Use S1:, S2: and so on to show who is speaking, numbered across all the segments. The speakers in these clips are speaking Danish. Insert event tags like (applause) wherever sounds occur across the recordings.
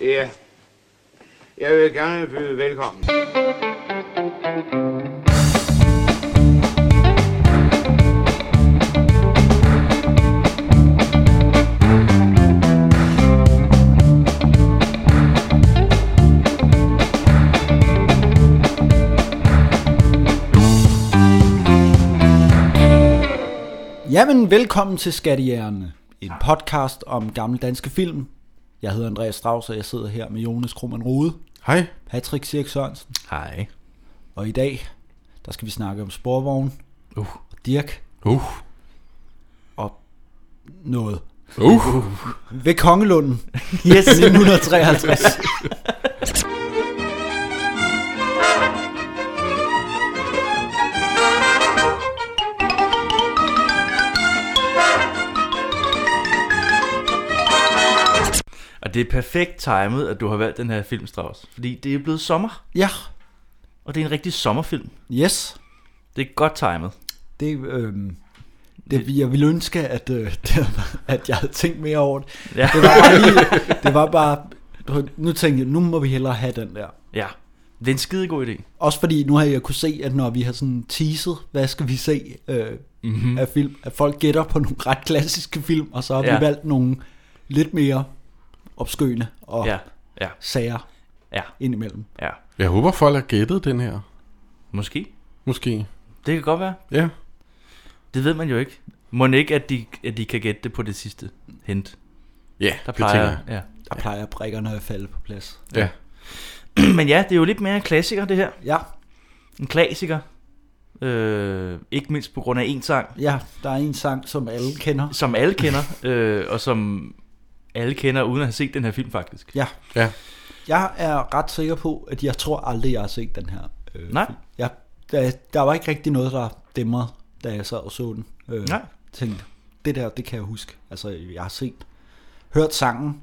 S1: Ja. Jeg vil gerne byde velkommen.
S2: Jamen, velkommen til Skattejægerne, en podcast om gamle danske film. Jeg hedder Andreas Strauss, og jeg sidder her med Jonas Krohmann Rode,
S3: Hej.
S2: Patrick Sirk Sørensen,
S3: Hej.
S2: og i dag, der skal vi snakke om sporvogn,
S3: Uh.
S2: og Dirk
S3: Uh.
S2: og noget.
S3: Uh.
S2: Ved Kongelunden, yes. 1953.
S3: (laughs)
S4: Og det er perfekt timet, at du har valgt den her film, Strauss. Fordi det er blevet sommer,
S2: Ja,
S4: og det er en rigtig sommerfilm.
S2: yes.
S4: Det er godt timet.
S2: Det, øhm, det, jeg ville ønske, at, øh, (laughs) det, at jeg havde tænkt mere over det.
S4: Ja.
S2: Det var bare, lige, det var bare du ved, nu tænkte jeg, nu må vi hellere have den der.
S4: ja. Det er en skidegod idé.
S2: Også fordi nu har jeg kunne se, at når vi har sådan teaset, hvad skal vi se øh, mm-hmm.
S4: Mhm.
S2: af film, at folk gætter på nogle ret klassiske film, og så har ja.
S4: Ja.
S2: vi valgt nogle lidt mere opskøende og ja.
S4: Ja, ja,
S2: sager
S4: ja,
S2: indimellem.
S4: ja.
S3: Jeg håber, folk har gættet den her.
S4: Måske.
S3: Måske.
S4: Det kan godt være.
S3: Ja.
S4: Det ved man jo ikke. Må ikke, at de, at de kan gætte det på det sidste hint.
S3: Ja,
S4: Der
S3: det tænker
S4: plejer
S3: jeg.
S4: ja.
S2: Der plejer brikkerne at falde på plads.
S3: Ja.
S4: Men ja, (clears throat) det er jo lidt mere en klassiker, det her.
S2: Ja,
S4: En klassiker. Øh, ikke mindst på grund af en sang,
S2: ja, der er en sang, som alle kender.
S4: som alle
S3: (laughs)
S4: kender, øh, og som alle kender uden at have set den her film, faktisk.
S2: Ja,
S3: Ja.
S2: jeg er ret sikker på, at jeg tror aldrig, jeg har set den her. Øh,
S4: Nej.
S2: film. Jeg, der, der var ikke rigtig noget, der dæmrede, da jeg sad og så den. Øh,
S4: Nej.
S2: Tænkte, det der, det kan jeg huske. Altså, jeg har set, hørt sangen,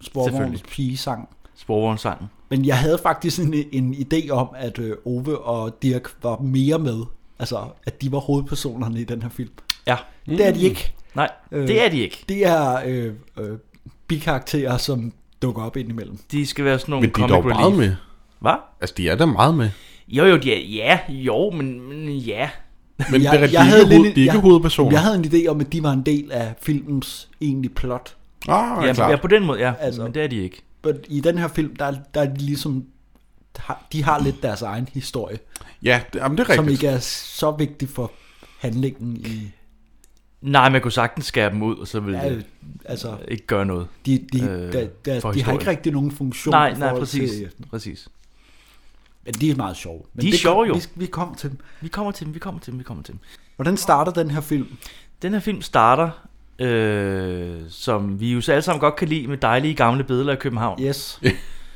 S2: Sporvognens
S4: Selvfølgelig.
S2: pigesang.
S4: Sporvognssangen.
S2: Men jeg havde faktisk en, en idé om, at øh, Ove og Dirk var mere med. Altså, at de var hovedpersonerne i den her film.
S4: Ja.
S2: Mm. Det er de ikke.
S4: Nej,
S2: Øh.
S4: øh. det er de ikke.
S2: Det er øh, øh, bikarakterer, som dukker op indimellem.
S4: De skal være sådan nogle
S3: Men de er
S4: comic
S3: dog
S4: relief.
S3: meget med.
S4: Hvad?
S3: Altså, de er da meget med.
S4: Jo, jo, de er, ja, jo, men, men ja.
S3: Men
S2: Jeg-
S3: jeg, det er, de
S2: jeg
S3: er
S2: havde
S3: ikke,
S2: lidt
S3: hoved,
S2: en-
S3: de er ikke
S2: jeg-
S3: hovedpersoner.
S2: Jeg havde en idé om, at de var en del af filmens egentlige plot.
S3: Ah, ja,
S4: Ja, ja,
S3: klart.
S4: på den måde, ja,
S2: Altså.
S4: altså. men det er de ikke.
S2: Men i den her film, der, der er de ligesom... har- De har lidt deres egen historie,
S3: ja det, jamen, det er
S2: som
S3: rigtigt.
S2: ikke er så vigtig for handlingen i...
S4: Nej, man kunne sagtens skære dem ud, og så ville
S2: Ja,
S4: det
S2: altså,
S4: ikke gøre noget.
S2: de, de, øh,
S4: Øh,
S2: der, der,
S4: for
S2: de har
S4: historien.
S2: ikke rigtig nogen funktion
S4: Nej,
S2: i
S4: nej,
S2: forhold
S4: præcis.
S2: til...
S4: præcis.
S2: Men de er meget sjove. Men
S4: De er
S2: det kom-
S4: sjove jo.
S2: Vi, vi kom til dem.
S4: Vi kommer til dem, vi kommer til dem, vi kommer til dem.
S2: Hvordan starter den her film?
S4: Den her film starter, øh, som vi jo så alle sammen godt kan lide, med dejlige gamle billeder af København.
S2: Yes.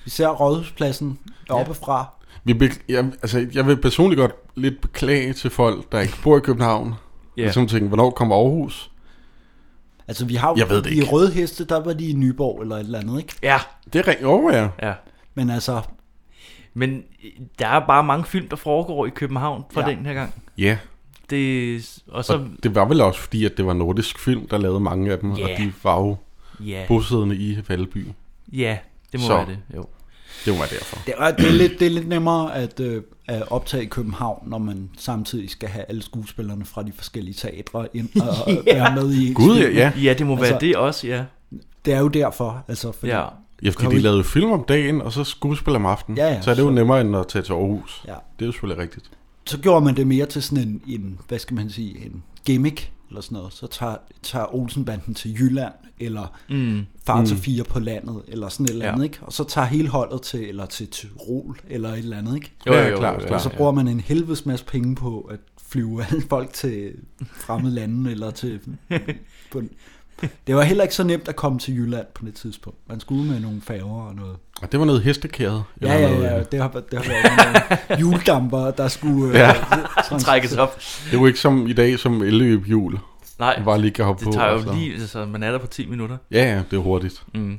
S2: Vi ser rådhuspladsen oppefra.
S3: Vi be- jeg, altså, jeg vil personligt godt lidt beklage til folk, der ikke bor i København.
S4: Ja.
S3: Yeah. Som tænker, hvornår kommer Aarhus?
S2: Altså, vi har jo
S3: Jeg ved det
S2: i
S3: ikke.
S2: Rødheste, der var de i Nyborg eller et eller andet, ikke?
S4: Ja,
S3: Det er rent over, ja.
S4: ja.
S2: Men altså,
S4: Men øh, der er bare mange film, der foregår i København fra
S2: Ja.
S4: ja. den her gang.
S3: Ja,
S4: Det, og
S3: og
S4: så,
S3: det var vel også fordi, at det var nordisk film, der lavede mange af dem, yeah. og
S4: Ja.
S3: de var jo
S4: ja,
S3: bosiddende i Valby.
S4: ja, det må
S3: Så.
S4: være det, jo.
S3: Det var derfor.
S2: Det er, det er, lidt, det er lidt nemmere at, øh, at optage i København, når man samtidig skal have alle skuespillerne fra de forskellige teatre ind og ja.
S4: (laughs) Ja.
S2: være med i.
S3: Gud, ja. ja.
S4: Ja, det må
S2: Altså-
S4: være det også, ja.
S2: Det er jo derfor. Altså, fordi,
S4: Ja.
S3: Ja, fordi
S2: Har
S3: de
S2: vi-
S3: lavede jo film om dagen, og så skuespil om aftenen.
S2: Ja, ja,
S3: så er det jo
S2: så-
S3: nemmere end at tage til Aarhus.
S2: Ja.
S3: Det er jo selvfølgelig rigtigt.
S2: Så gjorde man det mere til sådan en, en hvad skal man sige, en gimmick eller sådan noget. Så tager, tager Olsenbanden til Jylland, eller
S4: Mm.
S2: far til fire på landet, eller sådan et eller
S4: Ja.
S2: andet, ikke? Og så tager hele holdet til, eller til Tyrol, eller et eller andet, ikke?
S3: Jo, ja, klart, klart.
S2: Og så bruger man en helvedes masse penge på at flyve (laughs) alle folk til fremmede lande,
S3: (laughs)
S2: eller til... På, det var heller ikke så nemt at komme til Jylland på det tidspunkt. Man skulle med nogle færger og noget.
S3: Og det var noget hestekæret.
S2: Ja,
S3: eller
S2: ja,
S3: noget, øh,
S2: ja, det har, været- det har været nogle juledamper, der skulle... øh,
S3: Ja.
S2: (laughs) trans-
S4: Trækkes op.
S3: Det er jo ikke som i dag, som elløbhjul.
S4: Nej,
S3: Man bare lige kan hoppe
S4: det
S3: på.
S4: tager
S3: og
S4: jo
S3: så-
S4: lige, altså man er der på 10 minutter.
S3: Ja, ja, det er hurtigt.
S4: Mm.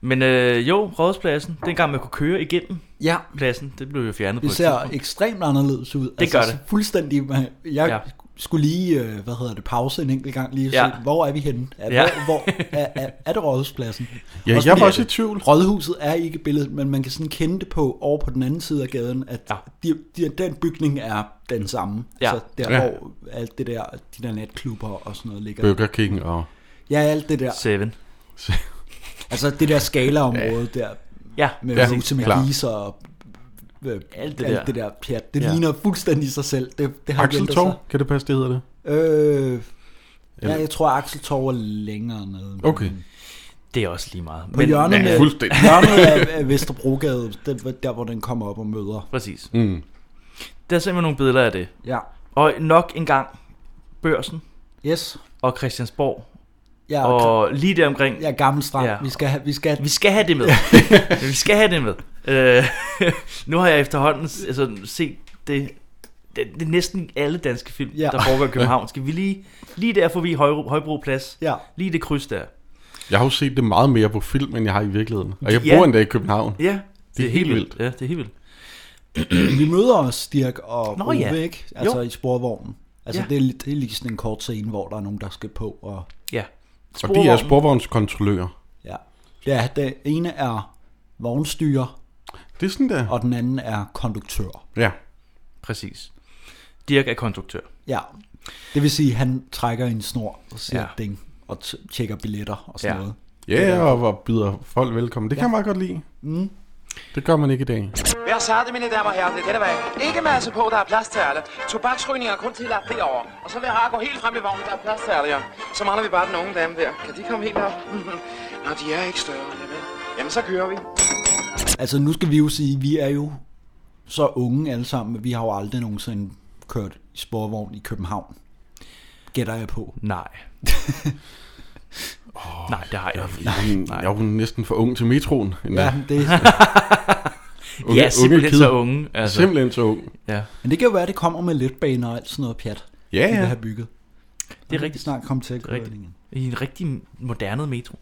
S4: Men øh, jo, rådspladsen, dengang man kunne køre igennem
S2: Ja,
S4: pladsen, det blev jo fjernet på
S2: det
S4: et
S2: ser
S4: tidspunkt.
S2: ekstremt anderledes ud.
S4: gør det.
S2: så Fuldstændig... Jeg
S4: Ja.
S2: skulle lige, øh, hvad hedder det, pause en enkelt gang lige. Ja.
S4: Ja.
S2: Se, hvor er vi henne? Er,
S4: Ja.
S2: ja. hvor, hvor, er, er, er det rådhuspladsen?
S3: Ja,
S2: Også
S3: jeg
S2: fordi,
S3: var også i
S2: at
S3: tvivl.
S2: Rådhuset er ikke i billedet, men man kan sådan kende det på over på den anden side af gaden, at
S4: Ja.
S2: ja. de, de, den bygning er den samme.
S4: Ja.
S2: Så der,
S3: Ja.
S2: ja. hvor alt det der, de der natklubber og sådan noget ligger.
S3: Burger King og...
S2: Ja, alt det der.
S4: Seven.
S2: Altså det der skalaområde ja. der
S4: Ja,
S2: med
S3: Ja,
S2: ja, huse med
S3: klar.
S2: fliser og øh, alt det,
S4: der.
S2: alt der. det der pjat. Det
S4: Ja.
S2: ja. ligner fuldstændig sig selv. Det, det har ikke
S3: Axel
S2: ændret
S3: Torv, kan det passe, det hedder det?
S2: sig. Øh,
S3: Eller-
S2: ja, jeg tror, Axel Torv er længere nede.
S3: Okay.
S2: Men
S4: det er også lige meget.
S2: På hjørnet,
S3: Ja,
S2: med,
S3: fuldstændig.
S2: hjørnet af, af Vesterbrogade, den, der hvor den kommer op og møder.
S4: Præcis.
S3: Mm.
S4: Der er simpelthen nogle billeder af det.
S2: Ja.
S4: Og nok engang Børsen
S2: Yes.
S4: og Christiansborg.
S2: Ja, og,
S4: Og lige der omkring.
S2: ja gammel strand.
S4: Ja.
S2: Ja. Vi skal have, vi skal
S4: Vi skal have det med. vi skal have det med. Øh, (laughs) nu har jeg efterhånden altså, set det, det, det er næsten alle danske film, ja.
S2: Ja.
S4: der foregår i København. Skal vi lige, lige der forbi Høj, Højbro Plads?
S2: Ja.
S4: Lige det kryds der.
S3: Jeg har jo set det meget mere på film, end jeg har i virkeligheden. Og jeg
S4: Ja.
S3: bor endda i København.
S4: Ja, det,
S3: er helt vildt.
S4: Ja, det er helt vildt.
S2: Vi møder os, Dirk og
S4: Nå,
S2: Nå, Ove,
S4: ja.
S2: ikke? Altså
S4: Jo.
S2: jo. i sporvognen. Altså
S4: Ja.
S2: ja. det, er, det er lige sådan en kort scene, hvor der er nogen, der skal på. Og,
S4: Ja.
S3: Og de er
S4: Sporvognen.
S3: sporvognskontrollører.
S2: ja. ja, den ene er vognstyrer,
S3: Det er sådan der.
S2: og den anden er konduktør.
S3: Ja.
S4: Præcis. Dirk er konduktør.
S2: Ja. Det vil sige, at han trækker i en snor og siger
S4: Ja.
S2: ja. ding, og t- tjekker billetter og sådan
S4: Ja.
S2: ja. noget.
S3: Ja, og hvor byder folk velkommen. Det kan jeg meget godt lide.
S2: Mm.
S3: Det gør man ikke i dag.
S5: Vær sarte, mine damer og herrer, det er der væk. Ikke masse på, der er plads til alle. Tobaksrygninger er kun tilladt derovre. Og så vil jeg gå helt frem i vognen, der er plads til alle, ja. Så mangler vi bare den unge dame der. Kan de komme helt op? (laughs) Nå, de er ikke større, det vel. Jamen, så kører vi.
S2: Altså nu skal vi jo sige, at vi er jo så unge alle sammen, men vi har jo aldrig nogensinde kørt i sporvogn i København. Gætter jeg på. (laughs)
S4: Nej. oh, Nej, det har jeg ikke.
S3: Nej. Jeg er jo næsten for ung til metroen. endda.
S2: Ja,
S3: (laughs)
S4: (laughs)
S2: det,
S3: Unge-
S4: Ja, simpelthen
S3: unge kid.
S4: så unge. Altså,
S3: Simpelthen så ung.
S4: ja.
S2: men det kan jo være, at det kommer med letbaner og alt sådan noget pjat.
S3: Ja,
S2: ja.
S3: ja.
S2: vil have bygget.
S4: Det er
S2: Og
S4: rigtigt.
S2: Snart kom til at
S4: Det er rigtigt.
S2: køringen.
S4: I en rigtig moderne metro.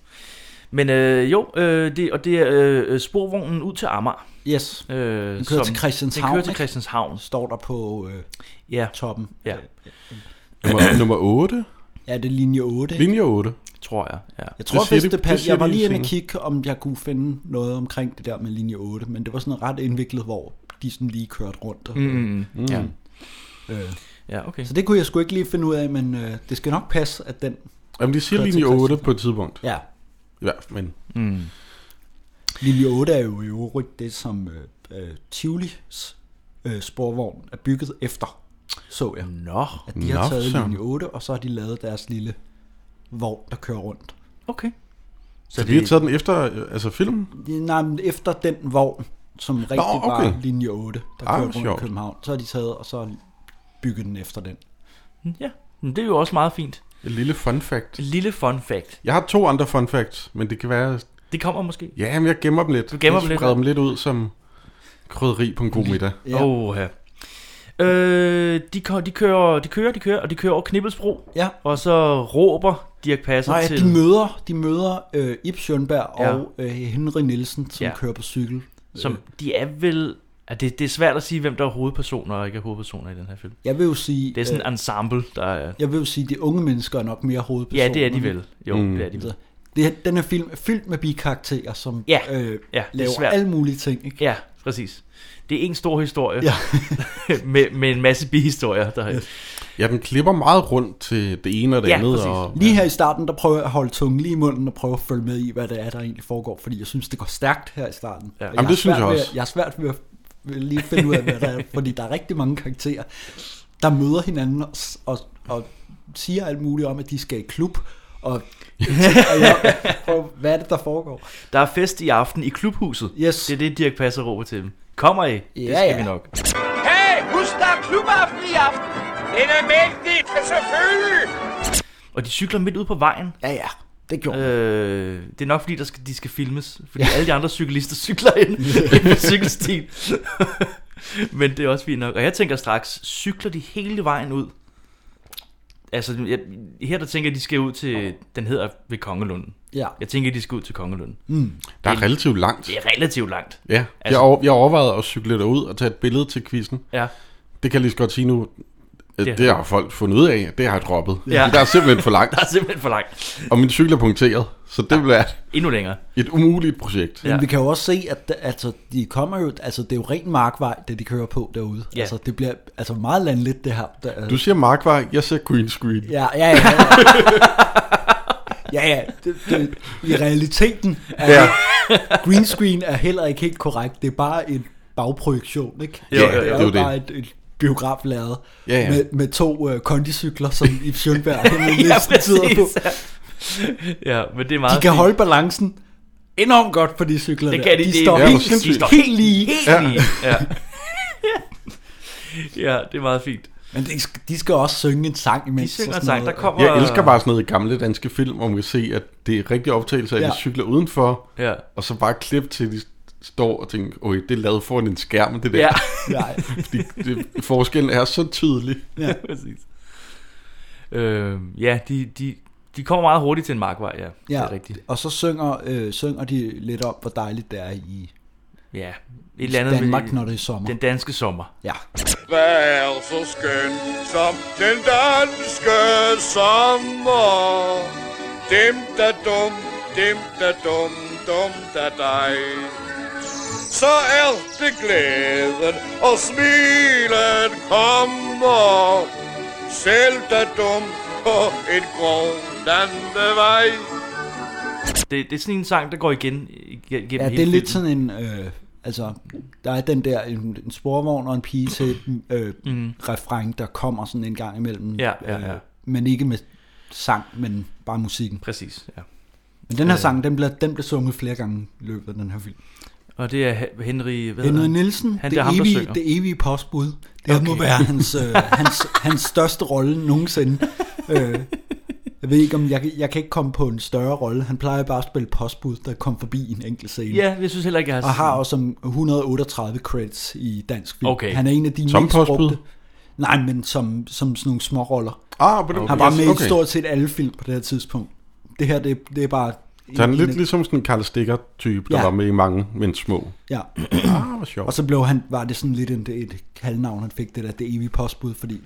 S4: Men øh, jo, øh, det, og det er øh, sporvognen ud til Amager.
S2: Yes.
S4: Øh,
S2: Den kører til Christianshavn,
S4: Den kører til
S2: ikke?
S4: Christianshavn.
S2: Står der på øh,
S4: Ja,
S2: toppen.
S4: ja, (clears throat)
S3: Nummer, nummer 8.
S2: Ja, det er linje 8. Linje.
S3: Linje 8.
S4: tror jeg. Ja.
S2: Jeg tror
S3: Det siger
S2: faktisk,
S3: de-
S2: det,
S3: det
S2: passer.
S3: siger
S2: Jeg var
S3: de
S2: lige inde og
S3: senere.
S2: kigge, om jeg kunne finde noget omkring det der med linje 8, men det var sådan ret indviklet, hvor de sådan lige kørte rundt. Og,
S4: Mm, mm. ja.
S2: øh,
S4: ja, okay.
S2: så det kunne jeg sgu ikke lige finde ud af, men øh, det skal nok passe, at den...
S3: Jamen, de siger
S2: Kører til
S3: linje 8
S2: Christianshavn.
S3: på et tidspunkt.
S2: Ja,
S3: Ja, men
S4: Mm.
S2: linje 8 er jo i øvrigt det, som øh, øh, Tivolis øh, sporvogn er bygget efter, så jeg.
S4: Nå,
S2: At de har
S3: Nå,
S2: taget
S3: Søren.
S2: linje 8, og så har de lavet deres lille vogn, der kører rundt.
S4: okay.
S3: så de har taget den efter øh, altså filmen?
S2: De- Nej, men efter den vogn, som rigtig Nå, okay.
S3: okay.
S2: var linje 8, der
S3: Ah,
S2: ah, kørte rundt
S3: sjovt.
S2: i København, så har de taget og så bygget den efter den.
S4: Ja, men det er jo også meget fint.
S3: Et lille fun fact.
S4: Et lille fun fact.
S3: Jeg har to andre fun facts, men det kan være...
S4: Det kommer måske.
S3: Ja, men jeg gemmer dem lidt.
S4: Du gemmer
S3: Jeg
S4: dem lidt.
S3: spreder dem lidt ud som krydderi på en god middag.
S2: Ja.
S4: Oh, ja. Øh, de, kø- de, kører, de kører, de kører, og de kører over Knibbelsbro.
S2: Ja.
S4: Og så råber Dirk Passer
S2: Nå ja,
S4: Altså til...
S2: de møder, de møder øh, Ip Schønberg
S4: Ja.
S2: ja. og øh, Henry Nielsen, som
S4: Ja.
S2: ja. kører på cykel.
S4: Som
S2: Øh,
S4: de er vel... Ja, det, det er svært at sige, hvem der er hovedpersoner og ikke er hovedpersoner i den her film.
S2: Jeg vil jo sige,
S4: Det er sådan en
S2: øh,
S4: ensemble, der er...
S2: jeg vil jo sige, de unge mennesker er nok mere hovedpersoner.
S4: Ja, det er de vel. Jo,
S3: Mm.
S4: mm. det er de vel.
S2: Så Det, her- den her film er fyldt med bikarakterer, som
S4: Ja.
S2: øh,
S4: Ja, det er
S2: laver
S4: svært.
S2: alle mulige ting. Ikke?
S4: Ja, præcis. Det er en stor historie
S2: Ja.
S4: (laughs) med, med en masse bihistorier. Der...
S3: Ja, den klipper meget rundt til det ene og det
S4: Ja,
S3: andet.
S4: præcis.
S3: Og,
S2: Lige her i starten, der prøver jeg at holde tungen lige i munden og prøve at følge med i, hvad det er, der egentlig foregår, fordi jeg synes, det går stærkt her i starten.
S4: Ja.
S2: Og
S3: Jamen,
S2: har
S3: det synes
S2: svært
S3: jeg
S2: ved-
S3: også.
S2: Jeg har svært ved at ved lige at finde ud af, hvad der er, fordi der er rigtig mange karakterer, der møder hinanden og, s- og, og siger alt muligt om, at de skal i klub,
S3: (laughs)
S2: og, og jeg prøver, hvad er det, der foregår?
S4: der er fest i aften i klubhuset.
S2: Yes.
S4: Det er det, Dirk Passer råber til dem. Kommer I? det
S2: Ja,
S4: skal
S2: ja.
S4: vi nok.
S5: Hey, husk, der er klubaften i aften. Det er mægtigt, selvfølgelig.
S4: Og de cykler midt ud på vejen.
S2: Ja, ja, det gjorde øh.
S4: Øh, det er nok fordi, der skal, de skal filmes. Fordi alle de andre cyklister (laughs) cykler
S2: (laughs)
S4: ind ind på cykelstien. (laughs) Men det er også fint nok. Og jeg tænker straks, cykler de hele vejen ud? Altså, jeg, her der tænker jeg, de skal ud til, den hedder ved Kongelunden.
S2: Ja, Mm.
S4: Jeg tænker, de skal ud til Kongelunden.
S3: der er relativt langt.
S4: Det er relativt langt.
S3: Ja, jeg,
S4: Altså-
S3: over, jeg overvejede at cykle derud og tage et billede til quizzen.
S4: Ja.
S3: Det kan jeg lige så godt sige nu.
S4: Ja.
S3: Yeah. Det har folk fundet ud af, at det har jeg droppet.
S4: Ja.
S3: Ja. Der er simpelthen for langt,
S4: (laughs) Der er simpelthen for langt.
S3: og min cykel er punkteret, så det vil være
S4: Endnu længere.
S3: et umuligt projekt.
S4: Ja.
S2: Men vi kan jo også se, at der- altså, de kommer jo, altså, det er jo ren markvej, det de kører på derude.
S4: Ja.
S2: Altså, det bliver altså meget landligt, det her. Der,
S3: Du siger markvej, jeg siger green screen.
S2: Ja,
S4: (laughs)
S2: ja, ja. ja, ja. Det, det, I realiteten er ja. green screen er heller ikke helt korrekt. Det er bare en bagprojektion, ikke?
S4: Jo, jo, jo.
S2: det
S3: Det
S2: er
S3: er jo
S2: jo
S3: det.
S2: bare et, et biograf lavet
S3: Ja, ja.
S2: Med, med to uh, kondicykler, som i Sjønberg hele
S4: ja,
S2: listen tider på.
S4: ja, men det er meget
S2: De kan
S4: fint.
S2: holde balancen enormt godt på de cykler
S4: Det
S2: der.
S4: kan de, det
S2: de
S4: er
S2: står
S3: Ja,
S2: helt,
S3: hvor sindssygt.
S2: helt, helt lige.
S4: Helt ja. lige. Ja. ja, det er meget fint.
S2: Men de, skal- de skal også synge en sang
S4: De
S2: imens.
S4: synger
S2: og sådan
S4: sang, der
S2: noget.
S4: kommer...
S3: Jeg elsker bare sådan noget i gamle danske film, hvor man kan se, at det er rigtige optagelser af, ja.
S2: Ja.
S3: de cykler udenfor,
S4: Ja.
S3: og så bare klip til, de står og tænker, okay, det er lavet foran en skærm, det der.
S4: Ja,
S3: (laughs)
S2: Ja.
S3: Fordi det, forskellen er så tydelig.
S4: ja. (laughs) præcis. Øhm, ja, de, de, de kommer meget hurtigt til en markvej, ja. Det
S2: Ja,
S4: er rigtigt.
S2: og så synger, øh, synger de lidt om, hvor dejligt det er i
S4: Ja, et eller andet
S2: Danmark,
S4: med
S2: når det er sommer.
S4: den danske sommer.
S2: Ja.
S6: Hvad er så skøn som den danske sommer? Dem der dum, dem der dum, dum der dig. Så er det glæden, og smilet kommer. Selv der dum på et grundande vej.
S4: Det, det er sådan en sang, der går igen i- gennem
S2: ja,
S4: hele
S2: det er lidt
S4: filmen.
S2: sådan en... Øh, altså, der er den der, en, en sporvogn og en pige til den, øh, mm. refræng, der kommer sådan en gang imellem.
S4: Mhm.
S2: øh,
S4: Ja, ja, ja.
S2: men ikke med sang, men bare musikken.
S4: Præcis, ja. Øh.
S2: Men den her sang, den blev, den blev sunget flere gange i løbet af den her film.
S4: Og det er Hen- Henry... Hvad
S2: Henry
S4: hedder han?
S2: Nielsen,
S4: Han,
S2: han,
S4: det er
S2: det,
S4: ham, der
S2: evige,
S4: synger.
S2: det evige postbud, det okay. må være
S4: (laughs)
S2: hans, øh, hans, hans største rolle nogensinde. Øh, jeg ved ikke, om jeg, kan- jeg kan ikke komme på en større rolle. Han plejer bare at spille postbud, der kom forbi en enkelt scene.
S4: Ja, jeg synes heller ikke, jeg har...
S2: Og har også som 138 credits i dansk film.
S4: Okay.
S2: Han er en af de
S3: Som
S2: mest
S3: postbud?
S2: brugte. Nej, men som, som sådan nogle små roller.
S3: Ah, på den
S2: Han var med i stort set alle film på det her tidspunkt. Det her, det, det er bare...
S3: Så han er
S2: en-
S3: lidt ligesom sådan en Karl Stikker-type, der
S2: Ja.
S3: ja. var med i mange, men små.
S2: Ja.
S3: Ah, hvor sjovt.
S2: Og så blev han, var det sådan lidt en, et kaldnavn, han fik det der, det evige postbud, fordi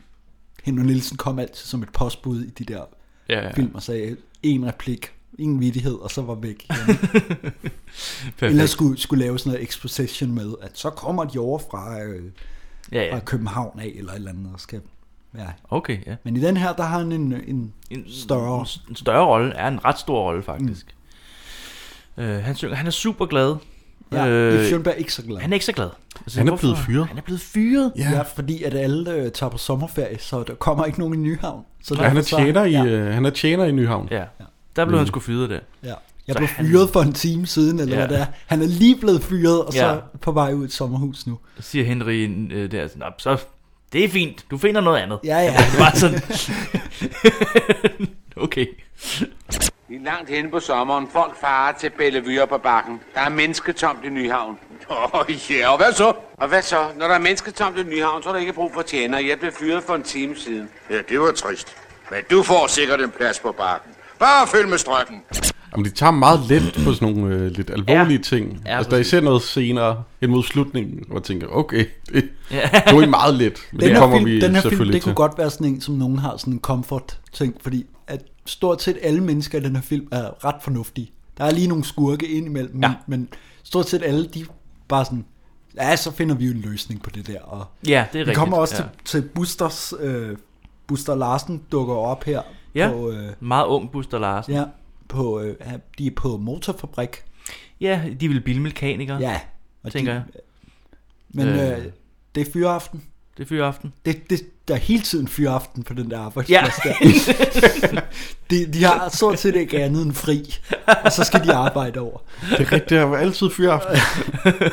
S2: Henry Nielsen kom altid som et postbud i de der
S4: Ja, ja.
S2: ja. film og sagde en replik, ingen vittighed, og så var væk. Eller
S4: (laughs) Perfekt.
S2: skulle, skulle lave sådan noget exposition med, at så kommer de over fra, øh,
S4: Ja,
S2: fra
S4: ja.
S2: København af, eller et eller andet, og skal ja.
S4: Okay, ja.
S2: Men i den her, der har han en, en,
S4: En-
S2: en større...
S4: en større rolle, er en ret stor rolle faktisk. Mm. Øh, han synger, han er super glad.
S2: Ja, øh, det er Fjernberg ikke så glad.
S4: han er ikke så glad. Altså,
S3: Han er blevet fyret.
S4: Han er blevet fyret.
S3: Ja,
S2: Ja, fordi at alle øh, tager på sommerferie, så der kommer ikke nogen i Nyhavn. Så
S3: ja han, er
S2: derfor så-
S3: tjener i, ja. han er tjener i Nyhavn. Mm.
S4: Ja. Der blev han sgu fyret der.
S2: Ja. Jeg
S4: Så
S2: blev
S4: han-
S2: fyret for en time siden, eller
S4: Ja.
S2: ja. hvad det er. Han er lige blevet fyret, og så
S4: Ja.
S2: på vej ud i et sommerhus nu.
S4: Så siger Henry øh, der, sådan, "Nå, så det er fint, du finder noget andet.
S2: Ja, ja.
S4: (laughs) Det var sådan, okay.
S5: Vi er langt henne på sommeren. Folk farer til Bellevue på bakken. Der er mennesketomt i Nyhavn.
S6: Åh oh, ja, yeah. og hvad så?
S5: Og hvad så? Når der er mennesketomt i Nyhavn, så er der ikke brug for tjener. Jeg blev fyret for en time siden.
S6: Ja, det var trist. Men du får sikkert en plads på bakken. Bare følg med strømmen.
S3: Jamen, de tager meget let på sådan nogle øh, lidt alvorlige ja. ting.
S4: Ja,
S3: Ja, altså, der er
S4: præcis.
S3: især noget senere hen mod slutningen, hvor jeg tænker, okay, (laughs) det, det er meget let. Men
S2: Den
S3: det
S2: her
S3: kommer
S2: film,
S3: vi
S2: den her film
S3: selvfølgelig
S2: det kunne
S3: til.
S2: godt være sådan en, som nogen har sådan en comfort-ting, fordi at stort set alle mennesker i den her film er ret fornuftige. Der er lige nogle skurke indimellem, ja. men stort set alle, de er bare sådan, ja, så finder vi jo en løsning på det der. Og
S4: Ja, det er rigtigt.
S2: vi kommer også
S4: ja.
S2: til, til Busters, øh, Buster Larsen dukker op her
S4: Ja.
S2: på... Øh,
S4: Meget ung Buster Larsen. Ja,
S2: ja, på, øh, de er på motorfabrik.
S4: ja de ville bilmekanikere, ja,
S2: Ja, og
S4: tænker
S2: de,
S4: jeg.
S2: Men
S4: Øh.
S2: øh, det er fyreaften.
S4: Det er fyreaften.
S2: Det, det, der er hele tiden fyreaften på den der arbejdsplads ja. der. (laughs) De, de har stort set ikke andet end fri, og så skal de arbejde over.
S3: Det er rigtigt, jeg var altid fyraften.
S2: (laughs)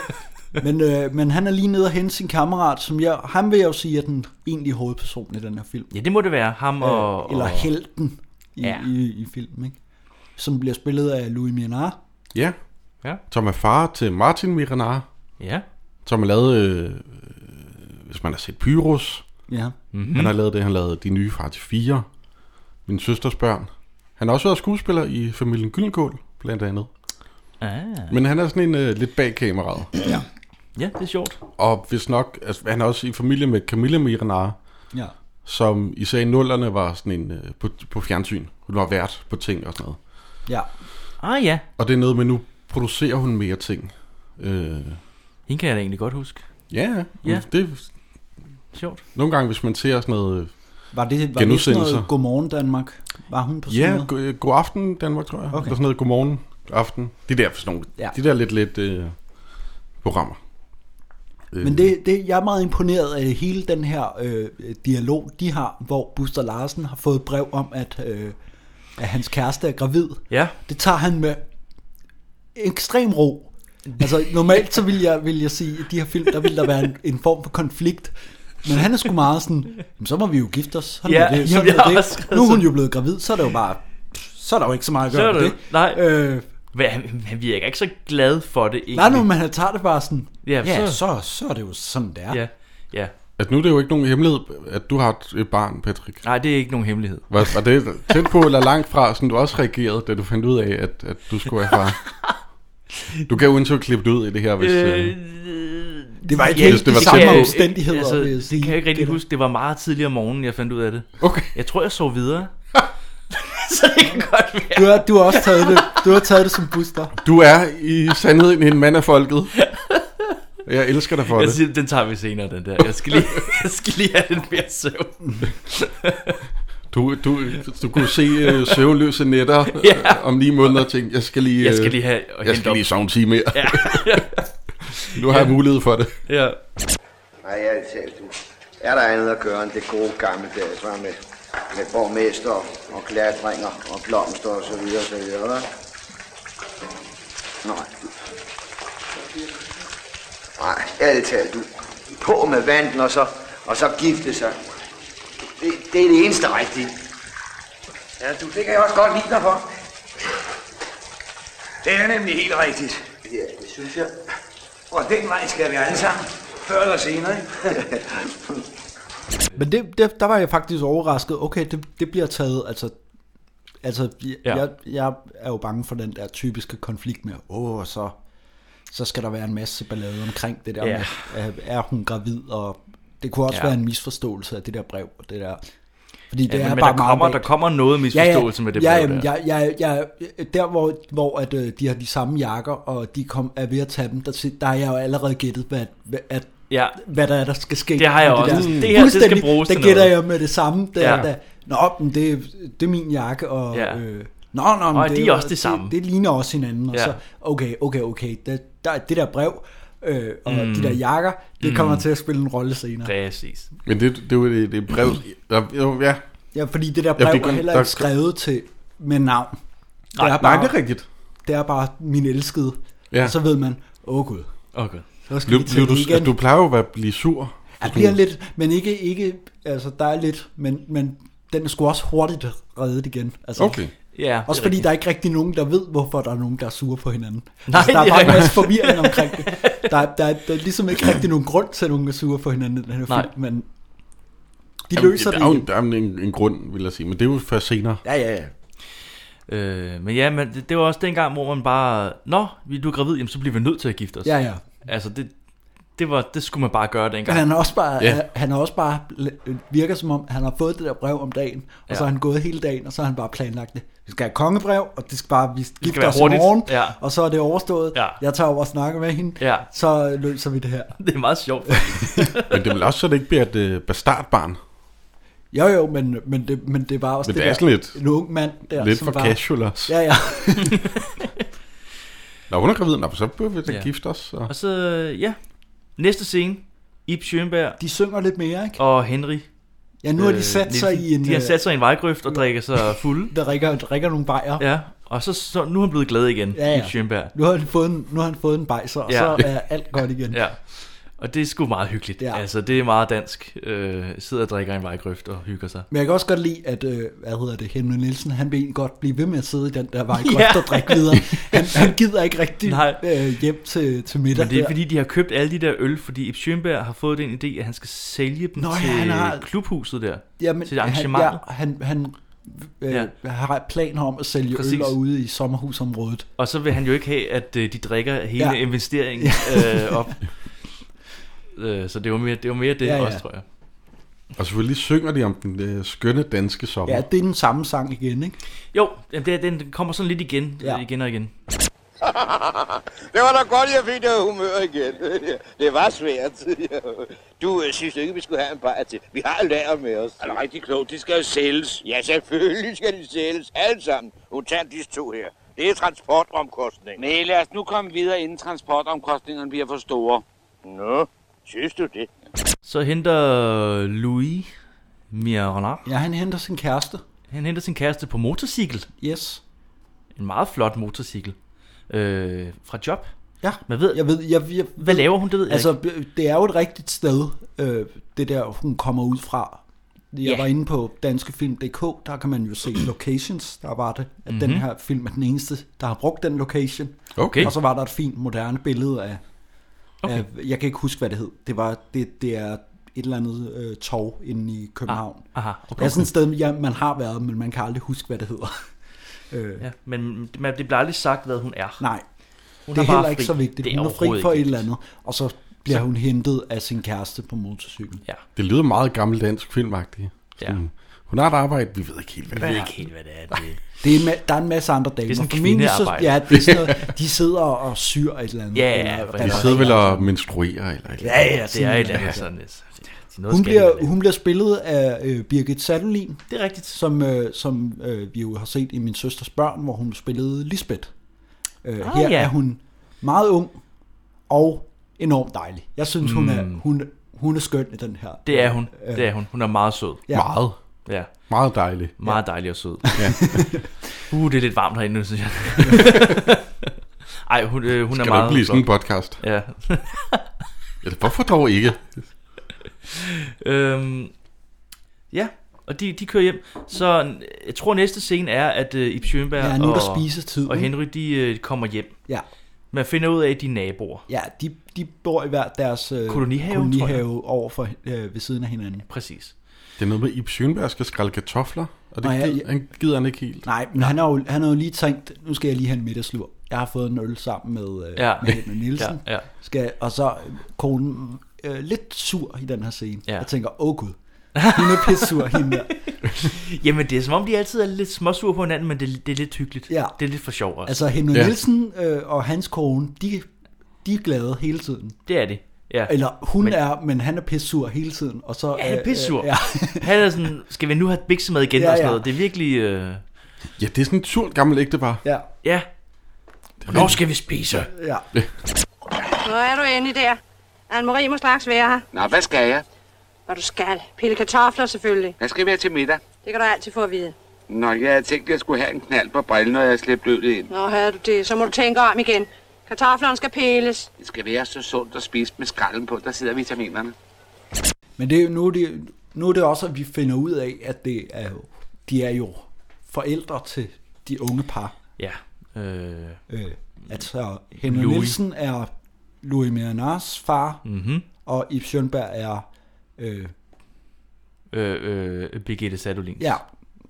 S2: Men, øh, men han er lige nede og hente sin kammerat, som jeg, ham vil jeg jo sige er den egentlige hovedperson i den her film. Øh,
S4: Ja, det må det være. Ham og...
S2: Eller
S4: og,
S2: helten i,
S4: Ja.
S2: ja. i, i filmen, ikke? Som bliver spillet af Louis Mianar.
S3: Ja.
S4: Ja.
S3: Som er far til Martin Miranar,
S4: Ja.
S3: som har lavet, øh, øh, hvis man har set Pyrus,
S2: Ja.
S4: Mhm.
S3: mm. han har lavet det, han lavede De Nye Far til Fire, Min Søsters Børn. Han har også været skuespiller i Familien Gyllenkål, blandt andet.
S4: Ah,
S3: Men han er sådan en øh, lidt bag kameraet.
S4: ja, det er sjovt.
S3: Og hvis nok, altså, han er også i familie med Camilla Miranar,
S2: ja.
S3: som især i nullerne var sådan en øh, på, på fjernsyn. Hun var vært på ting og sådan noget.
S2: Ja.
S4: Ah ja,
S3: Og det er noget med, nu producerer hun mere ting. Øh,
S4: hende kan jeg da egentlig godt huske.
S3: ja,
S4: Ja.
S3: ja. Det,
S4: Sjovt.
S3: nogle gange, hvis man ser sådan noget... øh,
S2: Var det, var det sådan
S3: Genudsendelser.
S2: noget Godmorgen Danmark? Var hun på sådan
S3: Ja,
S2: noget?
S3: go- øh, god aften Danmark, tror jeg. Okay.
S2: Okay.
S3: Eller sådan noget, godmorgen, aften. De der, sådan nogle,
S2: Ja.
S3: ja. de der lidt, lidt øh, programmer. Øh,
S2: Men det, det, jeg er meget imponeret af hele den her øh, dialog, de har, hvor Buster Larsen har fået brev om, at, øh, at hans kæreste er gravid.
S4: Ja.
S2: Det tager han med ekstrem ro. Altså normalt så vil jeg, vil jeg sige, at de her film, der vil der være en, en form for konflikt. Men han er sgu meget sådan, "Jamen, så må vi jo gifte os. Sådan
S4: Ja,
S2: er det,
S4: jamen,
S2: sådan
S4: jeg har
S2: er
S4: også
S2: det.
S4: skrevet
S2: Nu er hun
S4: sådan.
S2: jo blevet gravid, så er det jo bare, så er der jo ikke så meget at
S4: Så er
S2: gøre ved
S4: det-
S2: det.
S4: nej.
S2: Øh,
S4: Hvad, han, han virker ikke så glad for det egentlig.
S2: nej, nu, men han tager det bare sådan,
S4: Ja,
S2: ja, ja
S4: så-
S2: så, så, så er det jo sådan, det er.
S4: Ja, ja.
S3: At nu er det jo ikke nogen hemmelighed, at du har et- et barn, Patrick.
S4: Nej, det er ikke nogen hemmelighed.
S3: Var, var det tæt på eller langt fra, sådan du også reagerede, da du fandt ud af, at, at du skulle være far?
S4: (laughs)
S3: Du kan jo ikke klippe det ud i det her, hvis... Øh,
S2: Det var ikke
S3: Ja,
S2: helt
S3: det
S2: de
S3: var
S2: samme
S3: samme-
S2: omstændigheder,
S4: altså,
S2: vil jeg sige.
S4: Det kan jeg ikke rigtig
S2: Det der.
S4: huske. Det var meget tidligere om morgenen, jeg fandt ud af det.
S3: okay.
S4: Jeg tror, jeg sov videre. så det kan godt være.
S2: Du har, du har også taget det, du har taget det som booster.
S3: Du er i sandheden en mand af
S4: (laughs)
S3: folket. Jeg elsker dig for
S4: Jeg
S3: det.
S4: siger, den tager vi senere, den der. Jeg (laughs) skal lige, jeg skal lige have lidt mere søvn.
S3: Du, du, du kunne se øh, søvnløse nætter
S4: (laughs) Ja.
S3: øh, om ni måneder og tænkte, jeg skal lige,
S4: Jeg
S3: øh,
S4: skal lige have og
S3: jeg
S4: hente
S3: skal
S4: op.
S3: lige sove en time mere.
S4: Ja.
S3: (laughs) Nu har jeg mulighed for det.
S4: ja.
S7: Nej, jeg talt, du. Er der andet at gøre end det gode gammeldags, var med, med borgmester og klatringer og blomster og så videre, så videre, hva'? Nej. Nej, ærligt talt, du. På med vandet og så, og så gifte sig. Det, det er det eneste rigtige. Ja, du, det kan jeg også godt lide dig for.
S5: Det er nemlig helt rigtigt.
S7: Ja, det synes jeg.
S5: Og den vej skal vi alle sammen. Før eller senere, ikke?
S2: Men det, det, der var jeg faktisk overrasket. Okay, det, det bliver taget, altså... Altså, jeg,
S4: Ja.
S2: ja. jeg, jeg er jo bange for den der typiske konflikt med, åh, oh, så, så skal der være en masse ballade omkring det der
S4: Ja.
S2: ja. med, øh, er hun gravid, og det kunne også
S4: Ja.
S2: ja. være en misforståelse af det der brev, og det der... Fordi det
S4: ja
S2: er
S4: men, men
S2: bare
S4: der,
S2: meget
S4: kommer,
S2: vagt.
S4: der kommer noget misforståelse med det
S2: ja,
S4: brev
S2: jamen,
S4: der.
S2: ja, ja, ja, der hvor, hvor at, øh, de har de samme jakker, og de kom, er ved at tage dem, der, si- der har jeg jo allerede gættet, hvad, hvad, at,
S4: Ja.
S2: hvad der er, der skal ske.
S4: Det har jeg
S2: Og
S4: også.
S2: der-
S4: Det her, det skal
S2: Fuldstændig,
S4: bruges
S2: Der
S4: til
S2: gætter
S4: noget.
S2: jeg med det samme. Der,
S4: Ja.
S2: ja. der, nå, men det, er- det er min jakke, og...
S4: Ja.
S2: Ja. Øh, Nå, nå, men
S4: Og
S2: det,
S4: de er
S2: jo-
S4: også det samme.
S2: Det, det ligner også hinanden. Og
S4: Ja.
S2: ja. så, okay, okay, okay. Der, der, er det der brev øh, og mm. de der jakker, det kommer til at spille en rolle senere.
S4: Mm. Præcis.
S3: Men det, det er jo et, et brev. Der, jo, ja.
S2: Ja, fordi det der
S3: Ja,
S2: brev
S3: fordi
S2: ja, er
S3: kun-
S2: heller
S3: der-
S2: ikke skrevet til med navn. Det er
S3: Nej, det er rigtigt.
S2: det er bare min elskede.
S3: Ja.
S2: Ja. Og så ved man, åh oh, gud,
S4: Okay.
S2: så skal
S3: Blev,
S2: vi til
S3: blev du,
S2: det igen.
S3: altså, du plejer jo at være- blive sur.
S2: Jeg bliver lidt, men ikke, ikke, altså der er lidt, men, men den er sgu også hurtigt reddet igen. Altså,
S3: Okay.
S4: Ja, det er
S2: Også fordi
S4: rigtigt.
S2: der er ikke rigtig nogen, der ved, hvorfor der er nogen, der er sure på hinanden.
S4: Nej,
S2: altså, der er
S4: det er
S2: bare en masse
S4: rigtigt.
S2: forvirring omkring det. Der, er- der, er- der er ligesom ikke rigtig nogen grund til, at nogen er sure på hinanden i den her
S4: Nej.
S2: film, men de Jamen, løser
S3: der
S2: det,
S3: er jo
S2: igen.
S3: en, der er jo en, en grund, vil jeg sige. Men det er jo først senere.
S2: Ja, ja, ja.
S4: Øh, men ja, men det, det var også dengang, hvor man bare... Nå, vi- du er gravid, jamen, så bliver vi nødt til at gifte os.
S2: ja, ja.
S4: Altså, det, det, var, det skulle man bare gøre dengang.
S2: Men han er også bare,
S3: Ja.
S2: ja. han er også bare øh, virker som om, han har fået det der brev om dagen, og
S4: Ja.
S2: ja. så har han gået hele dagen, og så har han bare planlagt det. Vi skal have kongebrev, og det skal bare, vi skal
S4: være
S2: gifte os i
S4: hurtigt.
S2: morgen,
S4: Ja.
S2: og så er det overstået.
S4: Ja.
S2: Jeg tager over og snakker med hende,
S4: Ja.
S2: så løser vi det her.
S4: (laughs) Det er meget
S2: (laughs)
S4: sjovt.
S3: Men det er vel også, så det ikke bliver et øh, bastardbarn.
S2: Jo jo, men, men, det, men det var også
S3: Men
S2: det,
S3: det er
S2: der,
S3: sådan lidt-
S2: en ung mand der,
S3: Ja, lidt
S2: som
S3: for
S2: var,
S3: casual også. Ja.
S4: (laughs)
S2: Ja, ja.
S3: Når hun er gravid, nå, så bør vi da
S4: Ja.
S3: ja. gifte os. Og...
S4: Og så, ja. Næste scene. Ib Schønberg
S2: De synger lidt mere, ikke?
S4: og Henry.
S2: Ja, nu har de
S4: øh,
S2: sat sig
S4: Nielsen,
S2: i en...
S4: De har
S2: øh,
S4: sat sig i en vejgrøft og drikker sig
S2: (laughs)
S4: fulde.
S2: Der drikker, drikker nogle bajer.
S4: Ja, og så, så nu er han blevet glad igen,
S2: Ja, ja.
S4: Ib Schønberg.
S2: Nu har han fået en, nu har han fået en bajser, og
S4: Ja.
S2: så er alt godt igen.
S4: (laughs) Ja. Og det er sgu meget hyggeligt. Ja.
S2: Ja.
S4: Altså, det er meget dansk. Øh, sidder og drikker i en vejgrøft og hygger sig.
S2: Men jeg kan også godt lide, at, øh, hvad hedder det, Henry Nielsen, han vil egentlig godt blive ved med at sidde i den der vej,
S4: Ja.
S2: ja. og drikke videre. Han, han gider ikke rigtig
S4: Nej.
S2: øh, hjem til, til middag
S4: Men det er
S2: der.
S4: fordi, de har købt alle de der øl, fordi Ib Schønberg har fået den idé, at han skal sælge dem
S2: Nå ja,
S4: til
S2: han har-
S4: klubhuset der.
S2: Jamen,
S4: til arrangementet.
S2: Han, ja, han, han øh,
S4: Ja.
S2: ja. har planer om at sælge
S4: Præcis.
S2: Præcis. øl ude i sommerhusområdet.
S4: Og så vil han jo ikke have, at øh, de drikker hele ja.
S2: Ja. (laughs)
S4: investeringen øh, op. øh, så det var mere det, var mere det ja,
S2: Ja,
S4: ja.
S2: ja.
S4: også, tror jeg.
S3: Og selvfølgelig synger de om den øh, skønne danske sommer.
S2: Ja, det er den samme sang igen, ikke?
S4: Jo, jamen, det, er- den den kommer sådan lidt igen,
S2: Ja.
S4: ja. igen og igen.
S8: (laughs) Det var da godt, jeg fik det humør igen. (laughs) Det var svært. Du øh, synes jo ikke, vi skulle have en bajer til. Vi har lager med os.
S6: Er det rigtig klogt? De skal jo sælges.
S8: Ja, selvfølgelig skal de sælges. Alle sammen. Undtagen disse to her. Det er transportomkostning.
S5: Nej, lad os nu komme videre, inden transportomkostningerne bliver for store.
S8: Nå, synes du det?
S4: Så henter Louis Mironard.
S2: Ja, han henter sin kæreste.
S4: Han henter sin kæreste på motorcykel.
S2: Yes.
S4: En meget flot motorcykel. Øh, fra job.
S2: Ja,
S4: Man ved-
S2: jeg ved, jeg, jeg,
S4: Hvad laver hun, det ved jeg altså,
S2: Altså, det er jo et rigtigt sted, øh, det der, hun kommer ud fra. Jeg
S4: Ja.
S2: var inde på danskefilm.dk, der kan man jo se
S4: (clears throat)
S2: locations, der var det, at mm-hmm. den her film er den eneste, der har brugt den location.
S4: Mhm. Okay.
S2: Og så var der et fint, moderne billede af,
S4: Okay.
S2: okay. af jeg kan ikke huske, hvad det hed. Det, var, det, det er et eller andet øh, tog inde i København.
S4: Ah, aha,
S2: okay. Det er sådan et sted, ja, man har været, men man kan aldrig huske, hvad det hedder. øh,
S4: ikke. Ja, men man, det bliver aldrig sagt, hvad hun er.
S2: Nej,
S4: hun
S2: (laughs) det er
S4: bare
S2: heller ikke
S4: fri.
S2: så vigtigt.
S4: Det
S2: Hun er fri
S4: overhovedet
S2: for et
S4: ikke
S2: eller andet, og så bliver hun hentet af sin kæreste på motorcykel.
S4: vigtigt. Ja,
S3: Det lyder meget gammel dansk filmagtigt.
S4: ja.
S3: Mm. Hun har et arbejde, vi ved ikke helt, hvad det
S4: Jeg
S3: er.
S4: ved ikke helt, hvad det
S2: (laughs)
S4: er. Det.
S2: Det er, en ma- der er en masse andre damer.
S4: Det er sådan
S2: Formentlig
S4: kvindearbejde.
S2: Så, ja, det er
S4: (laughs)
S2: sådan noget, de sidder og syr et eller andet.
S4: Ja,
S2: eller,
S4: ja,
S2: eller-
S3: De sidder vel og menstruerer eller et eller
S4: Ja, ja, det er
S2: Sådan
S4: et
S2: noget.
S4: eller andet sådan. Det, det er noget
S2: Hun
S4: skal de jo
S2: bliver,
S4: lave.
S2: hun bliver spillet af øh, Birgit Sadolin,
S4: Det er rigtigt.
S2: som, øh, som øh, vi jo har set i Min Søsters Børn, hvor hun spillede Lisbeth. Øh,
S4: Ah,
S2: her
S4: ja.
S2: er hun meget ung og enormt dejlig. Jeg synes, hun, er, hun, hun er skøn i den her.
S4: Hmm.
S2: Øh,
S4: Det er hun. Det er hun. Hun er meget sød.
S3: andet. Meget,
S4: Ja,
S3: meget dejligt.
S4: meget dejlig og sød. Ja. (laughs) uh, det er lidt varmt herinde nu,
S3: (laughs)
S4: synes jeg. Ej, hun, øh, hun er
S3: Kan der
S4: meget
S3: ikke blive sådan en
S4: flot.
S3: podcast?
S4: Ja. (laughs)
S3: Ja, hvorfor dog ikke?
S4: Øhm, ja, og de, de kører hjem. Så øh, jeg tror, næste scene er, at øh, Ib Schønberg
S2: Ja, nu er
S4: og,
S2: der spisetid.
S4: og
S2: ikke?
S4: Henry, de øh, kommer hjem.
S2: Ja,
S4: Man finder ud af, at de er naboer.
S2: ja de, de bor i hver deres øh,
S4: Kolonihave,
S2: kolonihave over for, øh, ved siden af hinanden.
S4: Præcis.
S3: Det er noget med, at Ib Schønberg skal skrælle kartofler, og det
S2: Nå, ja,
S3: gider, han gider han ikke helt.
S2: Nej, men han har, jo, han har jo lige tænkt, nu skal jeg lige have en middagslur. Jeg har fået en øl sammen med, øh,
S4: (laughs) Ja.
S2: ja. med Henrik Nielsen.
S4: Ja, ja.
S2: Skal, og så øh, konen øh, lidt sur i den her scene.
S4: Ja.
S2: Ja. Jeg tænker, åh gud, hun er
S4: (laughs)
S2: pissur hende der.
S4: Jamen, det er som om, de altid er lidt småsure på hinanden, men det, det er lidt hyggeligt.
S2: Ja.
S4: Det er lidt for sjov også.
S2: Altså Henrik
S3: Ja.
S2: ja. Nielsen øh, og hans kone, de, de er glade hele tiden.
S4: det er det. Ja.
S2: Eller hun
S4: Men-
S2: men, er, men han er pissur hele tiden. Og så,
S4: Ja, han er
S2: øh,
S4: pissur.
S2: Øh, ja.
S4: (laughs) Han er sådan, skal vi nu have biksemad igen
S2: Ja,
S4: og sådan
S2: ja.
S4: noget. Det er virkelig, øh,
S3: Ja, det er sådan et surt gammelt ægtepar.
S2: ja,
S4: ja. Hvornår skal vi spise?
S2: ja.
S9: Så er du endelig der. Anne-Marie må straks være her.
S5: Nå, hvad skal jeg?
S9: Og du skal. Pille kartofler selvfølgelig.
S5: Jeg skal være til middag.
S9: Det kan du altid få at vide.
S5: Nå, jeg havde tænkt, at jeg skulle have en knald på brillen, når jeg slæbte ølet ind.
S9: Nå, havde du det, så må du tænke om igen. Kartoflerne skal pilles.
S5: Det skal være så sundt at spise med skralden på, der sidder vitaminerne.
S2: Men det, er jo- nu, er det, nu er det også, at vi finder ud af, at det er, jo- de er jo forældre til de unge par.
S4: Ja. Øh,
S2: Øh, altså, Henry
S4: Louis.
S2: Louis. Nielsen er Louis Miranars far,
S4: Mhm.
S2: mm-hmm. og Yves Schönberg er, øh,
S4: øh, øh, Birgitte Sadolins
S2: ja,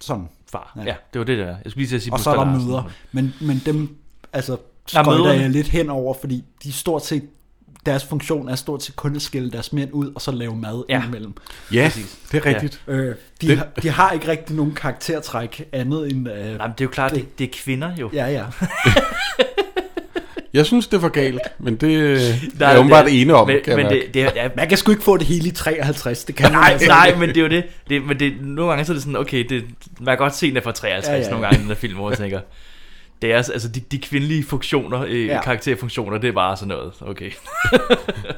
S2: sådan.
S4: far. Ja.
S2: Ja.
S4: ja. det var det der. Jeg skulle lige til at sige
S2: Og
S4: på
S2: så er der
S4: Larsen.
S2: møder. Men, men dem, altså,
S4: Der er
S2: skøjter
S4: mødrene.
S2: jeg lidt hen over, fordi de er stort set, deres funktion er stort set kun at skille deres mænd ud, og så lave mad
S4: Ja.
S2: ja. imellem.
S3: Ja,
S4: Præcis.
S3: det er rigtigt.
S2: Øh, de,
S3: Det-
S2: har, de har ikke rigtig nogen karaktertræk andet end... Øh,
S4: Nej, men det er jo klart, det, det er kvinder jo.
S2: ja,
S4: (laughs)
S2: ja.
S3: Jeg synes, det er for galt, men
S4: (laughs)
S3: det øh,
S4: Der
S3: er jeg åbenbart
S4: det-
S3: ene om,
S4: men,
S3: kan jeg
S4: men
S3: mærke.
S4: det, det er, ja,
S2: Man kan sgu ikke få det hele i 53,
S4: (laughs)
S2: det kan man
S4: Nej,
S2: altså
S4: nej,
S2: ikke.
S4: men det er jo det. det, men det nogle gange så er det sådan, okay, det, man kan godt se, den er fra 53 ja, ja,
S2: Ja, ja,
S4: ja.
S2: ja.
S4: nogle gange, den der film, hvor jeg tænker, det er, altså de, de kvindelige funktioner, øh, ja.
S2: Ja.
S4: karakterfunktioner, det er bare sådan noget, okay.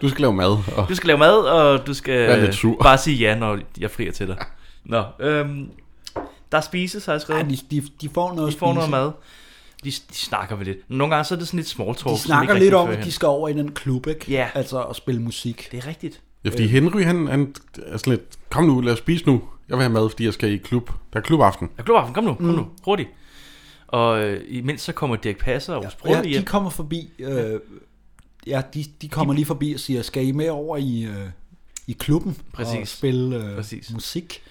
S3: Du skal lave mad, og
S4: Du skal lave mad, og du skal
S3: Vær lidt sur.
S4: øh, bare sige ja, når jeg frier til dig. Nå, øhm, der spises, har jeg skrevet.
S2: Nej, de, de, de får noget
S4: de får
S2: at
S4: noget
S2: spise.
S4: mad. De, de snakker vel lidt. Nogle gange så er det sådan lidt small talk.
S2: De
S4: som
S2: snakker
S4: ikke
S2: lidt om,
S4: rigtig
S2: at
S4: fører
S2: de
S4: hen.
S2: skal over i den klub, ikke?
S4: Ja.
S2: Altså at spille musik.
S4: Det er rigtigt. Øh,
S3: ja, fordi Henry, han, han er sådan lidt, kom nu, lad os spise nu. Jeg vil have mad, fordi jeg skal i klub. Der er klubaften.
S4: Ja, Globaffen, kom nu, kom mm. nu, hurtigt. Og øh, imens så kommer Dirk Passer og ja,
S2: Ja,
S4: hjem.
S2: de kommer forbi, øh, ja, de, de kommer lige forbi og siger, skal I med over i, øh, i klubben og
S4: Præcis.
S2: spille øh,
S4: Præcis.
S2: musik?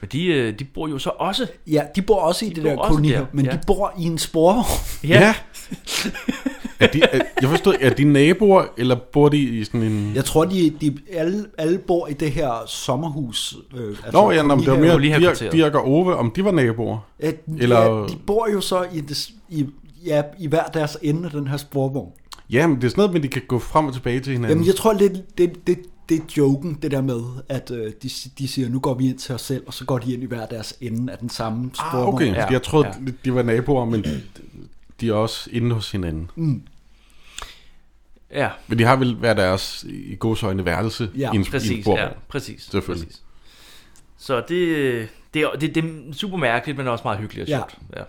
S4: Men de, øh, de bor jo så også.
S2: Ja, de bor også i de det
S4: bor
S2: der
S4: også
S2: koloni,
S4: der,
S2: men
S4: ja.
S2: de bor i en sporvogn.
S3: Ja. Er de, er, jeg forstod, er de naboer, eller bor de i sådan en...
S2: Jeg tror, de, de alle, alle bor i det her sommerhus. Øh, altså,
S3: Nå, ja, nå, men det var mere
S2: kolonihaven.
S3: Dirk,
S4: kolonihavekvarteret.
S3: Dirk og Ove, om de var naboer.
S2: At,
S3: eller-
S2: eller... ja, de bor jo så i, det, i, ja, i hver deres ende af den her sporvogn.
S3: Ja, men det er sådan noget, men de kan gå frem og tilbage til hinanden.
S2: Jamen, jeg tror, det, det, det, det er joken, det der med, at øh, de, de siger, nu går vi ind til os selv, og så går de ind i hver deres ende af den samme
S3: ah,
S2: sporvogn.
S3: okay, ja,
S4: Ja,
S3: jeg troede,
S4: ja.
S3: ja. de var naboer, men de er også inde hos hinanden.
S4: Ja,
S3: Men de har vel hver deres i godsøjne værelse
S2: Ja,
S3: i en, i en
S4: præcis. Ja,
S3: bordbog.
S4: præcis.
S3: Selvfølgelig.
S4: Præcis. Så det, det, er- det, det er super mærkeligt, men også meget hyggeligt og
S2: Ja.
S4: sjovt. Ja.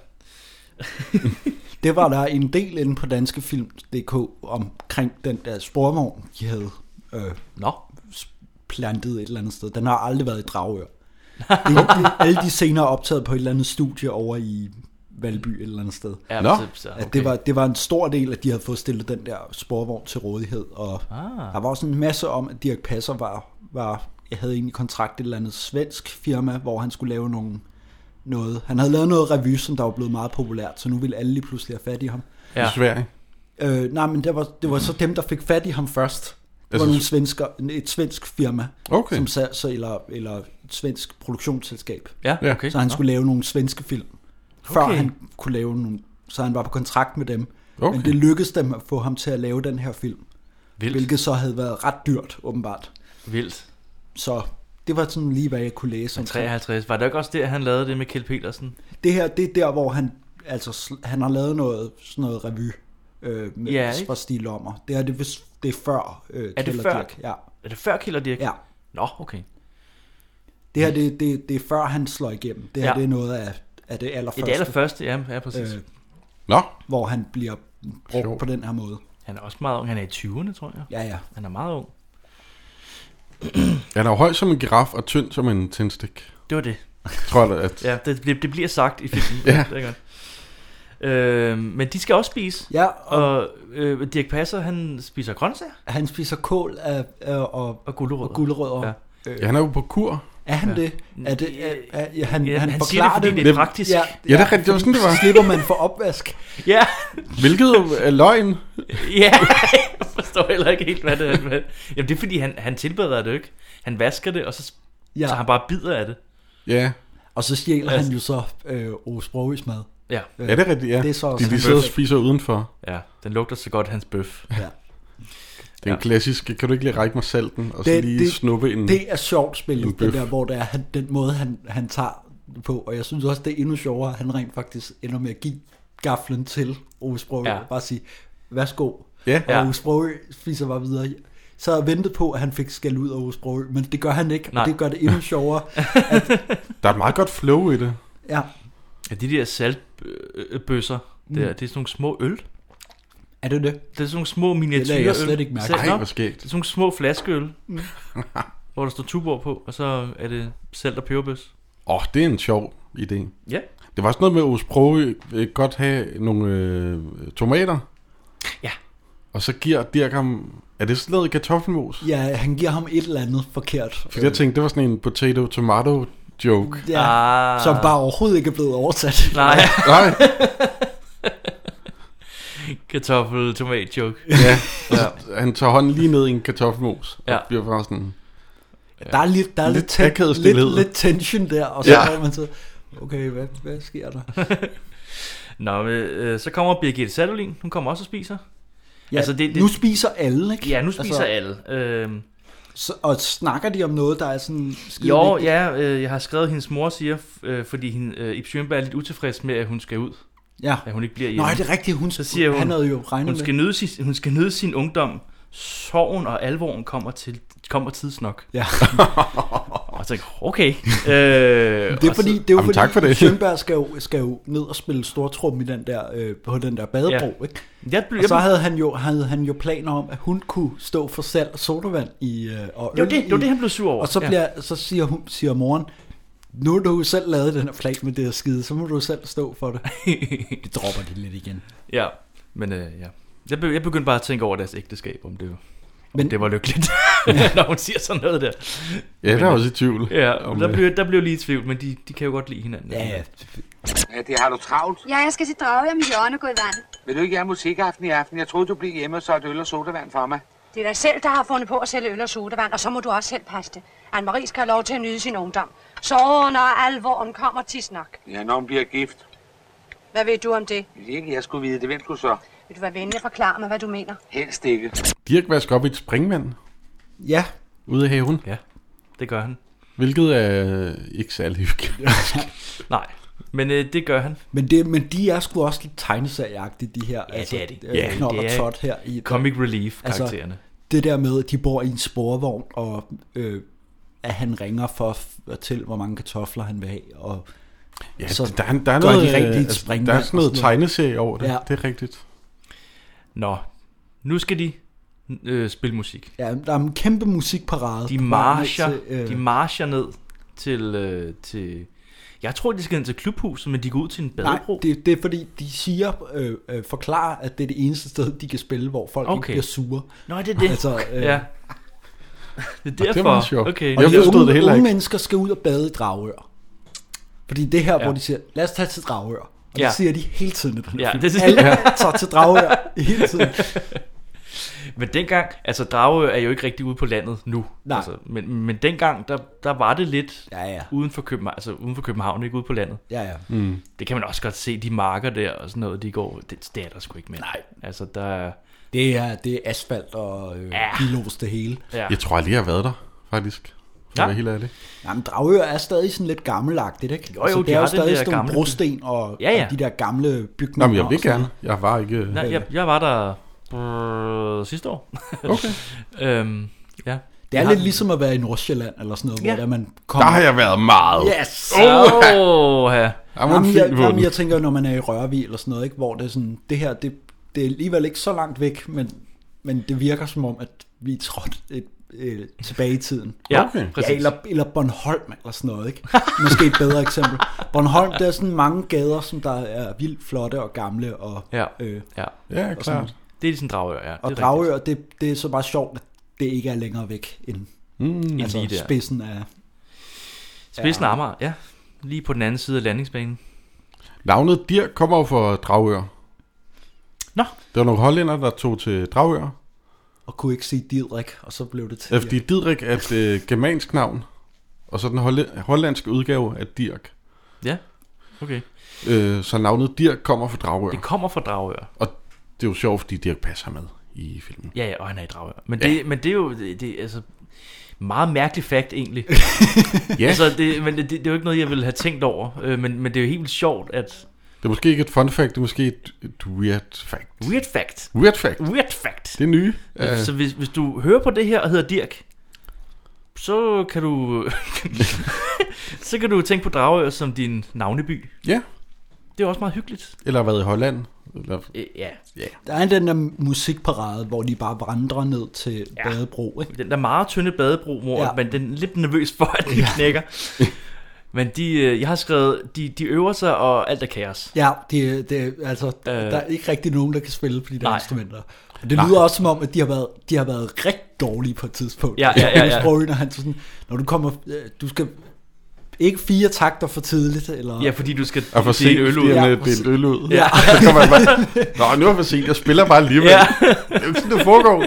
S2: (laughs) Det var der en del inde på danskefilm.dk omkring den der sporvogn, de havde øh,
S4: Nå,
S2: plantet et eller andet sted. Den har aldrig været i Dragør. Det er alle de senere optaget på et eller andet studie over i Valby et eller andet sted.
S4: ja,
S3: Nå,
S4: så, så, okay.
S2: At det, var, det var en stor del, at de havde fået stillet den der sporvogn til rådighed. Og ah. der var også en masse om, at Dirk Passer var, var, jeg havde egentlig kontrakt et eller andet svensk firma, hvor han skulle lave nogle, noget. Han havde lavet noget revy, som der var blevet meget populært, så nu ville alle lige pludselig have fat i ham.
S4: ja.
S3: I Sverige. Mhm.
S2: Øh, nej, men det var, det var så dem, der fik fat i ham først. Det var
S3: Altså-
S2: nogle svensker, et svensk firma,
S3: Okay.
S2: som sad, så, eller, eller et svensk produktionsselskab.
S4: Ja, okay.
S2: Så han skulle lave nogle svenske film, før
S4: Okay.
S2: han kunne lave nogle, så han var på kontrakt med dem.
S3: Okay.
S2: Men det lykkedes dem at få ham til at lave den her film,
S4: vildt,
S2: hvilket så havde været ret dyrt, åbenbart.
S4: vildt.
S2: Så det var sådan lige, hvad jeg kunne læse om.
S4: 53. Var det ikke også der, han lavede det med Kjeld Petersen?
S2: Det her, det er der, hvor han, altså, sl- han har lavet noget, sådan noget revy øh, med,
S4: Ja,
S2: ja,
S4: ikke?
S2: fra Stig Lommer. Det er, det, vist- det er før øh,
S4: Er det
S2: Kjeld og
S4: før?
S2: Dirch. Ja.
S4: Er det før Kjeld og Dirk?
S2: Ja.
S4: Nå, okay.
S2: Det her, det, det, det er før han slår igennem. Det her,
S4: Ja.
S2: ja. det er noget af, af det allerførste,
S4: Ja, det allerførste, ja, ja præcis.
S2: øh,
S3: Nå,
S2: hvor han bliver brugt
S3: Sjovt.
S2: på den her måde.
S4: Han er også meget ung. Han er i 20'erne, tror jeg.
S2: Ja, ja.
S4: Han er meget ung.
S3: han er jo høj som en giraf og tynd som en tændstik.
S4: Det var det.
S3: Tror jeg, at...
S4: Ja, det, det, det bliver sagt i filmen.
S3: (laughs) Ja.
S4: Det er godt. Øh, men de skal også spise.
S2: Ja, og, og
S4: Og øh, Dirk Passer, han spiser grøntsager
S2: han spiser kål af, af, og,
S4: og gulerødder.
S2: og gulerødder. Øh.
S4: Ja.
S2: Ja.
S3: Ja, han er jo på kur.
S2: Er han ja. det? Er det er, er, er, han,
S4: Ja,
S2: han,
S4: han siger det,
S2: forklarer
S4: fordi det er
S2: med-
S4: praktisk.
S2: Ja,
S3: Ja, det er rigtigt. Det var sådan, det var.
S2: så (laughs) slipper man for opvask.
S4: Ja,
S3: Hvilket jo er løgn.
S4: (laughs) ja. Jeg forstår heller ikke helt, hvad det er. Hvad. Jamen, det er fordi, han, han tilbereder det jo ikke. Han vasker det, og så, ja.
S2: Ja.
S4: så han bare bider af det.
S3: Ja,
S2: Og så stjæler han jo så øh, Ove Sproges mad.
S4: Ja,
S3: ja det er rigtigt, ja.
S2: Det er så også
S3: de, de
S2: en
S3: sidder og
S2: bøf.
S3: spiser udenfor.
S4: ja. Den lugter så godt, hans bøf.
S2: Ja.
S3: (laughs) Det er en klassisk, kan du ikke lige række mig salten, og så
S2: Det-
S3: lige
S2: det-
S3: snuppe en...
S2: Det er sjovt
S3: En
S2: spillet,
S3: bøf.
S2: det der, hvor det er han, den måde, han, han tager det på. Og jeg synes også, det er endnu sjovere, at han rent faktisk ender med at give gaflen til Ove Sprogø.
S4: Ja.
S2: Ja. Bare sige, værsgo.
S3: Ja.
S2: Og
S4: Ja.
S2: Ove Sprogø spiser bare videre. Så jeg ventet på, at han fik skæld ud af Ove Sprogø, men det gør han ikke,
S4: Nej.
S2: og det gør det
S3: (laughs)
S2: endnu sjovere.
S3: Der er et meget godt flow i det.
S2: Ja,
S4: Ja, de der saltbøsser, mm. der, det er sådan nogle små øl.
S2: er det det?
S4: Det er sådan nogle små
S2: jeg
S4: miniatyrøl.
S2: slet ikke mærke.
S4: Selv-
S3: Ej,
S4: Nå,
S3: hvor skægt.
S4: Det er sådan nogle små flaskeøl, mm. (laughs) hvor der står tubor på, og så er det salt og peberbøs. (laughs)
S3: Åh, oh, det er en sjov idé.
S4: Ja.
S3: Det var sådan noget med, at Osprove vil godt have nogle øh, tomater.
S4: Ja.
S3: Og så giver Dirk ham... Er det sådan noget kartoffelmos?
S2: Ja, han giver ham et eller andet forkert.
S3: Fordi jeg tænkte, det var sådan en potato-tomato-joke.
S2: Øh. Ja,
S4: Ah.
S2: som bare overhovedet ikke er blevet oversat. (laughs)
S4: Nej,
S3: Nej,
S4: kartoffel, tomat, joke.
S3: ja. ja. Han tager hånden lige ned i en kartoffelmos.
S4: Ja.
S3: Og bliver bare sådan...
S2: Der er lidt, der er
S3: Lidt
S2: lidt, lidt,
S3: akavet
S2: lidt,
S3: stilhed.
S2: lidt, lidt tension der, og så
S3: Ja.
S2: ja. man så, okay, hvad, hvad sker
S4: (laughs)
S2: der?
S4: (laughs) Nå, men, øh, så kommer Birgitte Sadolin, hun kommer også og spiser.
S2: Ja,
S4: Altså,
S2: altså,
S4: det-
S2: det,
S4: det-
S2: det, nu spiser alle, ikke?
S4: Ja, nu spiser altså, alle. Øh,
S2: Så, og snakker de om noget, der er sådan skide
S4: jo,
S2: vigtigt?
S4: ja, øh, jeg har skrevet, at hendes mor siger, f- øh, fordi hende, øh, Ib Schønberg er lidt utilfreds med, at hun skal ud,
S2: ja.
S4: at hun ikke bliver
S2: Nå,
S4: hjemme.
S2: er det rigtigt? Hun,
S4: Så siger hun,
S2: han havde jo regnet
S4: hun,
S2: med.
S4: skal nyde sin, hun skal nyde sin ungdom. Sorgen og alvoren kommer, til, kommer tidsnok.
S2: Ja.
S4: Og jeg tænkte, okay. øh,
S2: (laughs) Det er
S4: og så-
S2: fordi, det er jo
S3: Jamen,
S2: fordi,
S3: tak for det.
S2: Sjønberg skal jo, skal jo ned og spille stortrum i den der, øh, på den der badebro, ja. ikke?
S4: Jeg blev,
S2: Og så
S4: jeg,
S2: havde han, jo, havde han jo planer om, at hun kunne stå for salg af sodavand i, øh, og
S4: jo,
S2: øl
S4: det, jo,
S2: i,
S4: det han blev sur over.
S2: Og så, bliver, ja. så siger, hun, siger moren, nu har du jo selv lavet den her flag med det her skide, så må du jo selv stå
S4: (laughs)
S2: for det. det dropper de lidt igen.
S4: Ja, men øh, ja. Jeg, be, jeg begyndte bare at tænke over deres ægteskab, om det
S2: Men-
S4: Men... Det var
S2: (laughs)
S4: lykkeligt, (laughs) når hun siger sådan noget der.
S3: Ja, der er også i tvivl.
S4: Ja,
S3: om,
S4: der
S3: øh,
S4: blev, der blev lige i tvivl, men de, de kan jo godt lide hinanden.
S2: Ja, ja.
S5: Ja, det har du travlt.
S10: Ja, jeg skal se drage om hjørnet og gå i vand.
S5: Vil du ikke have musikaften i aften? Jeg troede, du blev hjemme og solgte øl og sodavand for mig.
S9: Det er dig selv, der har fundet på at sælge øl og sodavand, og så må du også selv passe det. Anne-Marie skal have lov til at nyde sin ungdom. Sorgen og alvoren kommer til snak.
S5: Ja, når hun bliver gift.
S9: Hvad ved du om det?
S5: Hvis ikke jeg skulle vide det, hvem skulle så?
S9: Vil du være venlig at forklare mig, hvad du mener?
S5: Helst ikke.
S3: Dirk vasker op i et springvand
S2: ja,
S3: ude i haven,
S4: Ja, det gør han.
S3: hvilket er ikke særlig hyggeligt.
S4: (laughs) Nej, men øh, det gør han.
S2: men, det, altså, men de er sgu også lidt tegneserieagtige, de her. Ja,
S4: det er de.
S2: Ja,
S4: Ja,
S2: Knold
S4: det
S2: og
S4: er-
S2: tot her. I,
S4: Comic relief-karaktererne. Altså,
S2: det der med, at de bor i en sporvogn, og øh, at han ringer for at fortælle, hvor mange kartofler han vil have, og
S3: Ja,
S2: Så
S3: der, er- der, er
S2: gør
S3: noget,
S2: de rigtig
S3: øh,
S2: et
S3: der
S2: springvand
S3: er
S2: og
S3: sådan noget
S2: sådan noget.
S3: tegneserie over det,
S2: Ja.
S3: ja. det er rigtigt.
S4: Nå, nu skal de øh, spille musik.
S2: Ja, der er en kæmpe musikparade.
S4: De
S2: på vej ned
S4: marcher,
S2: til, øh,
S4: de marcher ned til, øh, til... Jeg tror, de skal ned til klubhuset, men de går ud til en badebro.
S2: Nej, det, det er fordi, de siger, øh, øh, forklarer, at det er det eneste sted, de kan spille, hvor folk okay. ikke
S4: Okay.
S2: bliver sure.
S4: Nå, det er det.
S2: Altså, øh,
S4: ja. Det er
S3: var
S4: derfor.
S3: meget sjovt.
S4: okay.
S3: Jeg
S2: Og de
S3: forstod
S2: unge,
S3: det heller
S2: unge
S3: ikke.
S2: mennesker skal ud og bade i Dragør. Fordi det er her, ja.
S4: Ja.
S2: hvor de siger, lad os tage til Dragør. Og ja.
S4: Ja.
S2: det siger de hele tiden i den her
S4: Ja,
S2: film.
S4: det siger-
S2: Alle (laughs) tager til
S4: (laughs)
S2: Dragør hele tiden.
S4: Men dengang, altså Dragø er jo ikke rigtig ude på landet nu.
S2: Nej.
S4: Altså, men, men dengang, der, der var det lidt
S2: Ja, ja.
S4: uden, for København, altså uden for København, ikke ude på landet.
S2: Ja, ja.
S4: Det kan man også godt se, de marker der og sådan noget, de går, det, det er der sgu ikke mere. Nej. Altså der er-
S2: Det er, det er asfalt og øh, ja.
S4: Ja.
S2: bilos det hele.
S4: ja.
S3: Jeg tror aldrig, jeg har været der, faktisk. For
S4: Ja.
S3: ja. helt ærlig.
S2: Jamen, Dragør er stadig sådan lidt gammelagtigt, ikke?
S4: Jo, jo,
S2: Altså, det
S4: de
S2: er
S4: har
S2: jo
S4: den
S2: stadig
S4: der
S2: sådan nogle
S4: gamle-
S2: brosten og,
S4: Ja, ja.
S2: og de der gamle
S3: Nå,
S2: bygninger.
S3: men jeg vil
S2: og sådan
S3: gerne. Jeg var ikke... øh,
S4: Nej, jeg, jeg var der brrr, sidste år.
S3: Okay.
S4: (laughs) øhm, ja.
S2: Det er
S4: Ja.
S2: lidt ligesom at være i Nordsjælland eller sådan noget, ja.
S4: Ja.
S2: hvor der man
S3: Der
S2: kommer... altså,
S3: har jeg været meget.
S2: Yes!
S4: Oh, ja.
S3: Jeg var en
S2: Jamen, jeg,
S3: fin
S2: jamen,
S3: våben.
S2: jeg tænker, når man er i Rørvig eller sådan noget, ikke, hvor det er sådan, det her, det, det er alligevel ikke så langt væk, men, men det virker som om, at vi er trådt et, øh, tilbage i tiden.
S4: ja
S3: Okay.
S4: præcis.
S2: Ja, eller, eller Bornholm eller sådan noget, ikke? Måske et bedre eksempel. Bornholm, der er sådan mange gader, som der er vildt flotte og gamle, og,
S4: Ja.
S2: øh,
S4: ja.
S3: Ja, klart.
S4: Det er ligesom Dragør, ja.
S2: og
S4: det er
S2: Dragør, det, det er så bare sjovt, at det ikke er længere væk end
S3: Mm.
S4: End lige
S2: altså,
S4: der.
S2: spidsen af...
S4: rigtigt. Spidsen af Amager, ja. Lige på den anden side af landingsbanen.
S3: Navnet Dirk kommer jo fra Dragør.
S4: Nå.
S3: Der var nogle hollænder, der tog til Dragør.
S2: Og kunne ikke sige Didrik, og så blev det
S3: Ja.
S2: til...
S3: Fordi Didrik er et øh, germansk navn. Og så den holle- hollandske udgave af Dirk.
S4: Ja, okay.
S3: Øh, så navnet Dirk kommer fra Dragør.
S4: Det kommer fra Dragør.
S3: Og det er jo sjovt, fordi Dirk passer med i filmen.
S4: Ja, ja, og han er i Dragør. Men det, men det er jo det, det, er altså, meget mærkelig fakt egentlig.
S3: (laughs) Ja,
S4: altså, det, men det, det, er jo ikke noget, jeg ville have tænkt over. Øh, men, men det er jo helt vildt sjovt, at...
S3: det er måske ikke et fun fact, det er måske et, et weird fact.
S4: Weird fact.
S3: Weird fact.
S4: Weird fact.
S3: Det er nye.
S4: Ja.
S3: Øh,
S4: Så hvis, hvis du hører på det her og hedder Dirk, så kan du (laughs) så kan du tænke på Dragør som din navneby.
S3: ja,
S4: Det er også meget hyggeligt.
S3: eller har været i Holland. Eller,
S4: Øh, Ja,
S2: Der er den der musikparade, hvor de bare vandrer ned til ja.
S4: Ja.
S2: Badebro. Ikke?
S4: den der meget tynde badebro, hvor
S2: Ja.
S4: ja. man den er lidt nervøs for, at den ja. knækker. Men de, øh, jeg har skrevet, de, de øver sig, og alt er kaos.
S2: Ja, det, det, altså, øh. der er ikke rigtig nogen, der kan spille på de der
S4: Nej.
S2: instrumenter. Og det lyder også som om, at de har været, de har været rigtig dårlige på et tidspunkt.
S4: Ja, ja,
S2: (laughs)
S4: ja, ja.
S2: Sprogøen, og han så sådan, når du kommer, øh, du skal ikke fire takter for tidligt, eller...
S4: Ja, fordi du skal
S3: og for
S4: dele
S3: sent,
S4: øl ud.
S3: fordi
S2: Ja,
S3: han, øh,
S2: for
S3: delte øl ud. (laughs)
S4: Ja.
S3: Så kommer han bare, Nå, nu er jeg for sent, jeg spiller bare alligevel.
S4: Ja.
S3: Det er jo ikke sådan, det foregår.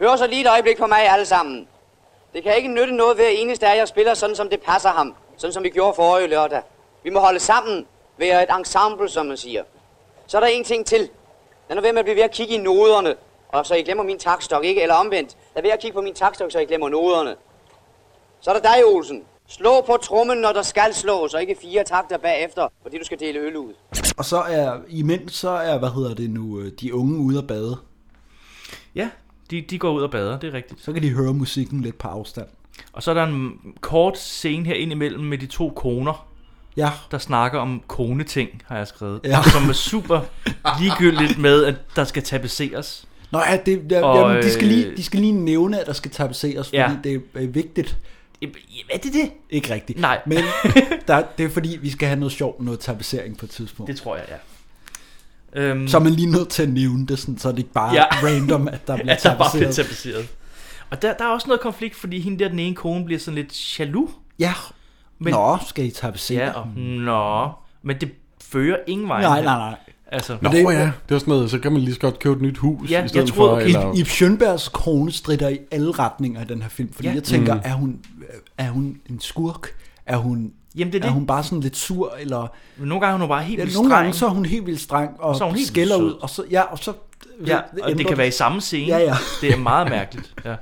S11: Hør så lige et øjeblik på mig alle sammen. Det kan ikke nytte noget ved, at eneste af jer spiller sådan, som det passer ham. Sådan som vi gjorde forrige lørdag. Vi må holde sammen. Være et ensemble, som man siger. Så er der en ting til. Lad nu være med at blive ved at kigge i noderne. Og så I glemmer min takstok, ikke? Eller omvendt. Lad være at kigge på min takstok, så I glemmer noderne. Så er der dig, Olsen. Slå på trommen, når der skal slås, og ikke fire takter bagefter, fordi du skal dele øl ud.
S2: (laughs) Og så er, imens så er, hvad hedder det nu, øh, de unge ude at bade.
S4: Ja, de, de går ud og bader, det er rigtigt.
S2: Så kan de høre musikken lidt på afstand.
S4: Og så er der en kort scene her ind imellem med de to koner,
S2: Ja,
S4: der snakker om koneting, har jeg skrevet.
S2: Ja.
S4: Ja. (laughs) Som er super ligegyldigt med, at der skal tapisseres.
S2: Nå ja, det, der, og,
S4: Og,
S2: jamen, de, skal lige,
S4: øh,
S2: de skal lige nævne, at der skal tapiseres, fordi ja.
S4: Ja.
S2: det er øh, vigtigt.
S4: Er det det?
S2: Ikke rigtigt.
S4: Nej. (laughs)
S2: Men der, det er fordi, vi skal have noget sjovt, noget tapisering på et tidspunkt. Mm.
S4: Det tror jeg, ja. Øhm,
S2: Så er man lige nødt til at nævne det, sådan, så det ikke bare ja. (laughs) random,
S4: (laughs)
S2: at der bliver
S4: at der bare bliver
S2: tapasseret.
S4: tapasseret. Og der, der er også noget konflikt, fordi hende der, den ene kone, bliver sådan lidt jaloux.
S2: Ja, men, Nå, skal I tapassere?
S4: Ja, og, nå, men det fører ingen vej.
S2: Nej, nej, nej.
S4: Altså,
S3: Nå det, ja, det er jo sådan noget, så kan man lige så godt købe et nyt hus
S4: Ja,
S3: i stedet
S4: jeg troede,
S3: for.
S4: okay.
S3: Eller,
S2: Ib Schønbergs kone strider i alle retninger i den her film, fordi
S4: Ja.
S2: ja. jeg tænker,
S4: Mm.
S2: mm. er, hun, er hun en skurk? Er hun,
S4: Jamen, det er
S2: er
S4: det.
S2: hun bare sådan lidt sur? Eller,
S4: Nogle gange er hun bare helt
S2: ja,
S4: vildt
S2: Nogle gange
S4: streng.
S2: så er hun helt vildt streng og,
S4: Så er hun
S2: og
S4: helt
S2: skælder
S4: vildt
S2: ud,
S4: sød.
S2: og så, ja, og så
S4: Ja, og det kan være i samme scene.
S2: Ja, ja.
S4: Det er meget mærkeligt. Ja.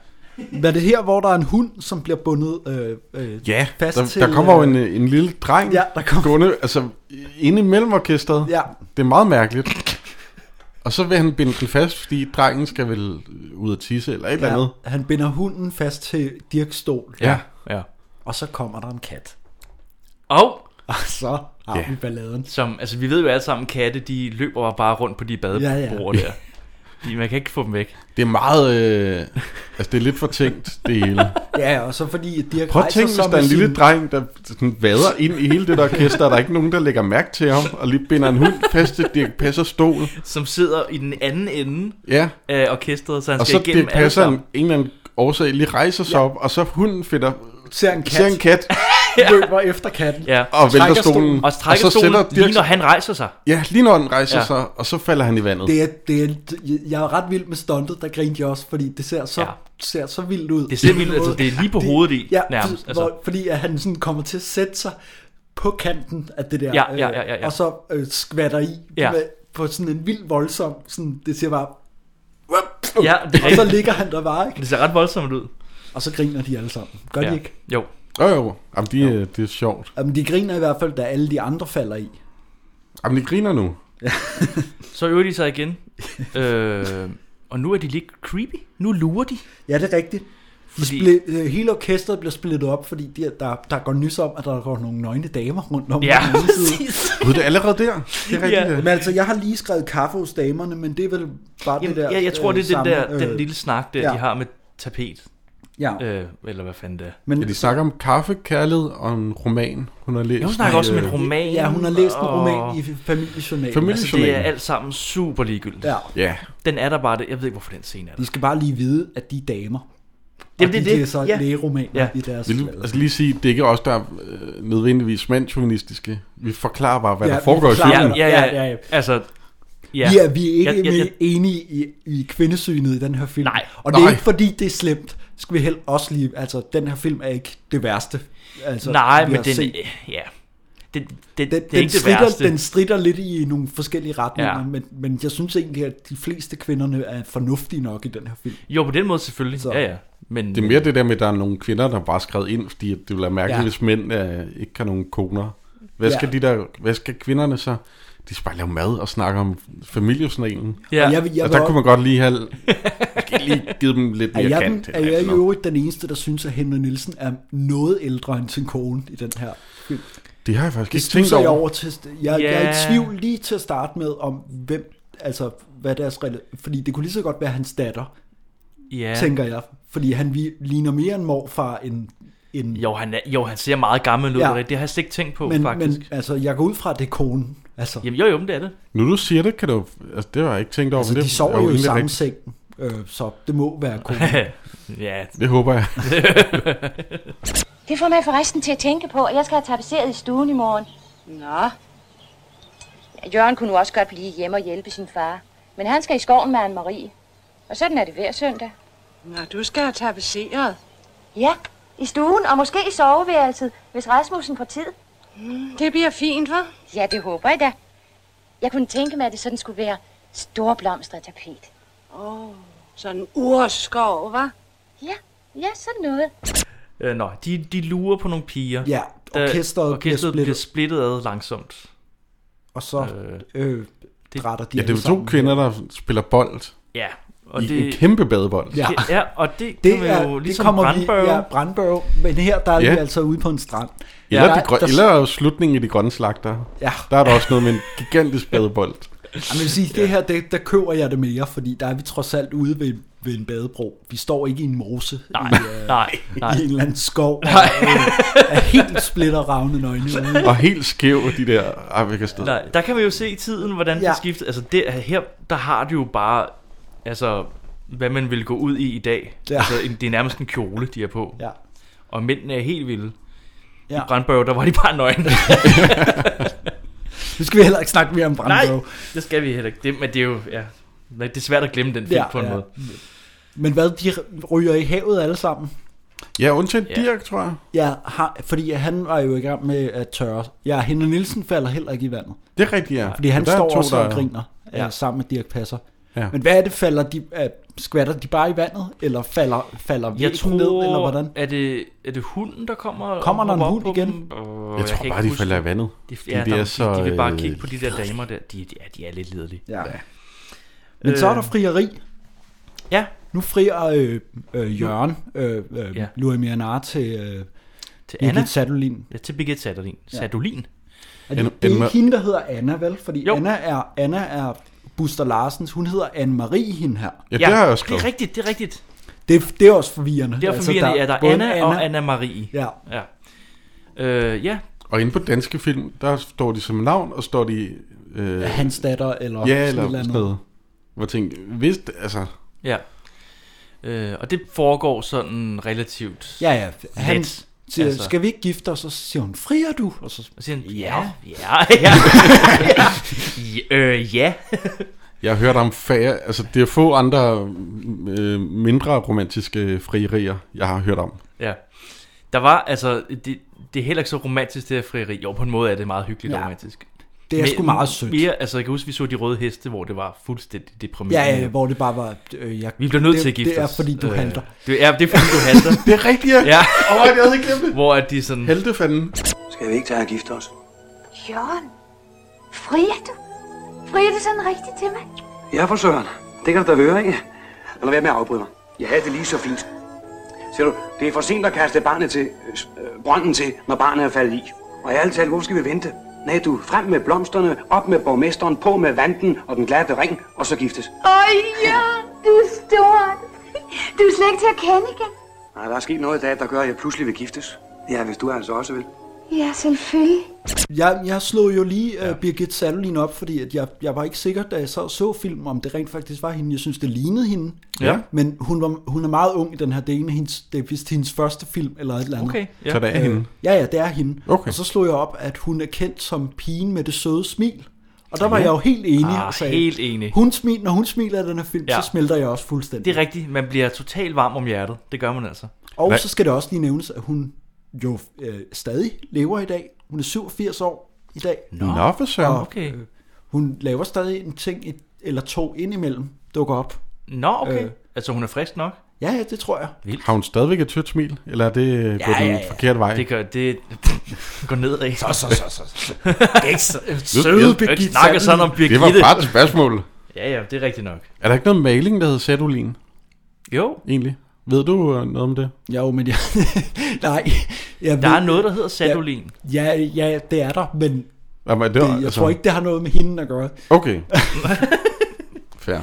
S2: Men er det her, hvor der er en hund, som bliver bundet øh, øh,
S3: ja,
S2: fast
S3: der,
S2: til...
S3: der kommer jo
S2: øh,
S3: en, øh, en lille dreng
S2: Ja, der kommer-
S3: gående, altså inde imellem orkestret.
S2: Ja.
S3: Det er meget mærkeligt. Og så vil han binde den fast, fordi drengen skal vel ud og tisse eller et eller andet.
S2: Ja, han binder hunden fast til Dirks stol.
S3: Ja,
S4: ja.
S2: Og så kommer der en kat.
S4: Og,
S2: og Ah, så har
S4: Ja.
S2: vi balladen.
S4: Som, altså, vi ved jo alle sammen, katte, de løber bare rundt på de badebord
S2: Ja,
S4: ja,
S2: ja.
S4: ja. der. De, man kan ikke få dem væk.
S3: Det er meget... Øh, altså, det er lidt fortænkt, det
S2: (laughs)
S3: hele.
S2: Ja, og så fordi Dirk
S3: Prøv at
S2: rejser
S3: tænke,
S2: sig
S3: hvis der er en
S2: med
S3: lille
S2: sin-
S3: dreng, der sådan vader ind i hele det der orkester, og der er ikke nogen, der lægger mærke til ham, og lige binder en hund fast til Dirk Passer stol.
S4: Som sidder i den anden ende
S3: Ja.
S4: af orkestret, så han
S3: og
S4: skal
S3: så
S4: igennem
S3: Dirk
S4: alle
S3: Passer en,
S4: sammen.
S3: en eller anden årsag lige rejser sig ja. op, og så hunden finder...
S2: Ser en kat.
S3: Ser en kat.
S2: løber efter katten.
S4: Ja.
S3: Og vælter stolen.
S4: Og trækker
S3: så
S4: stolen,
S3: sætter
S4: lige når han rejser sig.
S3: Ja, lige når den rejser
S4: Ja.
S3: ja. sig, og så falder han i vandet.
S2: Det er, det er, jeg er ret vild med stuntet, der grinte jeg også, fordi det ser så, ja. ser så vildt ud.
S4: Det ser vildt, altså, det er lige på hovedet i,
S2: ja,
S4: nærmest, altså.
S2: Altså. Hvor, fordi at han sådan kommer til at sætte sig på kanten af det der,
S4: Ja, ja, ja, ja, ja.
S2: øh, og så øh, skvatter i
S4: Ja.
S2: ja. med, på sådan en vild voldsom, sådan, det ser bare,
S4: Ja, det er
S2: og så
S4: rigtigt.
S2: ligger han der bare, ikke?
S4: Det ser ret voldsomt ud.
S2: og så griner de alle sammen. Gør
S4: Ja.
S2: de ikke?
S4: Jo.
S3: Jo, jo. Jamen, de, jo. det er sjovt.
S2: Jamen, de griner i hvert fald, da alle de andre falder i.
S3: Jamen, de griner nu.
S4: Så øver de sig
S2: (laughs)
S4: igen. øh, og nu er de lidt creepy. Nu lurer de.
S2: Ja, det er rigtigt. De
S4: Fordi-
S2: split, øh, hele orkestret bliver splittet op, fordi de, der, der går nys om, at der går nogle nøgne damer rundt om.
S4: Ja,
S2: på den anden side.
S3: Gud, det er allerede der. Det er rigtigt, ja.
S2: Men altså, jeg har lige skrevet kaffe hos damerne, men det er vel bare
S4: Jamen,
S2: det der...
S4: ja, jeg tror,
S2: øh,
S4: det er den,
S2: samme,
S4: der, den
S2: øh,
S4: lille snak, der
S2: ja.
S4: de har med tapet.
S2: Ja.
S4: Øh, eller hvad fanden det er.
S3: Men ja, de snakker om kaffe, kærlighed og en roman, hun har læst. øh,
S4: Ja, hun snakker også om en roman.
S2: Ja, hun har læst en
S4: og-
S2: roman i familiejournalen.
S4: Altså, det er alt sammen super ligegyldigt.
S2: Ja.
S3: Ja.
S4: Den er der bare, det. jeg ved ikke, hvorfor den scene er der.
S2: De skal bare lige vide, at de er damer.
S4: Jamen, det er
S2: og de
S4: det.
S2: læser
S4: Ja.
S2: lægeromaner
S4: Ja.
S2: i deres...
S3: Vil du altså lige sige, det er ikke os, der er øh, nødvendigvis mandsjuvenistiske. Vi forklarer bare, hvad
S2: Ja,
S3: der
S2: vi
S3: foregår i
S2: forklarer,
S3: filmen.
S2: hvad der- Ja, ja, ja.
S4: Altså,
S2: Ja. Vi er, vi er ikke ja, ja, ja. enige i, i kvindesynet i den her film. Nej. Og det er
S4: Nej.
S2: ikke fordi, det er slemt. Skal vi helt også lige... Altså, den her film er ikke det værste. Altså,
S4: Nej,
S2: vi
S4: men
S2: har
S4: den,
S2: set.
S4: ja. Den, den, den,
S2: den,
S4: det er ikke det
S2: strider,
S4: værste.
S2: den strider lidt i nogle forskellige retninger,
S4: Ja.
S2: ja. men, men jeg synes egentlig, at de fleste kvinderne er fornuftige nok i den her film.
S4: Jo, på den måde selvfølgelig. Så. Ja, ja. Men,
S3: Det er mere det der med, at der er nogle kvinder, der bare er skrevet ind, fordi at det ville være mærkeligt,
S4: Ja.
S3: ja. hvis mænd øh, ikke har nogen koner. Hvad
S2: Ja.
S3: skal, de der, hvad skal kvinderne så? De skal bare lave mad og snakke om familiesnalen.
S2: Ja. Og jeg vil- jeg
S3: og
S2: vil
S3: der
S2: også-
S3: kunne man godt lige
S2: (laughs)
S3: have måske lige givet dem lidt
S2: Er
S3: mere
S2: jeg, den,
S3: kant. altså.
S2: er
S3: eller
S2: jeg i
S3: sådan noget.
S2: øvrigt den eneste, der synes, at Henry Nielsen er noget ældre end sin kone i den her film?
S3: Det har jeg faktisk ikke
S2: det
S3: tænkt
S2: studser jeg
S3: over.
S2: over til. Jeg, yeah. jeg er
S3: Ja.
S2: i tvivl lige til at starte med, om hvem, altså hvad deres rela- Fordi det kunne lige så godt være hans datter,
S4: Ja.
S2: tænker jeg. Fordi han vi- ligner mere en morfar end... end
S4: Jo, han, er, jo, han ser meget gammel ud.
S2: Ja.
S4: Ja. Det har jeg slet ikke tænkt på,
S2: men,
S4: faktisk.
S2: men altså, jeg går ud fra, at det er konen. Altså,
S4: Jamen, jo, jo, men det er det.
S3: Nu du siger det, kan du... Altså, det har jeg ikke tænkt over.
S2: altså
S3: men
S2: de
S3: det er
S2: sover jo i
S3: egentlig
S2: samme
S3: rigtigt.
S2: seng, øh, så det må være konen.
S4: (laughs) ja.
S3: Det håber jeg.
S4: (laughs)
S2: (laughs)
S12: Det får mig forresten til at tænke på, at jeg skal have tapetseret i stuen i morgen. Nå. Jørgen kunne nu også godt blive hjemme og hjælpe sin far. Men han skal i skoven med Anne-Marie. Og sådan er det hver søndag.
S9: Nå, du skal have tapetseret.
S12: Ja, i stuen og måske i soveværelset, hvis Rasmussen får tid. Mm, Det bliver fint, hva'? Ja, det håber jeg da. Jeg kunne tænke mig, at det sådan skulle være storblomstret tapet.
S9: Åh, oh, sådan en urskov, hva'?
S12: Ja, ja, sådan noget.
S4: Øh, nå, de, de lurer på nogle piger.
S2: Ja,
S4: Der-
S2: orkestret bliver
S4: orkestret
S2: splittet.
S4: bliver splittet ad langsomt.
S2: Og så øh, øh, drætter de
S3: Ja, det er
S2: alle
S3: jo to
S2: sammen.
S3: kvinder, der spiller bold.
S4: Ja,
S3: Og I det... en kæmpe badebold.
S2: Ja.
S4: ja, og det, det kan man jo ligesom brandbørge.
S2: Vi, ja, brandbørge, men her der er
S3: Ja.
S2: vi altså ude på en strand.
S3: Eller,
S2: der,
S3: de grø-
S2: der,
S3: eller jo slutningen i de grønne slagter.
S2: Ja.
S3: Der er der også noget med en gigantisk badebold.
S2: (laughs) Jamen, jeg vil sige, det her, det, der køber jeg det mere, fordi der er vi trods alt ude ved ved en badebro. Vi står ikke i en mose.
S4: Nej,
S2: i, øh,
S4: nej, nej.
S2: I en eller anden skov.
S4: Nej.
S2: Og, øh, er helt splitter ravne nøgne. ude.
S3: Og helt skæv de der afrikasteder.
S4: Nej, der kan vi jo se i tiden, hvordan ja.
S2: Ja.
S4: det skifter. Altså det, her, der har du jo bare, altså, hvad man ville gå ud i i dag. Ja.
S2: Ja.
S4: Altså, en, det er nærmest en kjole, de er på.
S2: Ja.
S4: Og mændene er helt vilde. Ja. I
S2: Ja.
S4: Brandbørg, der var de bare nøgne.
S2: (laughs) Nu skal vi heller ikke snakke mere om Brandbørg.
S4: Nej, det skal vi heller ikke. Det, men det er jo, ja, Nej, det er svært at glemme den film ja, på en ja. måde.
S2: Men hvad, de ryger i havet alle sammen?
S3: Ja, undtagen ja.
S4: Ja.
S3: Dirk, tror jeg.
S2: Ja, har, fordi han var jo i gang med at tørre. Ja, Henrik Nielsen falder heller ikke i vandet.
S3: Det er rigtigt, ja.
S2: Fordi han
S3: Men der er
S2: står
S3: to,
S2: også
S3: der-
S2: og griner
S3: Ja.
S2: ja. sammen med Dirk Passer.
S3: Ja.
S2: Men hvad er det, falder de, uh, skvatter de bare i vandet, eller falder, falder
S4: Jeg
S2: væggen
S4: tror,
S2: ned, eller hvordan?
S4: Er, det, er det hunden, der kommer? og
S2: Kommer der en
S4: hopper op
S2: hund
S4: på
S2: igen?
S4: dem? Åh,
S3: Jeg tror
S4: kan
S3: bare,
S4: ikke
S3: de
S4: huske
S3: falder i
S4: det.
S3: vandet.
S4: De,
S3: Fordi
S4: ja,
S3: de
S4: de,
S3: er
S4: er
S3: så,
S4: så, de, de vil bare
S3: øh,
S4: kigge på de
S3: (laughs)
S4: der damer der. De, ja, de er lidt liderlige.
S2: Ja. Men øh. så er der frieri.
S4: Ja.
S2: Nu frier øh, øh, Jørgen øh, øh,
S4: Ja.
S2: ja. Louis Mianar til, øh,
S4: Til
S2: Birgit
S4: Anna?
S2: Sadolin.
S4: Ja, til Birgit Sadolin.
S2: Ja.
S4: Sadolin.
S2: Er det, det er ikke hende, der hedder Anna, vel? Fordi jo. Anna er, Anna er Buster Larsens. Hun hedder Anne-Marie, hende her.
S4: Det er rigtigt, det er rigtigt.
S2: Det, det er også forvirrende. Altså,
S4: Det er forvirrende, ja, der er
S2: både
S4: Anna og Anna-Marie.
S2: Ja.
S4: ja. Øh, ja.
S3: Og inde på danske film, der står de som navn, og står de... Øh,
S2: Ja, hans datter,
S3: ja,
S2: eller sådan
S3: eller
S2: et eller andet.
S3: sådan noget. Hvor jeg tænkte, vidst, altså...
S4: Ja. Øh, og det foregår sådan relativt
S2: Ja, ja. Han
S4: let.
S2: siger, altså. skal vi ikke gifte os? Og så siger hun, frier du? Og så
S4: Og siger han, ja,
S2: "Nå."
S4: ja,
S2: (laughs)
S4: ja. (laughs) ja. Øh, ja.
S3: Jeg har hørt om færre, altså det er få andre øh, mindre romantiske frierier, jeg har hørt om.
S4: ja. Der var, altså, det, det er heller ikke så romantisk, det her frieri. Jo, på en måde er det meget hyggeligt ja. og
S2: Ja.
S4: romantisk.
S2: Det er
S4: Men
S2: sgu meget sødt.
S4: Mere, altså, jeg kan huske, vi så de røde heste, hvor det var fuldstændig deprimerende.
S2: Ja, ja, hvor det bare var... Øh, jeg,
S4: Vi bliver nødt
S2: det,
S4: til at gifte
S2: Det er,
S4: os.
S2: fordi du
S4: Øh,
S2: handler.
S4: Det er, det er fordi, du
S2: (laughs)
S4: handler.
S3: (laughs) det er rigtigt, ja.
S4: ja.
S3: Åh, jeg havde helt glemt det.
S4: Hvor er de sådan...
S3: Heltefanden.
S7: Skal vi ikke tage og gifte os?
S13: Jørgen, frier du? Frier du sådan rigtigt til mig?
S7: (laughs) Ja, for søren. Det kan du da høre, ikke? Lad være med at afbryde mig. Jeg havde det lige så fint. Ser du, det er for sent at kaste barnet til, øh, s- øh, brønden til, når barnet er faldet i. Og i alt talt, hvorfor skal vi vente? Nej, du, frem med blomsterne, op med borgmesteren, på med vanden og den glatte ring, og så giftes.
S13: Åh, Jørgen, du er stort. Du er slet ikke til at kende igen.
S7: Nej, der er sket noget i dag, der gør, at jeg pludselig vil giftes. Ja, hvis du altså også vil.
S13: Ja, selvfølgelig.
S2: Jeg, jeg slog jo lige ja. uh, Birgit Salolin op, fordi at jeg, jeg var ikke sikker, da jeg så, så filmen, om det rent faktisk var hende. Jeg synes, det lignede hende.
S4: Ja.
S2: Men hun, var, hun er meget ung i den her. Det er, en af hendes, det er vist hendes første film, eller et eller andet. Øh,
S4: Okay,
S3: ja. Så det er hende?
S2: Ja, ja, det er hende.
S3: Okay.
S2: Og så slog jeg op, at hun er kendt som pigen med det søde smil. Og der var
S4: Ja.
S2: jeg jo helt enig
S4: Ah,
S2: og sagde,
S4: helt enig.
S2: Hun smil, når hun smiler i den her film,
S4: Ja.
S2: ja. så smelter jeg også fuldstændig.
S4: Det er rigtigt. Man bliver totalt varm om hjertet. Det gør man altså.
S2: Og så skal det også lige nævnes, at hun jo øh, stadig lever i dag. Hun er 87 år i dag.
S3: Nå, for søren.
S2: Og,
S4: Okay.
S2: øh, hun laver stadig en ting et, eller to indimellem, dukker op.
S4: Nå, okay.
S2: Øh.
S4: Altså, hun er frisk nok.
S2: Ja, ja, det tror jeg. (laughs)
S4: Vildt.
S3: Har hun stadigvæk et tødt smil, eller er det øh, gået ja, den ja, ja. forkerte vej?
S4: Det gør, det (laughs) går ned af. Så,
S2: så, så,
S4: (laughs)
S2: så.
S4: Det er ikke så,
S3: ved-
S4: søde Birgitte. Ikke snakke sådan om Birgitte.
S3: Det var bare et spørgsmål.
S4: Ja, ja, det er rigtigt nok.
S3: Er der ikke noget maling, der hedder Sadolin?
S4: Jo.
S3: Egentlig. Ved du øh, noget om det?
S2: Jo, men jeg... nej. Jeg
S4: Der er noget, der hedder Sadolin.
S2: Ja, ja, ja, det er der, men
S3: Jamen, det
S2: det,
S3: var-
S2: jeg
S3: altså-
S2: tror ikke, det har noget med hende at gøre.
S3: (laughs) Okay. Fair.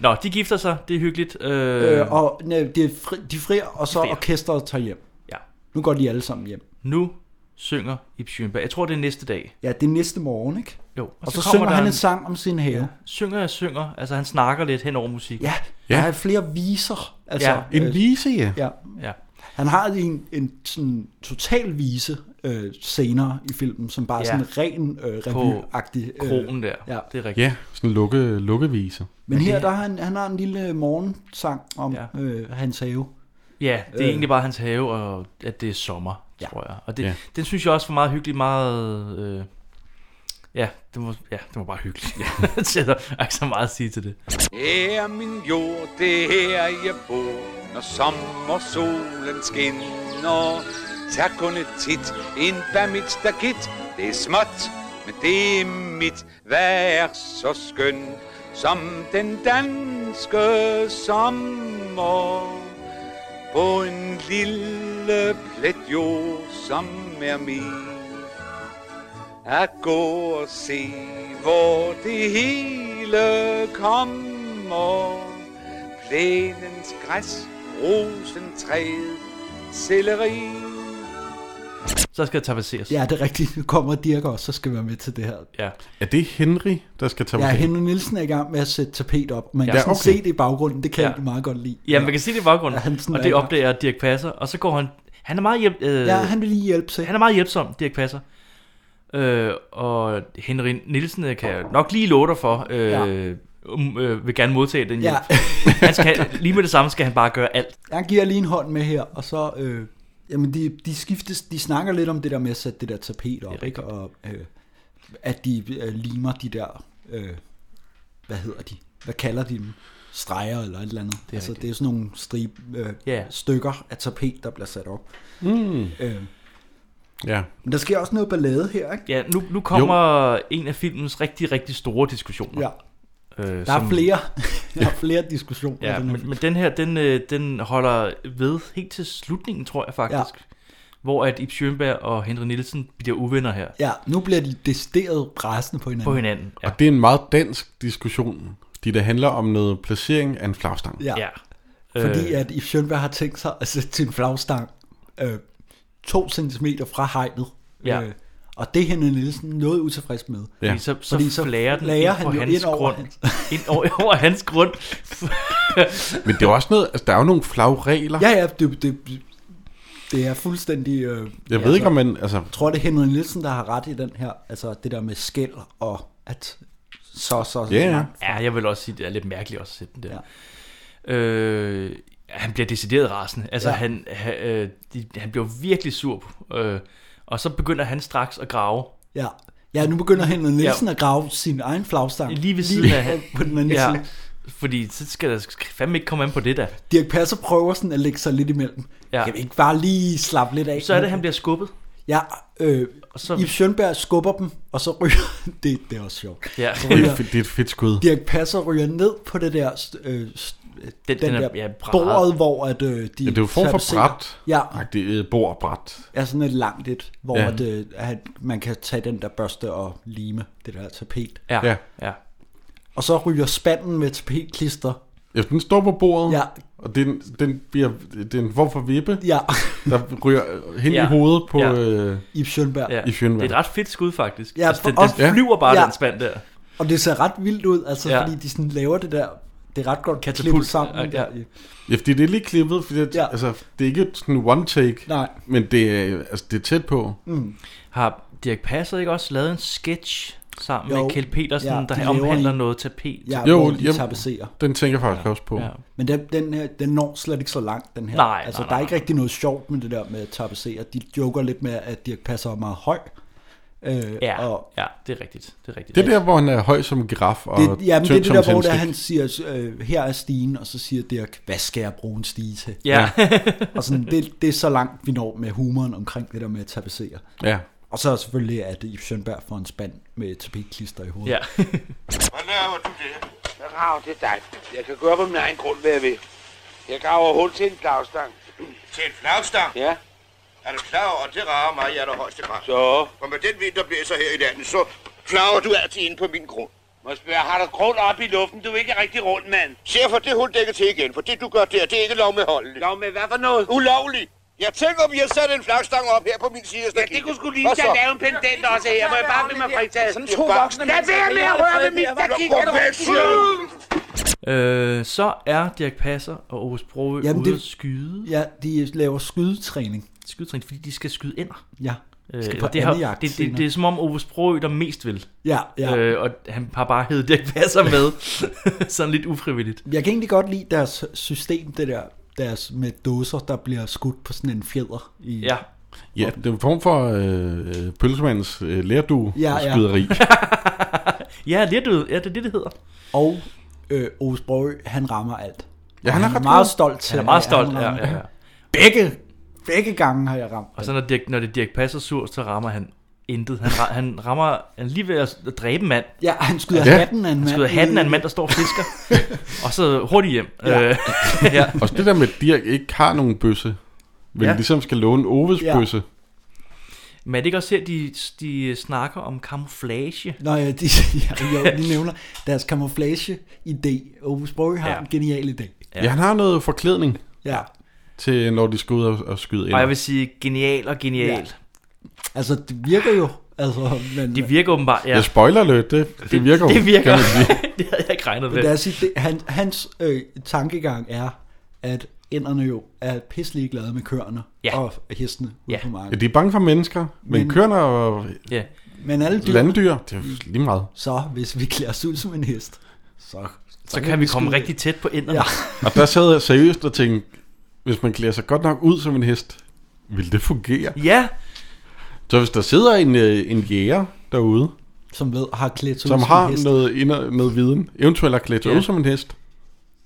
S4: Nå, de gifter sig. Det er hyggeligt. Øh,
S2: Øh, og nej, det er fri, de frier, og så
S4: frier.
S2: orkestret tager hjem.
S4: Ja.
S2: Nu går de alle sammen hjem.
S4: Nu synger Ibsjønberg. Jeg tror, det er næste dag.
S2: Ja, det er næste morgen, ikke?
S4: Jo.
S2: Og, og så, så synger han en... en sang om sin have.
S4: Synger og synger. Altså, han snakker lidt hen over musikken.
S2: Ja, ja.
S3: Ja.
S2: der er flere viser. Altså,
S4: Ja.
S3: En vise, ja.
S2: ja.
S4: Ja.
S2: Han har en, en sådan total vise øh, senere i filmen, som bare
S4: Ja.
S2: ja. sådan ren øh, revyagtig. øh,
S4: På kronen der.
S2: Ja.
S4: Det er rigtigt.
S3: Ja, sådan en lukke, lukkevise.
S2: Men
S4: Ja,
S2: her,
S4: det-
S2: der har han, han har en lille morgensang om ja. øh, hans have.
S4: Ja, det er øh.
S2: Øh.
S4: egentlig bare hans have, og at det er sommer, ja. tror jeg. Og det, ja.
S3: Ja.
S4: den synes jeg også var meget hyggelig, meget... Øh, ja, det var, ja, det var bare hyggeligt. (laughs) Ja. Så der er ikke så meget at sige til det.
S14: Her er min jord, det er her jeg bor, når sommersolen skinner. Tag kun et tit, en hvad mit stakit, det er småt, men det er mit, hvad er så skøn, som den danske sommer. På en lille plet jord, som er min at gå og se, hvor det hele kommer. lænens græs, rosentræet, selleri.
S4: Så skal jeg tapasseres.
S2: Ja, det er rigtigt. Nu kommer Dirk også, så skal være med til det her.
S4: Ja.
S3: Er det Henry, der skal tage
S2: Ja, Henry Nielsen er i gang med at sætte tapet op. Man
S4: Ja,
S2: kan ja, sådan
S4: okay.
S2: okay. se det i baggrunden. Det kan
S4: Ja.
S2: jeg ja. meget godt lide.
S4: Ja, man kan se det i baggrunden,
S2: Ja, han sådan
S4: og det
S2: er-
S4: opdager Dirk Passer, og så går han, han er meget hjælp, øh,
S2: Ja, han vil lige hjælpe til.
S4: Han er meget hjælpsom, Dirk Passer. Øh, og Henry Nielsen øh, kan jeg nok lige love dig for, øh, ja. øh, vil gerne modtage den
S2: Ja.
S4: hjælp. han skal, lige med det samme skal han bare gøre alt.
S2: Han giver lige en hånd med her, og så... Øh, jamen, de, de, skiftes, de snakker lidt om det der med at sætte det der tapet op, ikke? Og øh, at de øh, limer de der... Øh, hvad hedder de? Hvad kalder de dem? Streger eller et eller andet. Det er, altså, det er sådan nogle strib, øh,
S4: Ja.
S2: stykker af tapet, der bliver sat op.
S3: Mm.
S2: Øh,
S3: Ja.
S2: men der sker også noget ballade her, ikke?
S4: Ja, nu, nu kommer jo. en af filmens rigtig, rigtig store diskussioner.
S2: Ja.
S4: Øh,
S2: Der er flere, (laughs) der er flere diskussioner. i
S4: Ja,
S2: den her
S4: men, men den her, den, øh, den holder ved helt til slutningen, tror jeg faktisk. Ja. Hvor at Ib Schønberg og Henry Nielsen bliver uvenner her.
S2: Ja, nu bliver de decideret rasende på hinanden.
S4: På hinanden,
S3: Ja. Og det er en meget dansk diskussion, fordi det handler om noget placering af en flagstang.
S2: Ja. Fordi
S3: Øh.
S2: at Yves Schönberg har tænkt sig at sætte sin flagstang øh, to centimeter fra hegnet.
S4: Ja.
S2: Øh, og det er Henrik Nielsen noget utilfreds med.
S4: Ja. Fordi så, så, så flager den ind på
S2: jo
S4: hans
S2: ind over
S4: grund. (laughs)
S2: hans-
S4: Ind over, over hans grund.
S3: Men det er jo også noget, altså der er jo nogle flagregler.
S2: Ja, ja, det, det, (laughs) det er fuldstændig... Øh,
S3: Jeg ved ikke, om man- altså-
S2: Jeg tror, det er Henrik Nielsen, der har ret i den her. Altså det der med skæld og at så, så, så langt.
S4: ja, jeg vil også sige, det er lidt mærkeligt også at sætte den der. Ja. Øh, han bliver decideret rasende. Altså, ja.
S2: Ja.
S4: han, han, øh, de, han bliver virkelig sur. Øh, og så begynder han straks at grave.
S2: Ja. Ja, nu begynder Henrik Nielsen
S4: Ja.
S2: ja. at grave sin egen flagstang.
S4: Lige ved siden af
S2: på den anden
S4: (laughs) ja,
S2: side.
S4: Fordi så skal der skal fandme ikke komme an på det der.
S2: Dirk Passer prøver sådan at lægge sig lidt imellem.
S4: Ja.
S2: Ja. Kan vi ikke bare lige slappe lidt af?
S4: Så er det, han bliver skubbet.
S2: Ja, øh,
S4: og så...
S2: så... Yves Schønberg skubber dem, og så ryger... (laughs) det, det er også sjovt.
S4: Ja.
S2: Så
S3: Det er et
S2: ryger-
S3: fedt- det er et fedt skud.
S2: Dirk Passer ryger ned på det der... st- Øh, st- den,
S4: den
S3: er-
S2: der
S3: ja, bræt.
S2: bordet, hvor at, øh,
S3: Ja,
S2: de...
S3: det er jo en form for
S2: fabricerer-
S3: bræt.
S2: Ja,
S3: Agtigt, øh, bord bræt.
S2: er sådan et langt et, hvor
S3: Ja.
S2: ja. at, øh, at man kan tage den der børste og lime det der tapet.
S4: Ja, ja. ja.
S2: Og så ryger spanden med tapetklister
S3: Ja, den står på bordet,
S2: Ja.
S3: og den, den bliver, det er en form for vippe,
S2: ja.
S3: der ryger hen ja. i hovedet på
S4: Ja.
S3: ja. øh,
S2: i Schønberg.
S4: Ja.
S3: i Schønberg.
S4: Det er et ret fedt skud, faktisk. Ja,
S2: Ja,
S4: altså, den,
S2: også-
S4: den flyver bare, ja.
S2: Ja.
S4: den spand der.
S2: Og det ser ret vildt ud, altså
S4: Ja.
S2: ja. fordi de sådan laver det der, det er ret godt
S4: Katapult.
S2: klippet sammen.
S4: Ja,
S2: Ja,
S4: ja.
S2: ja.
S3: Ja, fordi det er lige klippet, fordi det, ja. altså, det er ikke et sådan one take,
S2: Nej.
S3: men det er, altså, det er tæt på.
S2: Mm.
S4: Har Dirk Passer ikke også lavet en sketch sammen jo.
S2: Jo.
S4: med Kjeld Petersen, ja,
S2: Ja, de
S4: der
S2: laver
S4: omhandler
S2: en-
S4: noget tapet?
S2: Ja, jo, hvor de jamen, tapetserer.
S3: Den tænker jeg faktisk ja. også på.
S4: Ja.
S3: Ja.
S2: Men den, den, her, den når slet ikke så langt, den her.
S4: Nej,
S2: altså,
S4: nej,
S2: der
S4: nej,
S2: er ikke rigtig noget sjovt med det der med at tapetsere. De joker lidt med, at Dirk Passer er meget høj. Øh,
S4: Ja, og, ja, det er rigtigt. Det er rigtigt.
S3: Det er der, hvor han er høj som en giraf og
S2: det, jamen,
S3: tynd
S2: det er det
S3: som
S2: der, hvor det er,
S3: tandstik.
S2: han siger, øh, her er stigen, og så siger Dirk, hvad skal jeg bruge en stige til?
S4: Ja. (laughs)
S2: og sådan, det, det er så langt, vi når med humoren omkring det der med at tapetsere.
S3: Ja.
S2: Og så er selvfølgelig, at Yves Schønberg får en spand med tapetklister i hovedet.
S4: Ja.
S8: Hvad laver du der? Jeg graver, det er dig. Jeg kan gøre på min egen grund, hvad jeg vil. Jeg graver hul til en flagstang. Til en flagstang? Ja.
S6: Er du klar over, at det rager mig i allerhøjeste grad?
S8: Så?
S6: Og med den vind, der blæser her i landet, så flager du altid ind på min grund.
S8: Må jeg spørge, har du grund op i luften? Du er ikke rigtig rundt, mand.
S6: Se at få det hul dækket til igen, for det du gør der, det er ikke lov med holdet.
S8: Lov med hvad for noget?
S6: Ulovligt! Jeg tænker, om I har sat en flagstang op her på min side af
S8: Ja, det kunne sgu lige da lave en pendant også her. Må jeg bare blive mig fritaget?
S6: Sådan to voksne
S8: Lad
S6: mennesker.
S8: være med at røre ved mit stakik.
S6: Gå væk, siger
S4: Øh,
S6: du.
S4: så er Dirk Passer og Aarhus Broø
S2: Jamen,
S4: Jamen, ude
S2: det-
S4: at skyde.
S2: Ja, de laver skydetræning.
S4: Skydetræning, fordi de skal skyde ender.
S2: Ja,
S4: Øh,
S2: skal på
S4: og det, har,
S2: andejagt
S4: det, det,
S2: senere.
S4: det, er som om Aarhus Broø, der mest vil.
S2: Ja, ja.
S4: Øh, og han har bare heddet Dirk Passer med. (laughs) Sådan lidt ufrivilligt.
S2: Jeg kan egentlig godt lide deres system, det der deres med dåser, der bliver skudt på sådan en fjeder. I,
S4: Ja.
S3: Ja, det er en form for øh, øh, pølsemandens øh, lærdue
S2: Ja, ja.
S3: skyderi.
S4: Ja, lidt ud. Ja, det er det, det hedder.
S2: Og øh, Ove Sprogø, han rammer alt.
S3: Ja,
S2: Og
S3: han er
S2: han, er
S3: ret
S2: meget
S3: god.
S2: stolt.
S4: Han er
S2: af
S4: meget
S2: det,
S4: stolt,
S2: han rammer.
S4: ja, ja, ja.
S2: Begge, begge gange har jeg ramt.
S4: Og så når, Dirk, når det er Dirk Passer sur, så rammer han intet. Han, ra- han rammer han er lige ved at s- dræbe en mand.
S2: Ja, han skyder hatten af en
S4: Han
S2: mand
S4: skyder hatten af en mand, der står og fisker.
S2: (laughs)
S4: og så hurtigt hjem. Ja. Øh, (laughs) ja.
S3: Og så det der med, at Dirk ikke har nogen bøsse, men
S4: Ja.
S3: ja. ligesom skal låne Oves
S4: Ja.
S3: ja. bøsse.
S4: Men er det ikke også her, de, de snakker om camouflage?
S2: Nå (laughs) ja, de, jeg, jeg lige nævner deres camouflage-idé. Ove Sprogø har
S4: Ja.
S2: ja. en genial idé.
S3: Ja. ja, han har noget forklædning.
S2: Ja.
S3: Til når de skal ud og, og skyde ind.
S4: Og jeg vil sige, genial og genial.
S2: Altså, det virker jo. Altså, men,
S4: De virker åbenbart, ja.
S3: Ja, spoiler alert, det, det, det virker jo,
S4: Det virker.
S3: kan man sige.
S4: (laughs) det havde jeg ikke regnet
S2: Men lad
S4: med.
S2: os sige, det, han, hans øh, tankegang er, at inderne jo er pisselig glade med køerne
S3: Ja.
S2: og hestene ude på
S3: Ja,
S2: markedet.
S3: de er bange for mennesker, men,
S2: Men-
S3: men køerne og
S4: Ja.
S2: Men alle dyr- Mm.
S3: landdyr, det er jo lige meget.
S2: Så hvis vi klæder os ud som en hest, så,
S4: Så kan vi komme rigtig tæt på inderne.
S2: Ja.
S3: Og der sad jeg seriøst og tænkte, hvis man klæder sig godt nok ud som en hest, vil det fungere?
S4: Ja.
S3: Så hvis der sidder en, øh, en jæger derude,
S2: som ved, har klædt sig
S3: som
S2: ud som en
S3: har
S2: hest.
S3: noget, inder, noget viden, eventuelt har klædt sig
S2: Ja.
S3: ud som en hest,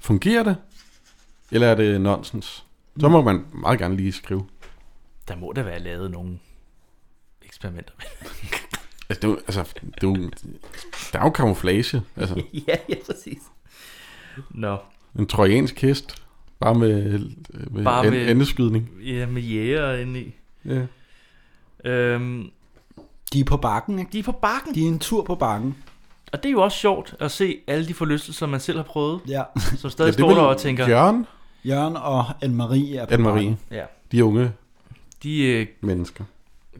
S3: fungerer det? Eller er det nonsens? Så må man meget gerne lige skrive.
S4: Der må da være lavet nogle eksperimenter.
S3: Altså, det er, jo- altså det er, jo- der er jo camouflage. Altså,
S4: (laughs) ja, ja, præcis. Nå.
S3: en trojansk hest, bare med, øh, med, bare med endeskydning.
S4: Ja, med jæger inde i.
S3: Ja.
S4: Øhm,
S2: de er på bakken, ikke?
S4: De er på bakken.
S2: De er en tur på bakken.
S4: Og det er jo også sjovt at se alle de forlystelser, man selv har prøvet.
S2: Ja.
S4: Som stadig ja, står der og tænker.
S3: Jørgen?
S2: Jørgen og Anne-Marie er på
S3: Anne-Marie.
S2: bakken.
S4: Ja.
S3: De unge
S4: De øh,
S3: mennesker.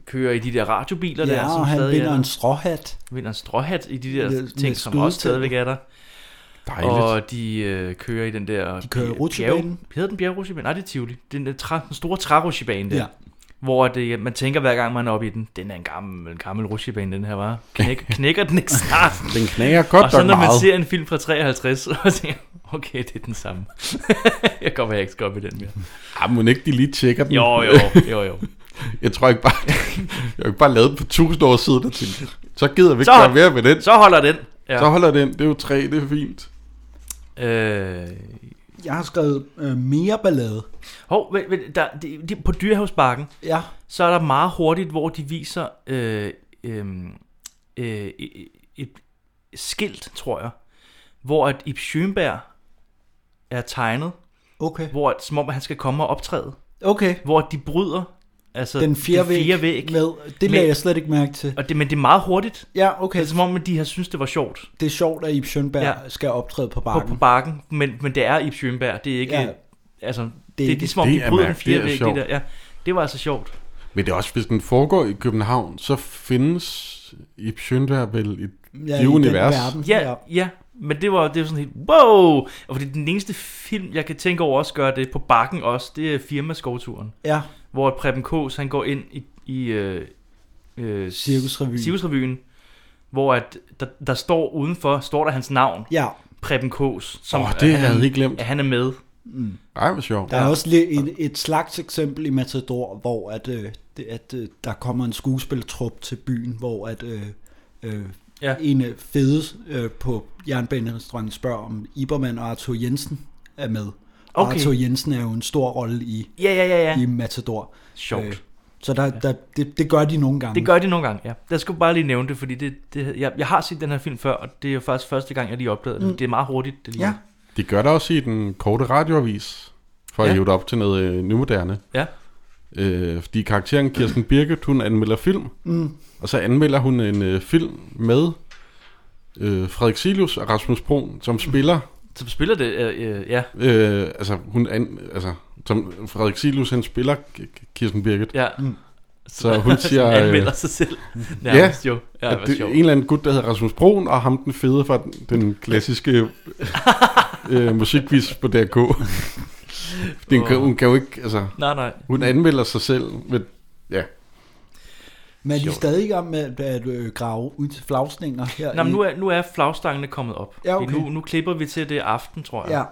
S4: kører i de der radiobiler der.
S2: Ja, og han
S4: stadig er
S2: vinder
S4: der.
S2: en stråhat.
S4: Vinder en stråhat i de der
S2: Med- med
S4: ting, som også
S2: skydetænder.
S4: stadigvæk er der.
S2: Dejligt.
S4: Og de øh, kører i den der... De
S2: kører i rutsjebanen.
S4: Hedder den bjergrutschebane? Nej, det er Tivoli. Det er den, der træ, den store trærutschebane der.
S2: Ja.
S4: Ja. Hvor det, man tænker hver gang, man er oppe i den, den er en gammel, en gammel rutsjebane, den her
S3: (laughs)
S4: var. Knæk, knækker den ikke snart?
S3: Den knækker godt
S4: Og så
S3: nok
S4: når man
S3: meget.
S4: ser en film fra (laughs) 53, og tænker, okay, det er den samme. (laughs) jeg kommer ikke skal op i den mere.
S3: Ah, må ikke de lige tjekker den?
S4: Jo, jo, jo, jo.
S3: (laughs) jeg tror ikke bare, (laughs) jeg har ikke bare lavet den på tusind år siden, og tænkt, så gider vi ikke
S4: Så-
S3: gøre mere med den.
S4: så holder den. Ja.
S3: Ja. Så holder den, det er jo træ, det er fint.
S4: Øh,
S2: Jeg har skrevet øh, mere ballade.
S4: Hov, vent, vent, der, de, de, på Dyrehavsbakken,
S2: Ja.
S4: så er der meget hurtigt, hvor de viser øh, øh, øh, et, et skilt, tror jeg, hvor at Ib Schønberg er tegnet,
S2: okay.
S4: hvor at, som om at han skal komme og optræde.
S2: Okay.
S4: Hvor at de bryder altså,
S2: Den fjerde væg med- det lagde jeg slet ikke mærke til.
S4: Og det, men det er meget hurtigt.
S2: Ja, okay.
S4: Det er som om, at de har synes det var sjovt
S2: Det er sjovt, at Ib Schønberg ja.
S4: Ja.
S2: skal optræde på
S4: på,
S2: bakken.
S4: på bakken, men, men det er Ib Schønberg, det er ikke...
S2: Ja.
S4: Ja. Altså, det,
S2: Det
S4: det,
S2: er
S4: er
S2: ikke-
S4: ligesom om,
S3: Det
S4: de
S3: er
S4: bryder en
S3: mærkeligt. Det er
S4: fjerde væg, det
S3: sjovt.
S4: der. Ja, det var altså sjovt.
S3: Men det er også, hvis den foregår i København, så findes i Sjøndvær vel et
S4: Ja,
S3: ja,
S4: i den
S3: univers.
S4: Ja, ja. Men det var, det var sådan helt, wow! Og fordi den eneste film, jeg kan tænke over også gør det på bakken også, det er firmaskovturen.
S2: Ja.
S4: Hvor Preben Kås, han går ind i, i øh, øh,
S2: Cirkusrevyen.
S4: Cirkusrevyen, hvor at, der, der står udenfor, står der hans navn.
S2: Ja.
S4: Preben Kås.
S3: Åh, det havde jeg ikke glemt.
S4: At han er med.
S2: Mm.
S3: Ej, hvor sjovt.
S2: Der er også lige et, et slags eksempel i Matador, hvor at, øh, det, at øh, der kommer en skuespiltrup til byen, hvor at øh, øh,
S4: ja.
S2: en øh, fede øh, på jernbanerestauranten spørger, om Ibermann og Arthur Jensen er med. Og
S4: Okay.
S2: Arthur Jensen er jo en stor rolle i,
S4: Ja, ja, ja, ja.
S2: i Matador. Øh,
S4: Sjovt.
S2: så der, der, det, det gør de nogle gange.
S4: Det gør de nogle gange, ja. Jeg skulle bare lige nævne det, fordi det, det, jeg, jeg har set den her film før, og det er jo faktisk første gang, jeg lige opdagede det.
S2: Mm.
S4: Det er meget hurtigt. Det lige.
S2: Ja.
S3: De gør det også i den korte radioavis, for at
S4: Ja.
S3: ja. hæve det op til noget øh, nymoderne.
S4: Ja.
S3: Øh, fordi karakteren Kirsten Birgit, hun anmelder film,
S2: Mm.
S3: og så anmelder hun en øh, film med øh, Frederik Silius og Rasmus Broen, som spiller...
S4: Som spiller det, øh, øh, ja.
S3: Øh, altså, hun an, altså, som Frederik Silius, han spiller K- K- Kirsten Birgit.
S4: Ja.
S2: Mm.
S3: Så
S4: (laughs)
S3: hun
S4: Så
S3: siger...
S4: han anmelder
S3: øh,
S4: sig selv
S3: Ja,
S4: nærmest jo. Ja,
S3: at
S4: hvor
S3: det,
S4: sjovt.
S3: en eller anden gut, der hedder Rasmus Broen, og ham den fede fra den, den klassiske (laughs) øh, musikvis på DRK.
S4: (laughs)
S3: Den kan, hun kan jo ikke, altså...
S4: Nej, nej.
S3: Hun anmelder sig selv med... Ja.
S2: Men er de stadig i gang med at, at øh, grave ud til flagsninger her?
S4: Nå, men
S2: i-
S4: nu er, nu er flagstangene kommet op.
S2: Ja, okay.
S4: nu, nu klipper vi til det aften, tror jeg.
S2: Ja.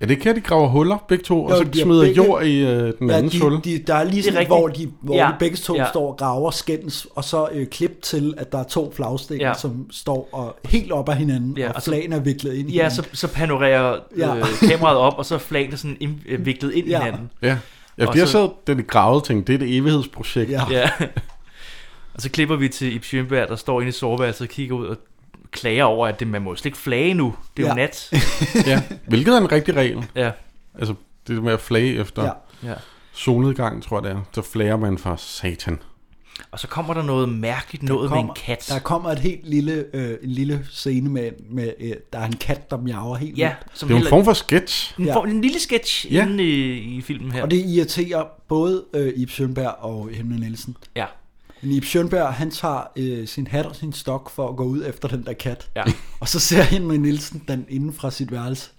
S3: Ja, det kan de graver huller, begge to,
S2: Jo,
S3: og så
S2: de har
S3: smider
S2: begge-
S3: jord i øh, den
S2: ja,
S3: andens hul.
S2: de, de, Der er lige
S4: Det er
S2: sådan,
S4: rigtigt.
S2: hvor, de, hvor ja.
S4: Ja.
S2: de begge to ja.
S4: Ja.
S2: står og graver skændes, og så øh, klip til, at der er to flagstænger, ja.
S4: Ja.
S2: som står og helt op af hinanden, ja, og, og
S4: og så-
S2: flagene er viklet ind i
S4: Ja,
S2: hinanden.
S4: så, så panorerer
S2: Ja.
S4: ja. øh, kameraet op, og så er flagene sådan ind, øh, viklet ind
S2: Ja.
S4: ja. i hinanden.
S3: Ja. Ja,
S4: Og
S3: fordi jeg
S4: så-
S3: sad den gravede og tænkte, det er et evighedsprojekt.
S4: Ja. (laughs) og så klipper vi til Ib Schønberg, der står inde i soveværelset og kigger ud og klager over, at det, man må slet ikke flage nu. Det er
S3: Ja.
S4: jo nat.
S3: (laughs) ja. Hvilket er en rigtig regel.
S4: Ja.
S3: Altså, det med at flage efter
S4: Ja.
S3: ja.
S4: Ja.
S3: solnedgang, tror jeg det er. Så flager man for satan.
S4: Og så kommer der noget mærkeligt noget
S2: kommer,
S4: med en kat.
S2: Der kommer et helt lille, øh, en lille scene med, med øh, der er en kat, der miaver helt
S4: Ja,
S2: vildt.
S4: som Det er jo en heller- form for
S3: sketch.
S4: En, form, en lille sketch
S2: Ja.
S4: ja. inde i, i filmen her.
S2: Og det irriterer både øh, Ib Schønberg og Henry Nielsen.
S4: Ja.
S2: Men Ib Schønberg, han tager øh, sin hat og sin stok for at gå ud efter den der kat.
S4: Ja.
S2: (laughs) Og så ser Henry Nielsen den inden fra sit værelse.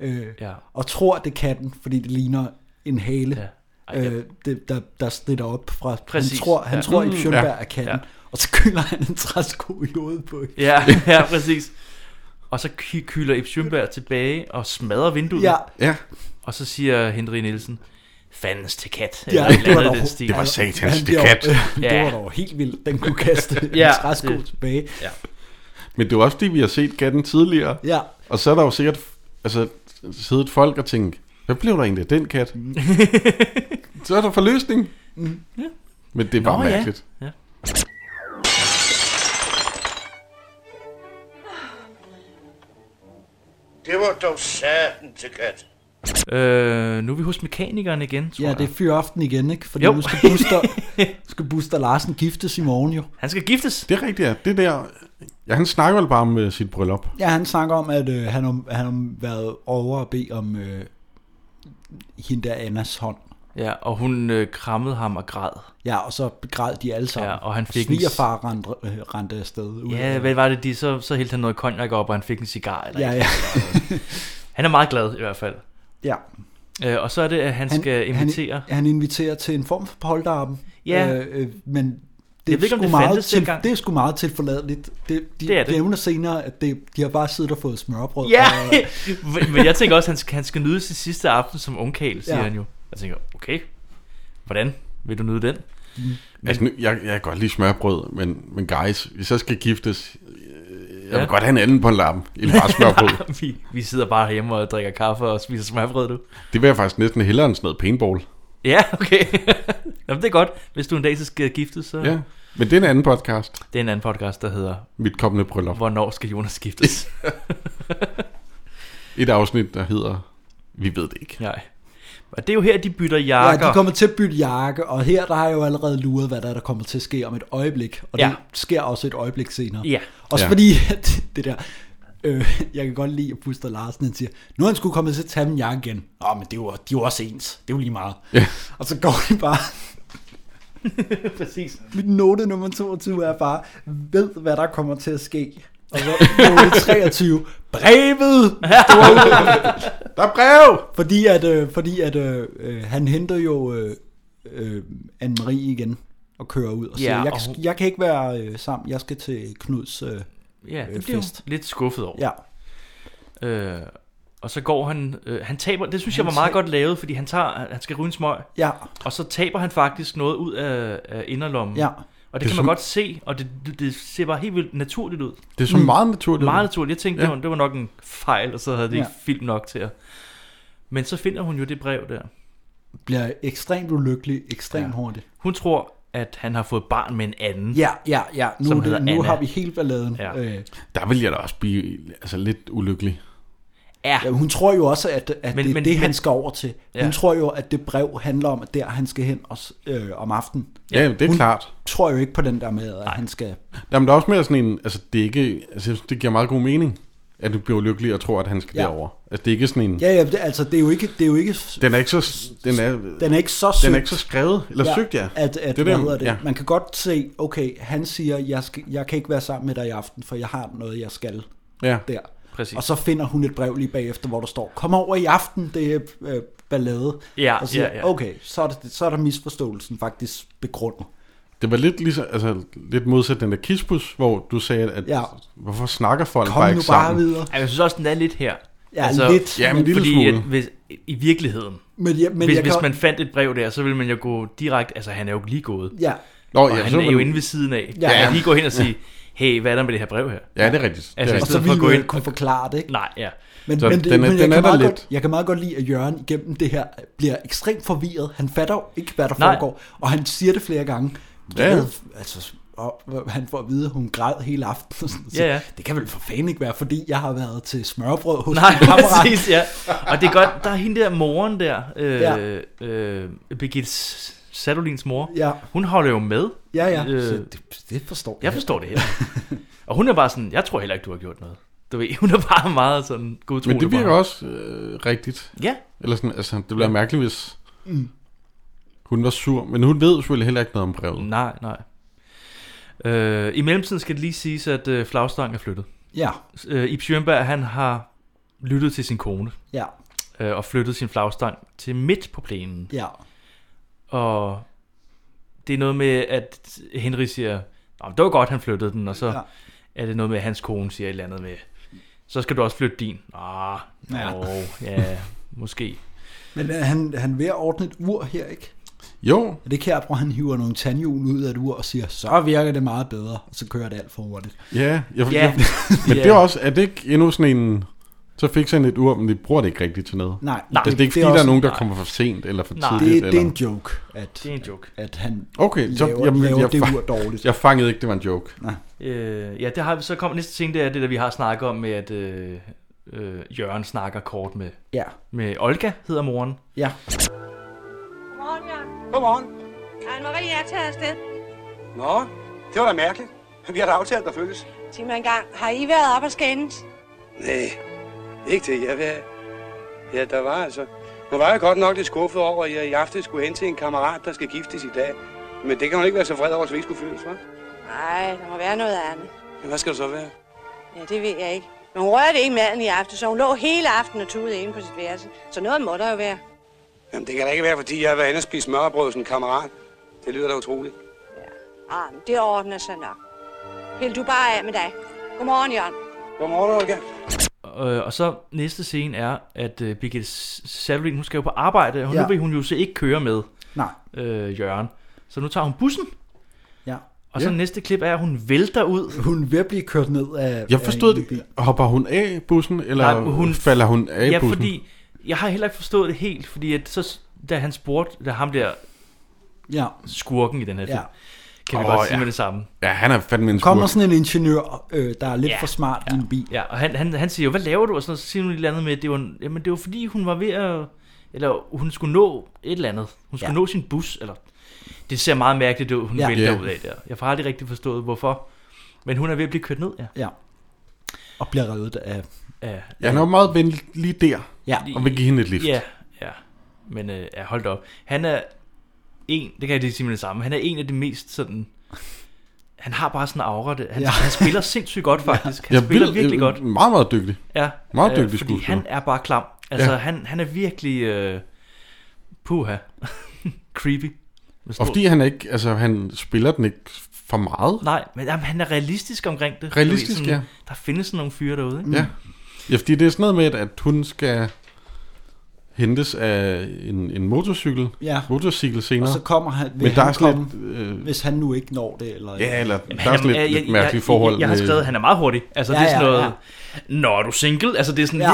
S2: Øh,
S4: Ja.
S2: Og tror, det er katten, fordi det ligner en hale. Ja.
S4: Ej, ja.
S2: Øh, det, der, der snitter op fra
S4: Præcis.
S2: Han tror, han
S4: Ja.
S2: tror
S4: Mm.
S2: Ib Schønberg
S4: Ja.
S2: er katten
S4: Ja.
S2: Og så køler han en træsko i hovedet på hende.
S4: (laughs) Ja, ja, præcis. Og så ky- kylder Ib Schønberg tilbage og smadrer vinduet.
S2: Ja.
S3: ja.
S4: Og så siger Henry Nielsen, fandens til kat.
S2: Ja,
S4: eller et eller
S2: det var
S4: andet
S2: dog-
S4: i den stil.
S2: Det var satans Han til bliver- kat. (laughs) det var dog helt vildt. Den kunne
S4: (laughs)
S2: kaste en træsko tilbage.
S4: Ja.
S3: Men det er jo også fordi, vi har set katten tidligere.
S2: Ja.
S3: Og så er der jo sikkert altså, siddet folk og tænkt, hvad blev der egentlig af den kat?
S4: Mm. (laughs)
S3: så er der forløsning.
S2: Mm.
S4: Ja.
S3: Men det er bare
S4: Nå, ja.
S3: mærkeligt.
S4: Ja.
S6: Det var dog satan til kat.
S4: Øh, nu er vi hos mekanikeren igen, tror
S2: Ja,
S4: jeg.
S2: det er fyraften igen, ikke? Fordi
S4: Jo.
S2: nu skal Buster,
S4: (laughs)
S2: skal Buster Larsen giftes i morgen jo.
S4: Han skal giftes.
S3: Det er rigtigt, ja. Det der, ja, han snakker vel bare om uh, sit bryllup.
S2: Ja, han snakker om, at øh, han, har, han har været over og bede om øh, hende der Annas hånd.
S4: Ja, og hun øh, krammede ham og græd.
S2: Ja, og så begræd de alle sammen.
S4: Ja, og han fik en-
S2: Svigerfar rendte, øh, rendte afsted. Ud
S4: Ja,
S2: af-
S4: hvad var det, de, så, så hældte han noget konjak op, og han fik en cigar. Eller
S2: Ja,
S4: et
S2: ja.
S4: eller andet.
S2: (laughs)
S4: han er meget glad i hvert fald.
S2: Ja.
S4: Øh, og så er det, at han, han skal invitere...
S2: Han, han inviterer til en form for polterappen.
S4: Ja.
S2: Øh, øh, men det,
S4: Jeg ved ikke, om
S2: sgu
S4: det
S2: meget
S4: fandtes
S2: til,
S4: dengang.
S2: det er sgu meget tilforladeligt. Det, de
S4: Det er det.
S2: nævner senere, at det, de har bare siddet og fået smørbrød.
S4: Ja,
S2: og-
S4: (laughs) men- men jeg tænker også, at han skal, han skal nyde sin sidste aften som ungkæl, siger
S2: Ja.
S4: ja. han jo. Jeg tænker, okay, hvordan vil du nyde den?
S2: Mm.
S3: Men, altså, nu, jeg, jeg kan godt lide smørbrød, men, men guys, hvis jeg skal giftes, øh, jeg ja.
S4: Ja.
S3: vil godt have en anden på en lappen,
S4: (laughs)
S3: end bare smørbrød.
S4: vi, vi sidder bare hjemme og drikker kaffe og spiser smørbrød, du.
S3: det vil jeg faktisk næsten hellere end sådan noget paintball.
S4: Ja, okay. (laughs) Jamen, det er godt. Hvis du en dag så skal giftes, så...
S3: Ja. Men det er en anden podcast.
S4: Det er en anden podcast, der hedder...
S3: Mit kommende bryllup.
S4: Hvornår skal Jonas
S3: (laughs)
S4: skiftes?
S3: Et afsnit, der hedder, vi ved det ikke.
S4: (laughs) Nej. Og det er jo her, de bytter jakker.
S2: Ja, de kommer til at bytte jakke, og her der har jeg jo allerede luret, hvad der, er, der kommer til at ske om et øjeblik. Og det
S4: Ja.
S2: sker også et øjeblik senere.
S4: Ja.
S2: Også
S4: Ja.
S2: fordi, (laughs) at det der... Øh, jeg kan godt lide, at Buster Larsen han siger, nu er han skulle komme til at tage min jakke igen. Åh, men det er jo, de er jo også ens. Det er jo lige meget.
S3: Ja.
S2: Og så går de bare...
S4: (laughs) Præcis.
S2: Mit note nummer 22 er bare, ved hvad der kommer til at ske. Og så note 23, brevet!
S3: (laughs) der er brev!
S2: Fordi at, øh, fordi at øh, øh, han henter jo øh, øh, Anne-Marie igen og kører ud og
S4: Ja,
S2: siger, jeg,
S4: og
S2: kan-
S4: hun-
S2: jeg kan ikke være øh, sammen, jeg skal til Knuds øh,
S4: Ja,
S2: øh,
S4: det bliver
S2: fest.
S4: hun lidt skuffet over.
S2: Ja.
S4: Øh, og så går han, øh, han taber, det synes
S2: Han
S4: han jeg var meget
S2: tab-
S4: godt lavet, fordi han tager, han skal ryge en smøg.
S2: Ja.
S4: Og så taber han faktisk noget ud af, af inderlommen.
S2: Ja.
S4: Og
S3: Det er
S4: det, kan
S3: som-
S4: man godt se, og det, det- det ser bare helt vildt naturligt ud. Mm.
S3: Det er så meget naturligt ud.
S4: Meget naturligt. Jeg tænkte,
S3: Ja.
S4: ja. det, var, det var nok en fejl, og så havde det ikke
S2: Ja.
S4: film nok til at... Men så finder hun jo det brev der.
S2: bliver ekstremt ulykkelig, ekstremt ja. hurtigt.
S4: Hun tror, at han har fået barn med en anden.
S2: Ja, ja, ja. Nu,
S4: som
S2: er
S4: hedder
S2: det, nu
S4: Anna.
S2: har vi helt balladen.
S4: Ja.
S2: Øh,
S3: Der vil jeg da også blive altså, lidt ulykkelig.
S4: Ja.
S2: ja, hun tror jo også, at, at men,
S4: Men-
S2: det er
S4: men-
S2: det, han
S4: men-
S2: skal over til. Ja. Hun
S4: Ja.
S2: tror jo, at det brev handler om, at der han skal hen også, øh, om aftenen.
S3: Ja, det er
S2: hun
S3: klart.
S2: tror jo ikke på den der med, at han skal...
S3: Jamen, der er også mere sådan en, altså det er ikke, altså jeg synes, det giver meget god mening, at du bliver lykkelig og tror, at han skal
S2: Ja.
S3: ja. derover. Altså det er ikke sådan en,
S2: Ja, ja, det, altså, det er jo ikke... Det er jo ikke
S3: den er ikke så, den er,
S2: den er ikke så søgt.
S3: den er ikke så skrevet, eller ja. søgt, ja.
S2: At, at,
S3: er
S2: det hvad hedder det?
S3: Ja.
S2: Ja. Man kan godt se, okay, han siger, jeg, skal, jeg kan ikke være sammen med dig i aften, for jeg har noget, jeg skal
S3: Ja.
S2: der.
S4: Præcis.
S2: Og så finder hun et brev lige bagefter, hvor der står, kom over i aften, det er øh, ballade.
S4: Ja,
S2: og så siger,
S4: ja, ja.
S2: okay, så er, det, så er der misforståelsen faktisk begrundet.
S3: Det var lidt, ligesom, altså, lidt modsat den der kispus, hvor du sagde, at
S2: Ja.
S3: ja. hvorfor snakker folk
S2: Kom
S3: bare
S2: nu
S3: ikke
S2: bare
S3: sammen?
S2: videre.
S4: Ja, jeg synes også, den er lidt her. Altså,
S2: Ja, lidt.
S3: Ja, men en lille
S4: fordi
S3: smule.
S4: at hvis, i virkeligheden,
S2: Men ja, men
S4: hvis,
S2: jeg
S4: hvis
S2: kan-
S4: man fandt et brev der, så ville man jo gå direkte, altså han er jo lige gået.
S2: Ja.
S3: Nå,
S4: og
S3: ja,
S4: han
S3: så
S4: er
S3: vil
S4: jo
S3: man-
S4: inde ved siden af.
S2: Ja.
S4: Ja. Jeg kan lige gå hen og sige, hey, hvad er der med det her brev her?
S3: Ja, det er rigtigt. Det er
S4: Altså,
S3: rigtigt.
S4: i
S2: Og så
S4: stedet for at
S2: ville
S4: gå
S2: du
S4: ind
S2: ikke kunne forklare det, ikke?
S4: Nej, ja.
S2: Men,
S3: Så
S2: men, det,
S3: den er-
S2: men jeg,
S3: den er
S2: kan
S3: der
S2: meget
S3: lidt.
S2: godt, jeg kan meget godt lide, at Jørgen igennem det her bliver ekstremt forvirret. Han fatter jo ikke, hvad der
S4: Nej.
S2: foregår, og han siger det flere gange.
S3: Ja.
S2: Jeg ved, altså, og han får at vide, at hun græd hele aftenen. (laughs) og Sådan, noget. Så
S4: Ja, ja.
S2: Det kan vel for fanden ikke være, fordi jeg har været til smørbrød
S4: (laughs)
S2: hos
S4: Nej,
S2: min kammerat.
S4: præcis, ja. Og det er godt, der er hende der moren der, øh,
S2: Ja.
S4: ja. øh, Birgit S- Sadolins mor,
S2: Ja.
S4: hun holder jo med.
S2: Ja, ja.
S4: Øh,
S2: Så det, det forstår
S4: jeg. Jeg forstår det heller
S2: (laughs)
S4: ikke. Og hun er bare sådan, jeg tror heller ikke, du har gjort noget. Du ved, (laughs) hun er bare meget sådan god
S3: Men det virker også øh, rigtigt.
S4: Ja.
S3: Eller sådan, altså, det bliver mærkeligt, hvis
S4: Mm.
S3: mm. hun var sur. Men hun ved selvfølgelig heller ikke noget om brevet.
S4: Nej, nej. Øh, I mellemtiden skal det lige siges, at øh, flagstangen er flyttet.
S2: Ja.
S4: Øh, Ib Sjønberg, han har lyttet til sin kone.
S2: Ja.
S4: Øh, og flyttet sin flagstang til midt på plænen.
S2: Ja.
S4: Og det er noget med, at Henry siger, Nå, det var godt, han flyttede den, og så
S2: Ja.
S4: ja. er det noget med, at hans kone siger et eller andet med, så skal du også flytte din. Ah,
S2: Ja.
S4: ja. Nå, ja, måske.
S2: Men øh, han, han er ved at ordne et ur her, ikke?
S3: Jo.
S2: Er det kært, hvor han hiver nogle tandhjul ud af et ur og siger, så virker det meget bedre, og så kører det alt for hurtigt.
S3: Ja, jeg,
S4: (laughs)
S3: jeg, men det er også, er det ikke endnu sådan en, så fik sådan et ur, men de bruger det ikke rigtigt til noget.
S2: Nej,
S3: altså, det, er ikke, fordi der er nogen, der kommer for sent eller for
S2: nej.
S3: tidligt.
S2: Det,
S3: eller...
S2: det er en joke, at,
S4: Det er en joke.
S2: at han
S3: Okay, så
S2: laver, jamen, laver jeg, det
S3: fa-
S2: ur dårligt.
S3: Jeg fangede ikke, det var en joke.
S2: Nej.
S4: Øh, ja, det har vi så kom næste ting, det er det, der vi har snakket om med, at øh, øh, Jørgen snakker kort med,
S2: Ja.
S4: med Olga, hedder moren.
S2: Ja.
S9: Godmorgen, Jørgen.
S7: Godmorgen.
S9: Anne-Marie er taget afsted.
S7: Nå, det var da mærkeligt. Vi har da aftalt, der følges.
S9: Sig mig engang, har I været op og skændes?
S7: Nej, ikke det. Jeg vil... Ja, der var altså... Nu var jeg godt nok lidt skuffet over, at jeg i aften skulle hen til en kammerat, der skal giftes i dag. Men det kan man ikke være så vred over, så vi ikke skulle føles, hva'?
S9: Nej, der må være noget andet.
S7: Ja, Hvad skal det så være?
S9: Ja, det ved jeg ikke. Men hun rørte ikke maden i aften, så hun lå hele aftenen og tudede inde på sit værelse. Så noget må der jo være.
S7: Jamen, det kan da ikke være, fordi jeg har været inde og spise smørbrød hos en kammerat. Det lyder da utroligt.
S9: Ah, men det ordner sig nok. Pil du bare af med dig. Godmorgen, Jørgen.
S7: Godmorgen, Olga.
S4: Øh, og så næste scene er, at øh, Birgitte S- Savelin, hun skal jo på arbejde, og ja.
S2: Ja.
S4: nu vil hun jo så ikke køre med
S2: Nej.
S4: Øh, Jørgen. Så nu tager hun bussen,
S2: Ja.
S4: og så
S2: Ja.
S4: næste klip er, at hun vælter ud.
S2: Hun er ved at blive kørt ned af...
S3: Jeg forstod
S2: af en
S3: det. Hopper hun af bussen, eller
S4: Nej,
S3: hun, falder hun af
S4: ja,
S3: bussen?
S4: fordi jeg har heller ikke forstået det helt, fordi at så, da han spurgte, da ham der
S2: Ja.
S4: skurken i den her film,
S2: Ja.
S4: ja. kan vi
S3: Åh,
S4: oh, godt sige
S3: ja.
S4: med det samme.
S3: Ja, han er fandme en
S2: Der kommer
S3: skurk.
S2: sådan en ingeniør, øh, der er lidt
S4: Ja.
S2: for smart i en bil.
S4: Ja, og han, han, han siger jo, hvad laver du? Og sådan, noget, så siger hun et eller andet med, at det var, en- jamen, det var fordi, hun var ved at... Eller hun skulle nå et eller andet. Hun skulle
S2: Ja.
S4: ja. nå sin bus, eller... Det ser meget mærkeligt ud, hun ja.
S2: Ja.
S4: vælter
S2: Ja.
S4: ud af der. Jeg har aldrig rigtig forstået, hvorfor. Men hun er ved at blive kørt ned, ja.
S2: Ja. Og bliver reddet af...
S4: af
S3: Ja, han er jo meget venlig lige der,
S2: Ja.
S3: og vil give hende et lift.
S4: Ja, ja. Men øh, ja, hold da op. Han er en, det kan jeg lige sige med det samme, han er en af de mest sådan... Han har bare sådan en aura. Det. Han,
S3: Ja.
S4: ja. han spiller sindssygt
S3: (laughs)
S4: godt, faktisk. Han
S3: Jeg
S4: spiller
S3: vil-
S4: virkelig
S3: jeg-
S4: godt.
S3: øh, meget, meget dygtig.
S4: Ja. øh,
S3: Meget dygtig
S4: fordi
S3: skuespiller.
S4: han er bare klam. Altså,
S3: Ja.
S4: ja. han, han er virkelig... Øh, puha. (laughs) Creepy. Med stor-
S3: Og fordi han ikke, altså han spiller den ikke for meget.
S4: Nej, men jamen, han er realistisk omkring det. Du ved,
S3: Realistisk,
S4: sådan,
S3: ja.
S4: Der findes sådan nogle fyre derude, ikke?
S3: Ja. ja, fordi det er sådan noget med, at- at hun skal hentes af en, en motorcykel,
S2: Ja.
S3: motorcykel senere.
S2: Og så kommer han, vil
S3: Men der
S2: han
S3: er sådan
S2: komme,
S3: lidt, øh,
S2: hvis han nu ikke når det. Eller,
S3: Ja, eller Jamen, der er han er- sådan lidt- jeg- lidt jeg- mærkelige jeg- forhold
S4: Jeg har
S3: med-
S4: skrevet, at han er meget hurtig. Altså,
S2: Ja,
S4: det er sådan
S2: ja,
S4: noget...
S2: ja.
S4: Nå, er du single? Altså, det er sådan...
S2: Ja.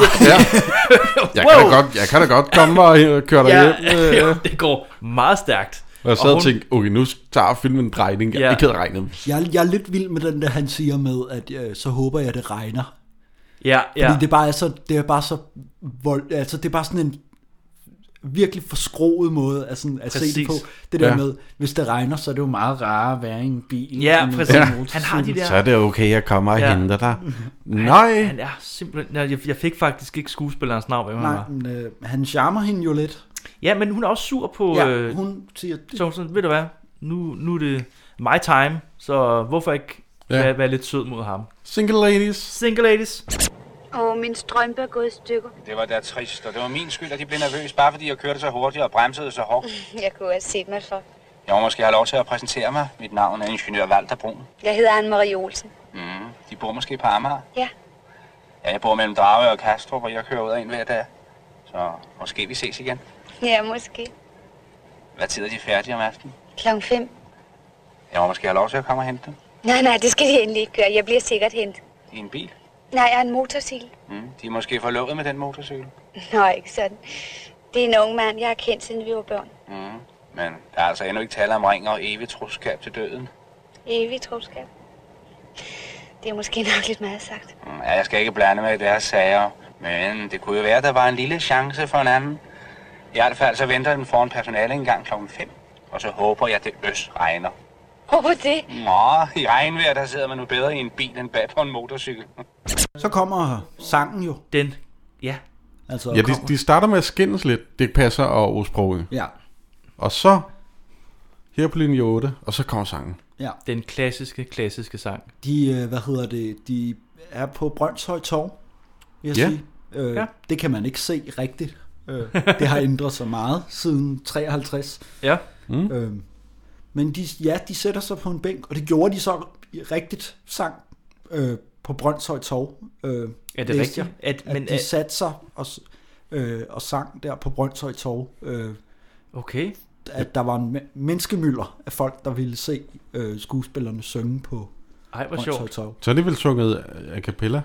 S3: Ja.
S4: (laughs)
S3: Jeg kan, da godt, jeg kan da godt komme og øh, køre dig hjem.
S4: ja,
S3: øh,
S4: (laughs) ja, det går meget stærkt.
S3: Og jeg sad og,
S4: hun-
S3: tænkte, okay, nu tager filmen en drejning, jeg
S4: Ja.
S3: ikke havde regnet med.
S2: Jeg, jeg er lidt vild med den der, han siger med, at øh, så håber jeg, det regner.
S4: Ja, ja.
S2: Fordi det bare er så, det er bare så vold, altså det er bare sådan en virkelig forskroet måde at, sådan, at se det
S4: Præcis.
S2: på. Det der
S3: Ja.
S2: med, hvis det regner, så er det jo meget rarere at være i en bil.
S4: Ja,
S2: end en
S4: præcis.
S2: motorcykel.
S4: Altså, Han har de der-
S3: Så er det okay, jeg kommer og
S4: Ja. Mhm.
S3: henter dig. Nej.
S4: Han, han er simpelthen... Nej, Jeg, jeg fik faktisk ikke skuespillerens navn, hvem han
S2: Nej,
S4: var.
S2: men, øh, han charmer hende jo lidt.
S4: Ja, men hun er også sur på...
S2: Ja,
S4: øh,
S2: hun siger...
S4: Så hun sådan, ved du hvad, nu, nu er det my time, så hvorfor ikke
S3: Ja.
S4: ja. være, være lidt sød mod ham?
S3: Single ladies.
S4: Single ladies.
S10: Åh, min strømpe er gået i stykker.
S15: Det var da trist, og det var min skyld, at de blev nervøse, bare fordi jeg kørte så hurtigt og bremsede så hårdt.
S10: Jeg kunne have set mig for.
S15: Jeg må måske have lov til at præsentere mig. Mit navn er Ingeniør Walter Brun.
S10: Jeg hedder Anne-Marie Olsen.
S15: Mm, de bor måske på Amager.
S10: Ja.
S15: Ja, jeg bor mellem Drage og Kastrup, og jeg kører ud af en hver dag. Så måske vi ses igen.
S10: Ja, måske.
S15: Hvad tid er de færdige om aftenen?
S10: Klokken 5.
S15: Jeg må måske have lov til at komme og hente dem.
S10: Nej, nej, det skal de endelig ikke gøre. Jeg bliver sikkert hentet.
S15: I en bil.
S10: Nej, jeg er en motorcykel.
S15: Mm, de er måske forlovet med den motorcykel.
S10: Nå, ikke sådan. Det er en ung mand, jeg har kendt, siden vi var børn.
S15: Mm, men der er altså endnu ikke tale om ring og evigt troskab til døden.
S10: Evig troskab. Det er måske nok lidt meget sagt.
S15: Mm, ja, jeg skal ikke blande mig i deres sager, men det kunne jo være, at der var en lille chance for en anden. I hvert fald så venter den foran personale engang klokken 5. Og så håber jeg, det øs regner.
S10: Hvorfor det?
S15: Nå, i regnvejr, der sidder man nu bedre i en bil, end bag på en motorcykel.
S2: Så kommer sangen jo.
S4: Den, ja.
S2: Altså,
S3: Ja, de, de starter med at skændes lidt. Det passer og osproget.
S2: Ja.
S3: Og så, her på linje 8, og så kommer sangen.
S2: Ja.
S4: Den klassiske, klassiske sang.
S2: De, øh, hvad hedder det, de er på Brøndshøj Torv, vil jeg
S4: Ja.
S2: sige. Øh,
S4: Ja.
S2: Det kan man ikke se
S4: (laughs)
S2: rigtigt. Øh, det har ændret sig meget siden 53.
S4: Ja.
S3: Mm.
S2: Øh, men de, ja, de sætter sig på en bænk, og det gjorde de så i rigtigt sang øh, på Brøndshøj Torv. Øh, ja,
S4: det er rigtigt.
S2: At,
S4: At-
S2: at
S4: men
S2: de
S4: at-
S2: satte sig og, s- øh, og sang der på Brøndshøj Torv. Øh,
S4: okay.
S2: At der var en me- menneskemylder af folk, der ville se øh, skuespillerne synge på
S4: Ej, hvor
S2: Brøndshøj
S4: sjovt.
S2: Torv.
S3: Så er det vel sunget a cappella?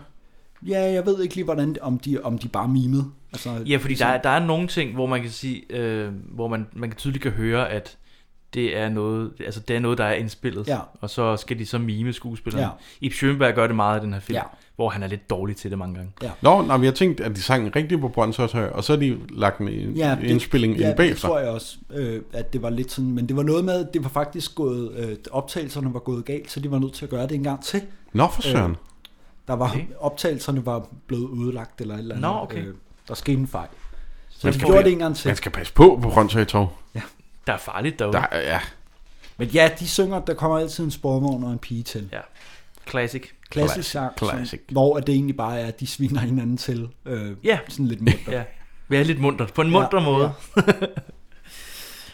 S2: Ja, jeg ved ikke lige, hvordan, om de, om de bare mimede. Altså,
S4: Ja, fordi der, er- der er nogle ting, hvor man kan sige, øh, hvor man, man kan tydeligt kan høre, at det er noget, altså det er noget, der er indspillet.
S2: Ja.
S4: Og så skal de så mime skuespillerne.
S3: Ja.
S4: Ja. Ib Schønberg gør det meget i den her film,
S3: Ja.
S4: ja. hvor han er lidt dårlig til det mange gange.
S2: Ja.
S3: Nå, nej, men jeg tænkte, at de sang rigtigt på Brøndshøj, og så har de lagt en ja,
S2: det-
S3: indspilling
S2: ja,
S3: ind bagefter.
S2: det tror jeg også, øh, at det var lidt sådan, men det var noget med, at det var faktisk gået, øh, optagelserne var gået galt, så de var nødt til at gøre det en gang til. Øh,
S3: Nå, for søren.
S2: der var, optagelserne var blevet ødelagt eller et eller andet. Øh,
S4: Nå, okay.
S2: der skete en fejl. Så
S3: Man
S2: de
S3: skal-
S2: gjorde det en gang til.
S3: Man skal passe på på Brøndshøj Torv.
S2: Ja.
S4: Der er farligt derude.
S3: Der, er- ja.
S2: Men ja, de synger, der kommer altid en sporvogn og en pige til.
S4: Ja. Classic.
S2: Klassisk sang,
S4: Classic.
S2: som, hvor at det egentlig bare er, at de sviner hinanden til. Øh,
S4: Ja.
S2: Sådan
S3: (laughs)
S2: lidt mundt.
S4: ja. Vær lidt muntert. På en munter
S2: Ja,
S4: måde.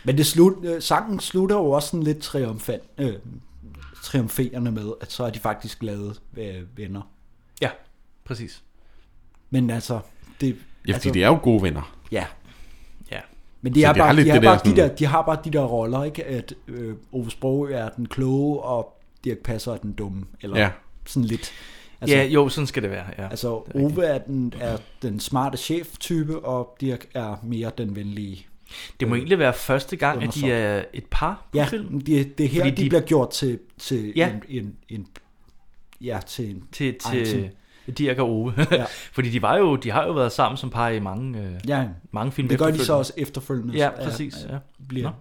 S2: Men det slut, øh, sangen slutter jo også sådan lidt triumfant, øh, triumferende med, at så er de faktisk glade øh, venner.
S4: Ja, præcis.
S2: Men altså, det...
S3: Ja, fordi
S2: altså,
S3: de er jo gode venner.
S2: Ja.
S4: Ja.
S2: Men de,
S3: Så
S2: er
S3: det er
S2: bare,
S3: lidt
S2: de, er
S3: det der
S2: bare de,
S3: sådan-
S2: der, de har bare de der roller, ikke? At øh, Ove Sprogøe er den kloge, og Dirk Passer er den dumme. Eller
S4: Ja.
S2: sådan lidt.
S4: Ja, jo, sådan skal det være, ja.
S2: Altså, Ove er den, er den smarte chef-type, og Dirk er mere den venlige.
S4: Det må
S2: øh,
S4: egentlig være første gang, at de
S2: undersåt.
S4: er et par på
S2: Ja,
S4: film.
S2: men det, det er her,
S4: Fordi
S2: de, de
S4: de-
S2: bliver gjort til, til
S4: Ja.
S2: en, en, en, ja, til en
S4: til,
S2: ej,
S4: til Dirk og Ove.
S2: Ja.
S4: Ja. (laughs) Fordi de, var jo, de har jo været sammen som par i mange, øh,
S2: Ja,
S4: mange film
S2: Det gør de
S4: efterfølgende.
S2: så også efterfølgende.
S4: Ja,
S2: så er-
S4: præcis.
S2: er-
S4: Ja.
S2: Bliver.
S4: Nå.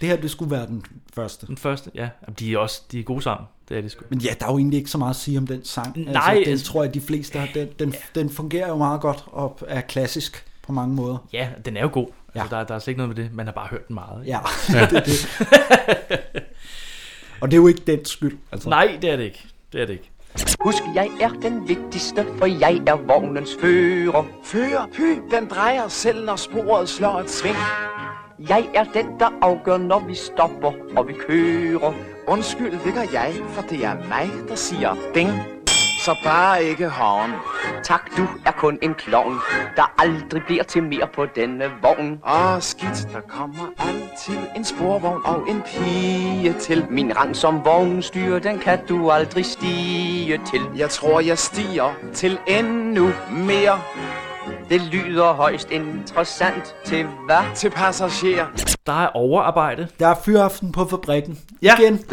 S2: Det her, det skulle være den første.
S4: Den første, ja. Jamen, De er også de er gode sammen. Det er det sgu.
S2: Men ja, der er jo egentlig ikke så meget at sige om den sang.
S4: Nej,
S2: altså, den
S4: altså-
S2: tror jeg, de fleste har. Den, den, den fungerer jo meget godt og er klassisk på mange måder.
S4: Ja, den er jo god. Ja. Altså, der, der er slet ikke noget med det. Man har bare hørt den meget. ikke? (laughs)
S2: Ja, (laughs) det er det. Og det er jo ikke dens skyld. Altså.
S4: Nej, det er det ikke. Det er det ikke.
S16: Husk, jeg er den vigtigste, for jeg er vognens fører.
S5: Fører, py, den drejer selv, når sporet slår et sving.
S16: Jeg er den, der afgør, når vi stopper og vi kører.
S5: Undskyld, det gør jeg, for det er mig, der siger ding. Så bare ikke horn.
S16: Tak, du er kun en klovn, der aldrig bliver til mere på denne vogn.
S5: Åh, skidt, der kommer altid en sporvogn og en
S16: Pige til min rang som vognstyre, den kan du aldrig stige til. Jeg tror, jeg stiger til endnu mere. Det lyder højst interessant til hvad? Til passagerer.
S4: Der er overarbejde.
S2: Der er fyraften på fabrikken. Ja.
S4: (laughs)
S2: Igen.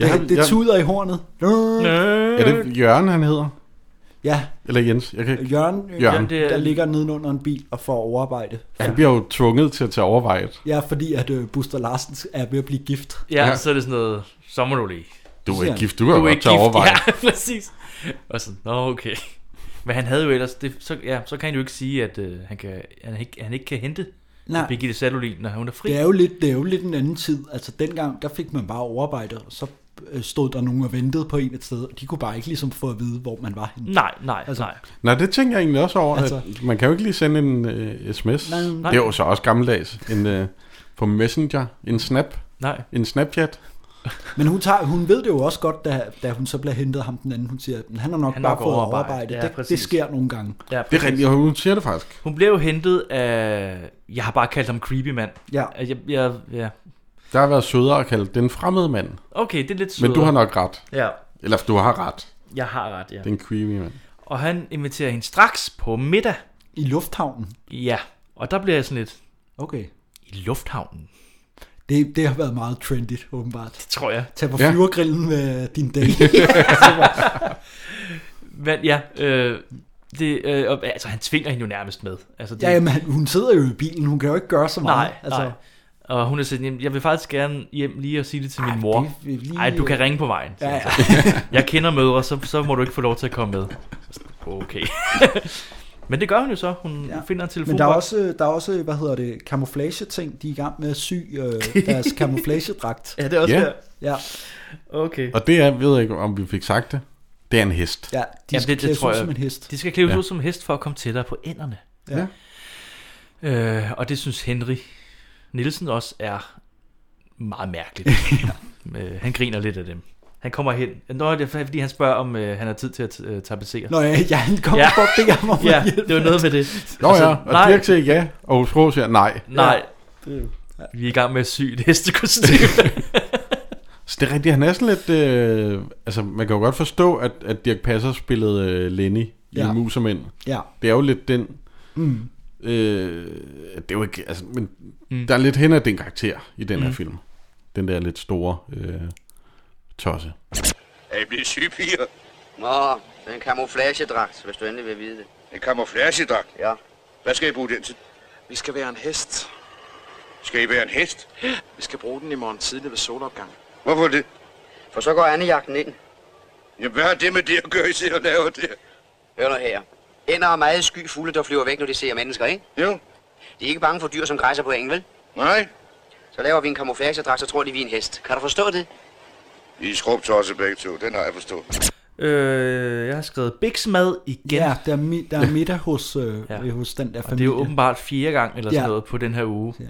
S3: Ja,
S2: det, det
S3: ja.
S2: tuder i hornet.
S3: Er det Jørgen, han hedder?
S2: Ja.
S3: Eller Jens? Jeg kan... ikke-
S2: Jørgen, øh,
S3: Jørgen.
S2: der ligger nedenunder en bil og får overarbejde.
S3: Han bliver jo tvunget til at tage overvejet.
S2: Ja, fordi at øh, Buster Larsen er ved at blive gift.
S4: Ja,
S3: Ja.
S4: ja. så er det sådan noget, så må du lige.
S3: Du er
S4: Så
S3: ikke
S4: siger
S3: gift, du
S4: han,
S3: kan
S4: er
S3: godt
S4: ikke
S3: tage
S4: gift." (laughs)
S3: overveje.
S4: Ja, præcis. Og sådan, nå okay. Men han havde jo ellers, det, så, ja, så kan han jo ikke sige, at øh, han, kan, han, ikke, han ikke kan hente
S2: Nej.
S4: Birgitte Sadolin, når hun er fri.
S2: Det er, jo lidt, det er jo lidt en anden tid. Altså dengang, der fik man bare overarbejde, og så øh, stod der nogen og ventede på en et sted, og de kunne bare ikke ligesom få at vide, hvor man var henne.
S4: Nej, nej, altså, nej.
S3: Nej, det tænker jeg egentlig også over. Altså...
S2: Altså-
S3: At man kan jo ikke lige sende en uh, sms.
S2: Nej, nej.
S3: Det er jo så også gammeldags. En, uh, på Messenger. En snap.
S4: Nej.
S3: En Snapchat.
S2: Men hun, tager, hun ved det jo også godt, da, da hun så bliver hentet ham den anden. Hun siger, at han har nok
S4: Han
S2: han
S4: har
S2: bare
S4: nok
S2: fået
S4: overarbejde.
S2: overarbejde.
S4: Ja,
S2: Ja, det, det
S4: præcis.
S2: sker nogle gange.
S4: Ja,
S3: Det er rigtigt, og hun siger det faktisk.
S4: Hun blev jo hentet af, jeg har bare kaldt ham creepy mand.
S2: Ja.
S4: Jeg, jeg, ja.
S3: Der har været sødere at kalde den fremmede mand.
S4: Okay, det er lidt
S3: Men du
S4: sødere.
S3: har nok ret.
S4: Ja.
S3: Eller du har ret.
S4: Jeg har ret, ja.
S3: Den creepy mand.
S4: Og han inviterer hende straks på middag.
S2: I lufthavnen?
S4: Ja, og der bliver jeg sådan lidt...
S2: Okay.
S4: I lufthavnen?
S2: Det, det har været meget trendigt, åbenbart. Det
S4: tror jeg.
S2: Tag på
S4: Ja.
S2: flyvergrillen med din date. (laughs) Altså,
S4: Men ja, øh, det, øh, og, altså han tvinger hende jo nærmest med. Altså, det,
S2: ja, jamen, hun sidder jo i bilen, hun kan jo ikke gøre så meget.
S4: Nej, altså. nej. Og hun er sådan, "Jamen, jeg vil faktisk gerne hjem lige og sige det til min mor.
S2: det er lige-
S4: Nej, du kan ringe på vejen. siger
S2: Ja,
S4: hun
S2: ja.
S4: så. Jeg kender mødre, så, så må du ikke få lov til at komme med. Sådan, Okay. (laughs) Men det gør hun jo så. Hun ja. finder en telefon.
S2: Men der er, også, der er også, hvad hedder det, camouflage-ting. De er i gang med at sy
S4: (laughs)
S2: øh, deres camouflage-dragt.
S4: ja, det er også
S3: Ja.
S4: der.
S2: Ja.
S4: Okay.
S3: Og det er, ved jeg ikke, om vi fik sagt det, det er en hest.
S2: Ja,
S4: Jamen, det, det tror jeg. (laughs) De skal klæves
S3: Ja.
S4: ja. ud som hest for at komme tættere på ænderne.
S2: Ja.
S4: Øh, og det synes Henry Nielsen også er meget
S2: (laughs)
S4: mærkeligt. øh, han griner lidt af dem. Han kommer hen. Nå, det er fordi, han spørger, om øh, han har tid til at øh, tapetsere.
S2: Nå ja, ja, han kommer for at bede ham om at
S4: Ja,
S2: hjælpe.
S4: det var noget med det. Altså,
S3: Nå ja, og
S4: nej,
S3: Dirk siger ja, og Aarhus Rå siger nej.
S4: nej. Ja. Vi er i gang med at sy et
S2: (laughs)
S4: hestekostyme.
S3: Så det er rigtigt, han er sådan lidt... Øh, altså, man kan jo godt forstå, at, at Dirk Passer spillede øh, Lenny i
S2: Ja.
S3: ja. Musermænd.
S2: Ja.
S3: Det er jo lidt den...
S2: Mm.
S3: Øh, det er jo ikke... Altså, men
S4: Mm.
S3: mm. der er lidt hen af den karakter i den her
S4: Mm.
S3: mm. film. Den der lidt store øh, tosse.
S8: Er I blevet syge, piger?
S11: Nå, det er en camouflagedragt, hvis du endelig vil vide det.
S8: En camouflagedragt?
S11: Ja.
S8: Hvad skal I bruge den til? Vi skal være en hest. Skal I være en hest?
S5: Vi skal bruge den i morgen tidlig ved solopgang.
S8: Hvorfor det?
S11: For så går andejagten ind.
S8: Jamen, hvad har det med det at gøre, I sidder og laver det?
S11: Hør nu her. Ænder er meget sky fugle, der flyver væk, når de ser mennesker, ikke?
S8: Jo.
S11: De er ikke bange for dyr, som græsser på engen, vel?
S8: Nej.
S11: Så laver vi en camouflagedragt, så tror de, vi er en hest. Kan du forstå det?
S8: I er skrubtosser begge to, den har jeg forstået.
S4: øh, jeg har skrevet biksmad igen.
S2: Ja, der er, mi- der er middag hos, øh, ja. hos den
S4: Og
S2: der
S4: det er
S2: familie.
S4: jo åbenbart fjerde gang eller sådan
S2: Ja.
S4: ja. noget på den her uge. Ja.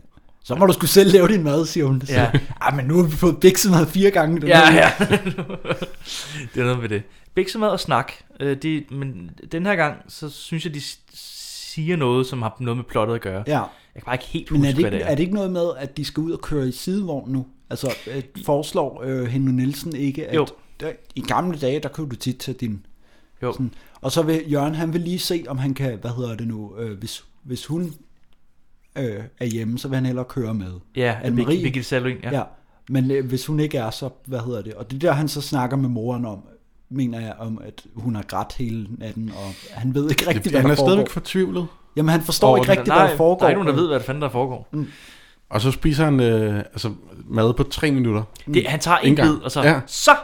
S2: Så må du skulle selv lave din mad, siger hun. Ja.
S4: Ja.
S2: Ej, men nu har vi fået biksemad fire gange. i den
S4: Ja,
S2: her
S4: ja.
S2: uge." (laughs)
S4: (laughs) det er noget med det. Biksemad og snak. Øh, de, men den her gang, så synes jeg, de s- siger noget, som har noget med plottet at gøre.
S2: Ja.
S4: Jeg kan bare ikke helt huske,
S2: Men er det,
S4: hvad
S2: ikke,
S4: det er.
S2: er det ikke noget med, at de skal ud og køre i sidevogn nu? Altså, øh, foreslår øh, Henry Nielsen ikke, at
S4: Jo.
S2: Der, i gamle dage, der kunne du tit tage din...
S4: Jo.
S2: Sådan, og så vil Jørgen, han vil lige se, om han kan, hvad hedder det nu, øh, hvis, hvis hun øh, er hjemme, så vil han hellere køre med.
S4: Ja,
S2: Anne-Marie.
S4: Birgit- Birgitte Salling, ja.
S2: ja. Men øh, hvis hun ikke er, så hvad hedder det? Og det er der, han så snakker med moren om, mener jeg, om at hun har grædt hele natten, og han ved ikke rigtigt,
S3: Jamen,
S2: hvad
S3: han
S2: der
S3: er
S2: foregår.
S3: stadigvæk fortvivlet.
S2: Jamen, han forstår
S3: Over det.
S2: ikke rigtigt, hvad der foregår.
S4: Der er ikke nogen, der ved, hvad fanden der foregår.
S2: Mm.
S3: Og så spiser han øh, altså, mad på tre minutter.
S2: mm.
S4: Det, han tager en
S3: Ikke engang.
S4: bid, og så...
S3: Ja.
S4: Så!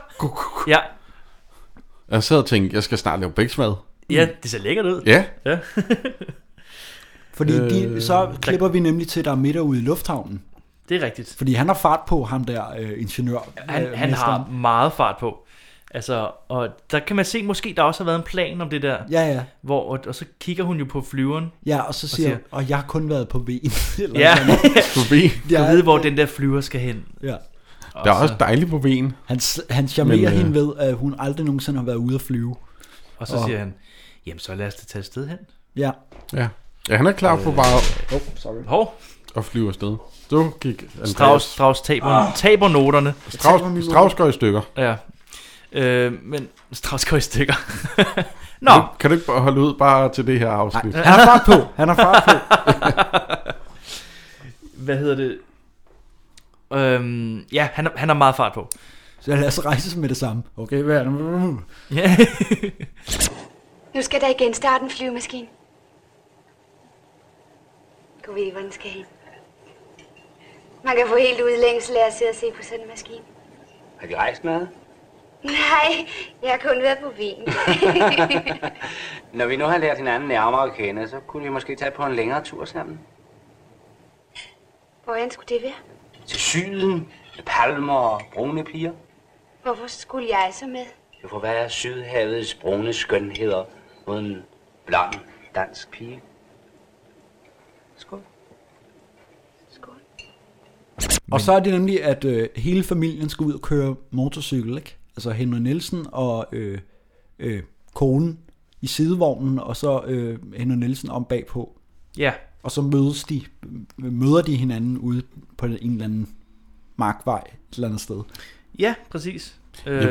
S4: Ja,
S3: Jeg sad og tænkte, jeg skal snart lave bæksmad.
S4: ja, det ser lækkert ud.
S3: Ja.
S4: ja.
S2: Fordi de,
S4: Øh,
S2: så
S4: der-
S2: klipper vi nemlig til, at der er middag ude i lufthavnen.
S4: Det er rigtigt.
S2: Fordi han har fart på, ham der øh, ingeniør.
S4: Han,
S2: øh,
S4: han
S2: mesteren.
S4: har meget fart på. Altså, og der kan man se, måske der også har været en plan om det der.
S2: Ja, ja.
S4: Hvor, og, og så kigger hun jo på flyveren.
S2: Ja, og så siger, og, og jeg har kun været på ben. (laughs) Eller
S4: Ja,
S2: sådan
S3: (laughs)
S2: noget.
S4: (laughs) du ved, hvor den der flyver skal hen.
S2: Ja.
S4: Og
S3: Der er
S4: så-
S3: også dejligt på venen.
S2: Han, han charmerer
S3: Men, øh,
S2: hende ved, at hun aldrig nogensinde har været ude at flyve.
S4: Og så siger han, jamen så lad os da tage et sted hen.
S2: Ja.
S3: Ja. Ja, han er klar på
S4: Øh.
S3: bare
S2: oh, sorry.
S4: Hov.
S3: at flyve afsted. Så gik Andreas.
S4: Strauss, Strauss taber, ah. taber noterne.
S3: Strauss- taber mine Strauss går i stykker.
S4: Ja. Øh, men Strauss går i stykker. Nå.
S3: Kan du, kan du ikke bare holde ud bare til det her afsnit?
S4: Nej,
S2: han har fart på. Han har
S3: (laughs)
S2: fart på.
S4: (laughs) Hvad hedder det? Øhm, ja, han, har- han har meget fart på.
S2: Så lad os rejse med det samme. Okay, hvad er det?
S4: Ja.
S13: Nu skal der igen starte en flyvemaskine. Du ved, hvor den skal hen. Man kan få helt udlængsel af at sidde og se på sådan en maskine.
S11: Har vi rejst med?
S13: Nej, jeg har kun været på ben.
S11: Når vi nu har lært hinanden nærmere at kende, så kunne vi måske tage på en længere tur sammen.
S13: Hvordan skulle det være?
S11: Til syden, med palmer og brune piger.
S13: Hvorfor skulle jeg så med?
S11: Du får være Sydhavets brune skønheder mod en blond dansk pige. Skål.
S2: Og så er det nemlig, at øh, hele familien skal ud og køre motorcykel, ikke? Altså Henry Nielsen og øh, øh, konen i sidevognen, og så øh, Henry Nielsen om bagpå.
S4: Ja.
S2: Og så mødes de, møder de hinanden ude på en eller anden markvej et eller andet sted.
S4: Ja, præcis. Øh,
S3: Jo,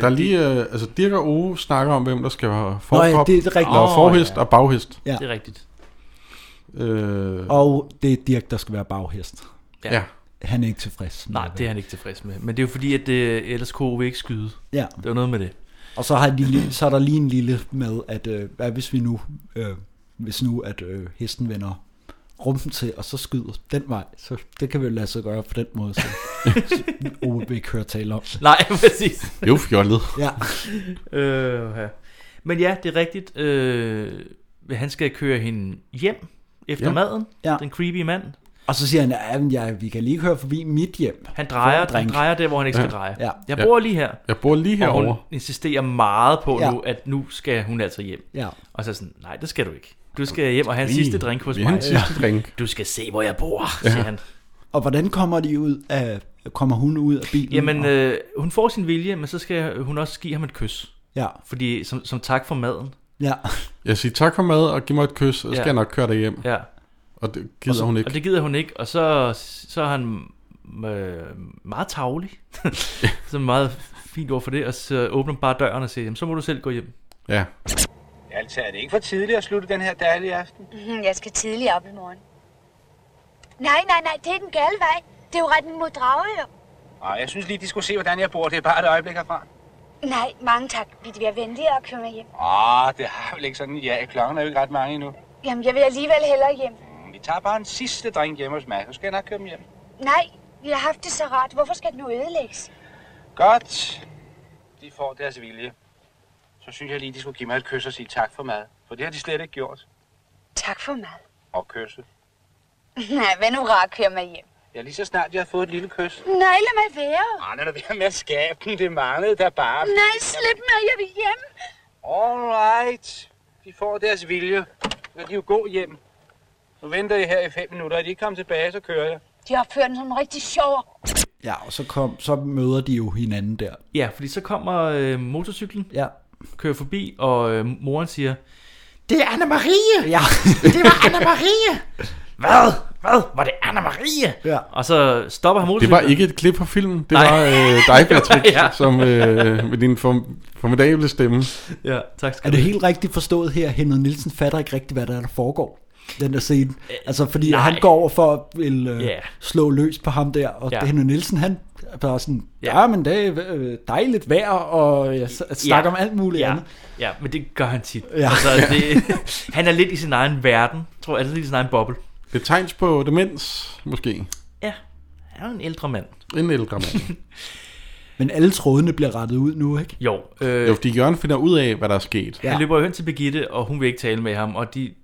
S3: der er lige, øh, altså Dirk og Ove snakker om, hvem der skal have forkrop,
S2: Nå ja, det er rigtigt.
S3: der er forhest
S2: Åh, ja.
S3: og baghest.
S2: Ja.
S4: Det er rigtigt.
S3: Øh,
S2: Og det er Dirk, der skal være baghest.
S4: Ja. Ja.
S2: Han er ikke tilfreds. med
S4: Nej, det er han ikke tilfreds med. Men det er jo fordi, at det, ellers kunne vi ikke skyde.
S2: Ja.
S4: Det var noget med det.
S2: Og så, har
S4: (laughs)
S2: de, lige- så er der lige en lille med, at øh, hvad hvis vi nu, øh, hvis nu at øh, hesten vender rumpen til, og så skyder den vej. Så det kan vi jo lade sig gøre på den
S4: (laughs)
S2: måde, så OB ikke hører tale om.
S4: Nej, (laughs) præcis.
S3: Det er jo fjollet.
S2: Ja.
S4: øh, ja. Men ja, det er rigtigt. Øh, han skal køre hende hjem efter
S2: Ja.
S4: ja. maden.
S2: Ja.
S4: Den creepy mand.
S2: Og så siger han, at ja, vi kan lige køre forbi mit hjem.
S4: Han
S2: For
S4: drejer,
S2: at
S4: han
S2: drikke."
S4: drejer der, hvor han ikke skal
S2: Ja.
S4: dreje.
S2: Ja.
S4: Jeg bor lige her.
S3: Jeg bor lige
S4: Og hun
S3: herovre.
S4: insisterer meget på
S2: Ja.
S4: ja. nu, at nu skal hun altså hjem.
S2: Ja.
S4: Og så er sådan, nej, det skal du ikke. Du skal hjem og have en
S2: Lige.
S4: sidste drink hos
S2: Vi
S4: mig.
S2: har en sidste drink.
S4: Du skal se, hvor jeg bor,
S2: Ja.
S4: ja. siger han.
S2: Og hvordan kommer de ud af, kommer hun ud af bilen?
S4: Jamen,
S2: og,
S4: øh, hun får sin vilje, men så skal hun også give ham et kys.
S2: Ja.
S4: Fordi, som, som tak for maden.
S2: ja.
S3: Jeg siger tak for mad, og giv mig et kys, og så skal
S4: Ja.
S3: jeg nok køre dig hjem.
S4: Ja.
S3: Og det
S4: og
S3: gider
S4: så,
S3: hun ikke.
S4: Og det gider hun ikke, og så, så er han øh, meget
S3: (laughs)
S4: tavlig. så meget fint ord for det, og så åbner hun bare døren og siger, jamen, så må du selv gå hjem.
S3: Ja.
S15: Altså, er det ikke for tidligt at slutte den her dejlige aften?
S13: Mhm, Jeg skal tidligt op i morgen. Nej, nej, nej, det er den gale vej. Det er jo retten mod Dragør.
S15: Nej, jeg synes lige, de skulle se, hvordan jeg bor. Det er bare et øjeblik herfra.
S13: Nej, mange tak. Vi bliver venligere at køre mig hjem.
S15: Ah, det har vel ikke sådan. Ja, klokken er jo ikke ret mange endnu.
S13: Jamen, jeg vil alligevel hellere hjem.
S15: Men Vi tager bare en sidste drink hjemme hos mig. Så skal jeg nok køre dem hjem.
S13: Nej, vi har haft det så rart. Hvorfor skal det nu ødelægges?
S15: Godt. De får deres vilje. Så synes jeg lige, de skulle give mig et kys og sige tak for mad. For det har de slet ikke gjort.
S13: Tak for mad. (laughs)
S15: Og kysse.
S13: Nej, vær nu rar at køre mig hjem.
S15: Ja, lige så snart jeg har fået et lille kys.
S13: Nej, lad mig være.
S15: Ah, den er ved med at skabe den. Det manglede der bare.
S13: Nej, slip mig, jeg vil hjem.
S15: All right. De får deres vilje. Så kan de jo gå hjem. Nu venter jeg her i fem minutter. Er de ikke kommet tilbage, så kører jeg.
S13: De opfører den som rigtig sjov.
S2: ja, og så, kom, så møder de jo hinanden der.
S4: Ja, fordi så kommer øh, motorcyklen,
S2: ja.
S4: kører forbi, og øh, moren siger,
S17: Det er Anna Marie!
S2: Ja.
S17: det var Anna Marie!
S4: hvad? Hvad? Var det Anna Marie?
S2: Ja.
S4: Og så stopper han
S3: Det
S4: motorcyklen.
S3: var ikke et klip fra filmen. Det
S4: Nej.
S3: var øh,
S4: (laughs)
S3: dig, Patrick,
S4: Ja.
S3: ja. som øh, med din form- formidable stemme.
S4: Ja, tak
S2: Er
S4: skal du
S2: det
S4: have.
S2: helt rigtigt forstået her? Henrik Nielsen fatter ikke rigtigt, hvad der, er, der foregår den der scene. Altså, fordi
S4: Øh, nej.
S2: Nej. han går over for at vil, øh,
S4: Ja.
S2: yeah. slå løs på ham der, og
S4: Ja.
S2: yeah. Henrik Nielsen, han er bare sådan, ja, men det er øh, dejligt vejr, og jeg s- snakker om alt muligt
S4: ja.
S2: andet.
S4: Ja, men det gør han tit.
S2: Ja.
S4: Ja.
S2: (laughs)
S4: Altså,
S2: Ja.
S4: det, han er lidt i sin egen verden, tror jeg. Altså lidt i sin egen boble.
S3: Det er tegns på demens, måske.
S4: Han er jo en ældre mand.
S3: En ældre mand.
S2: (laughs) Men alle trådene bliver rettet ud nu, ikke?
S4: Jo.
S3: Øh, jo, fordi Jørgen finder ud af, hvad der er sket.
S4: Ja. Han løber jo hen til Birgitte, og hun vil ikke tale med ham, og de,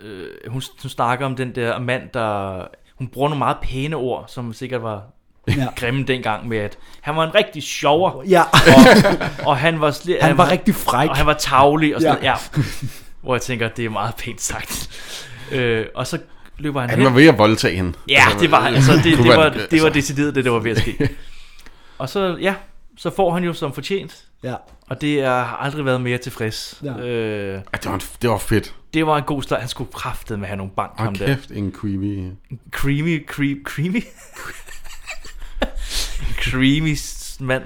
S4: øh, hun, hun snakker om den der mand, der... Hun bruger nogle meget pæne ord, som sikkert var
S2: Ja.
S4: ja. grimme dengang med, at han var en rigtig sjover.
S2: Ja.
S4: Og, og han var... Sli-
S2: Han var rigtig fræk.
S4: Og han var tavlig og sådan
S2: Ja.
S4: ja. ja. Hvor jeg tænker, det er meget pænt sagt. Øh, og så løber han
S3: Han
S4: hen.
S3: var ved at voldtage hende.
S4: Ja,
S3: Altså,
S4: det var,
S3: (laughs)
S4: altså, det, det,
S3: kunne
S4: var,
S3: man-
S4: det var decideret det, der var ved at
S3: (laughs)
S4: ske. Og så, ja, så får han jo som fortjent.
S2: Ja.
S4: Og det er- har aldrig været mere tilfreds.
S2: Ja.
S4: Øh,
S3: Ja, det, var, en- det var fedt.
S4: det var en god start. Han skulle kraftede med have nogle bank, ham
S3: Og
S4: der.
S3: kæft, en creepy...
S4: Creamy, creep, creamy? creamy s- mand.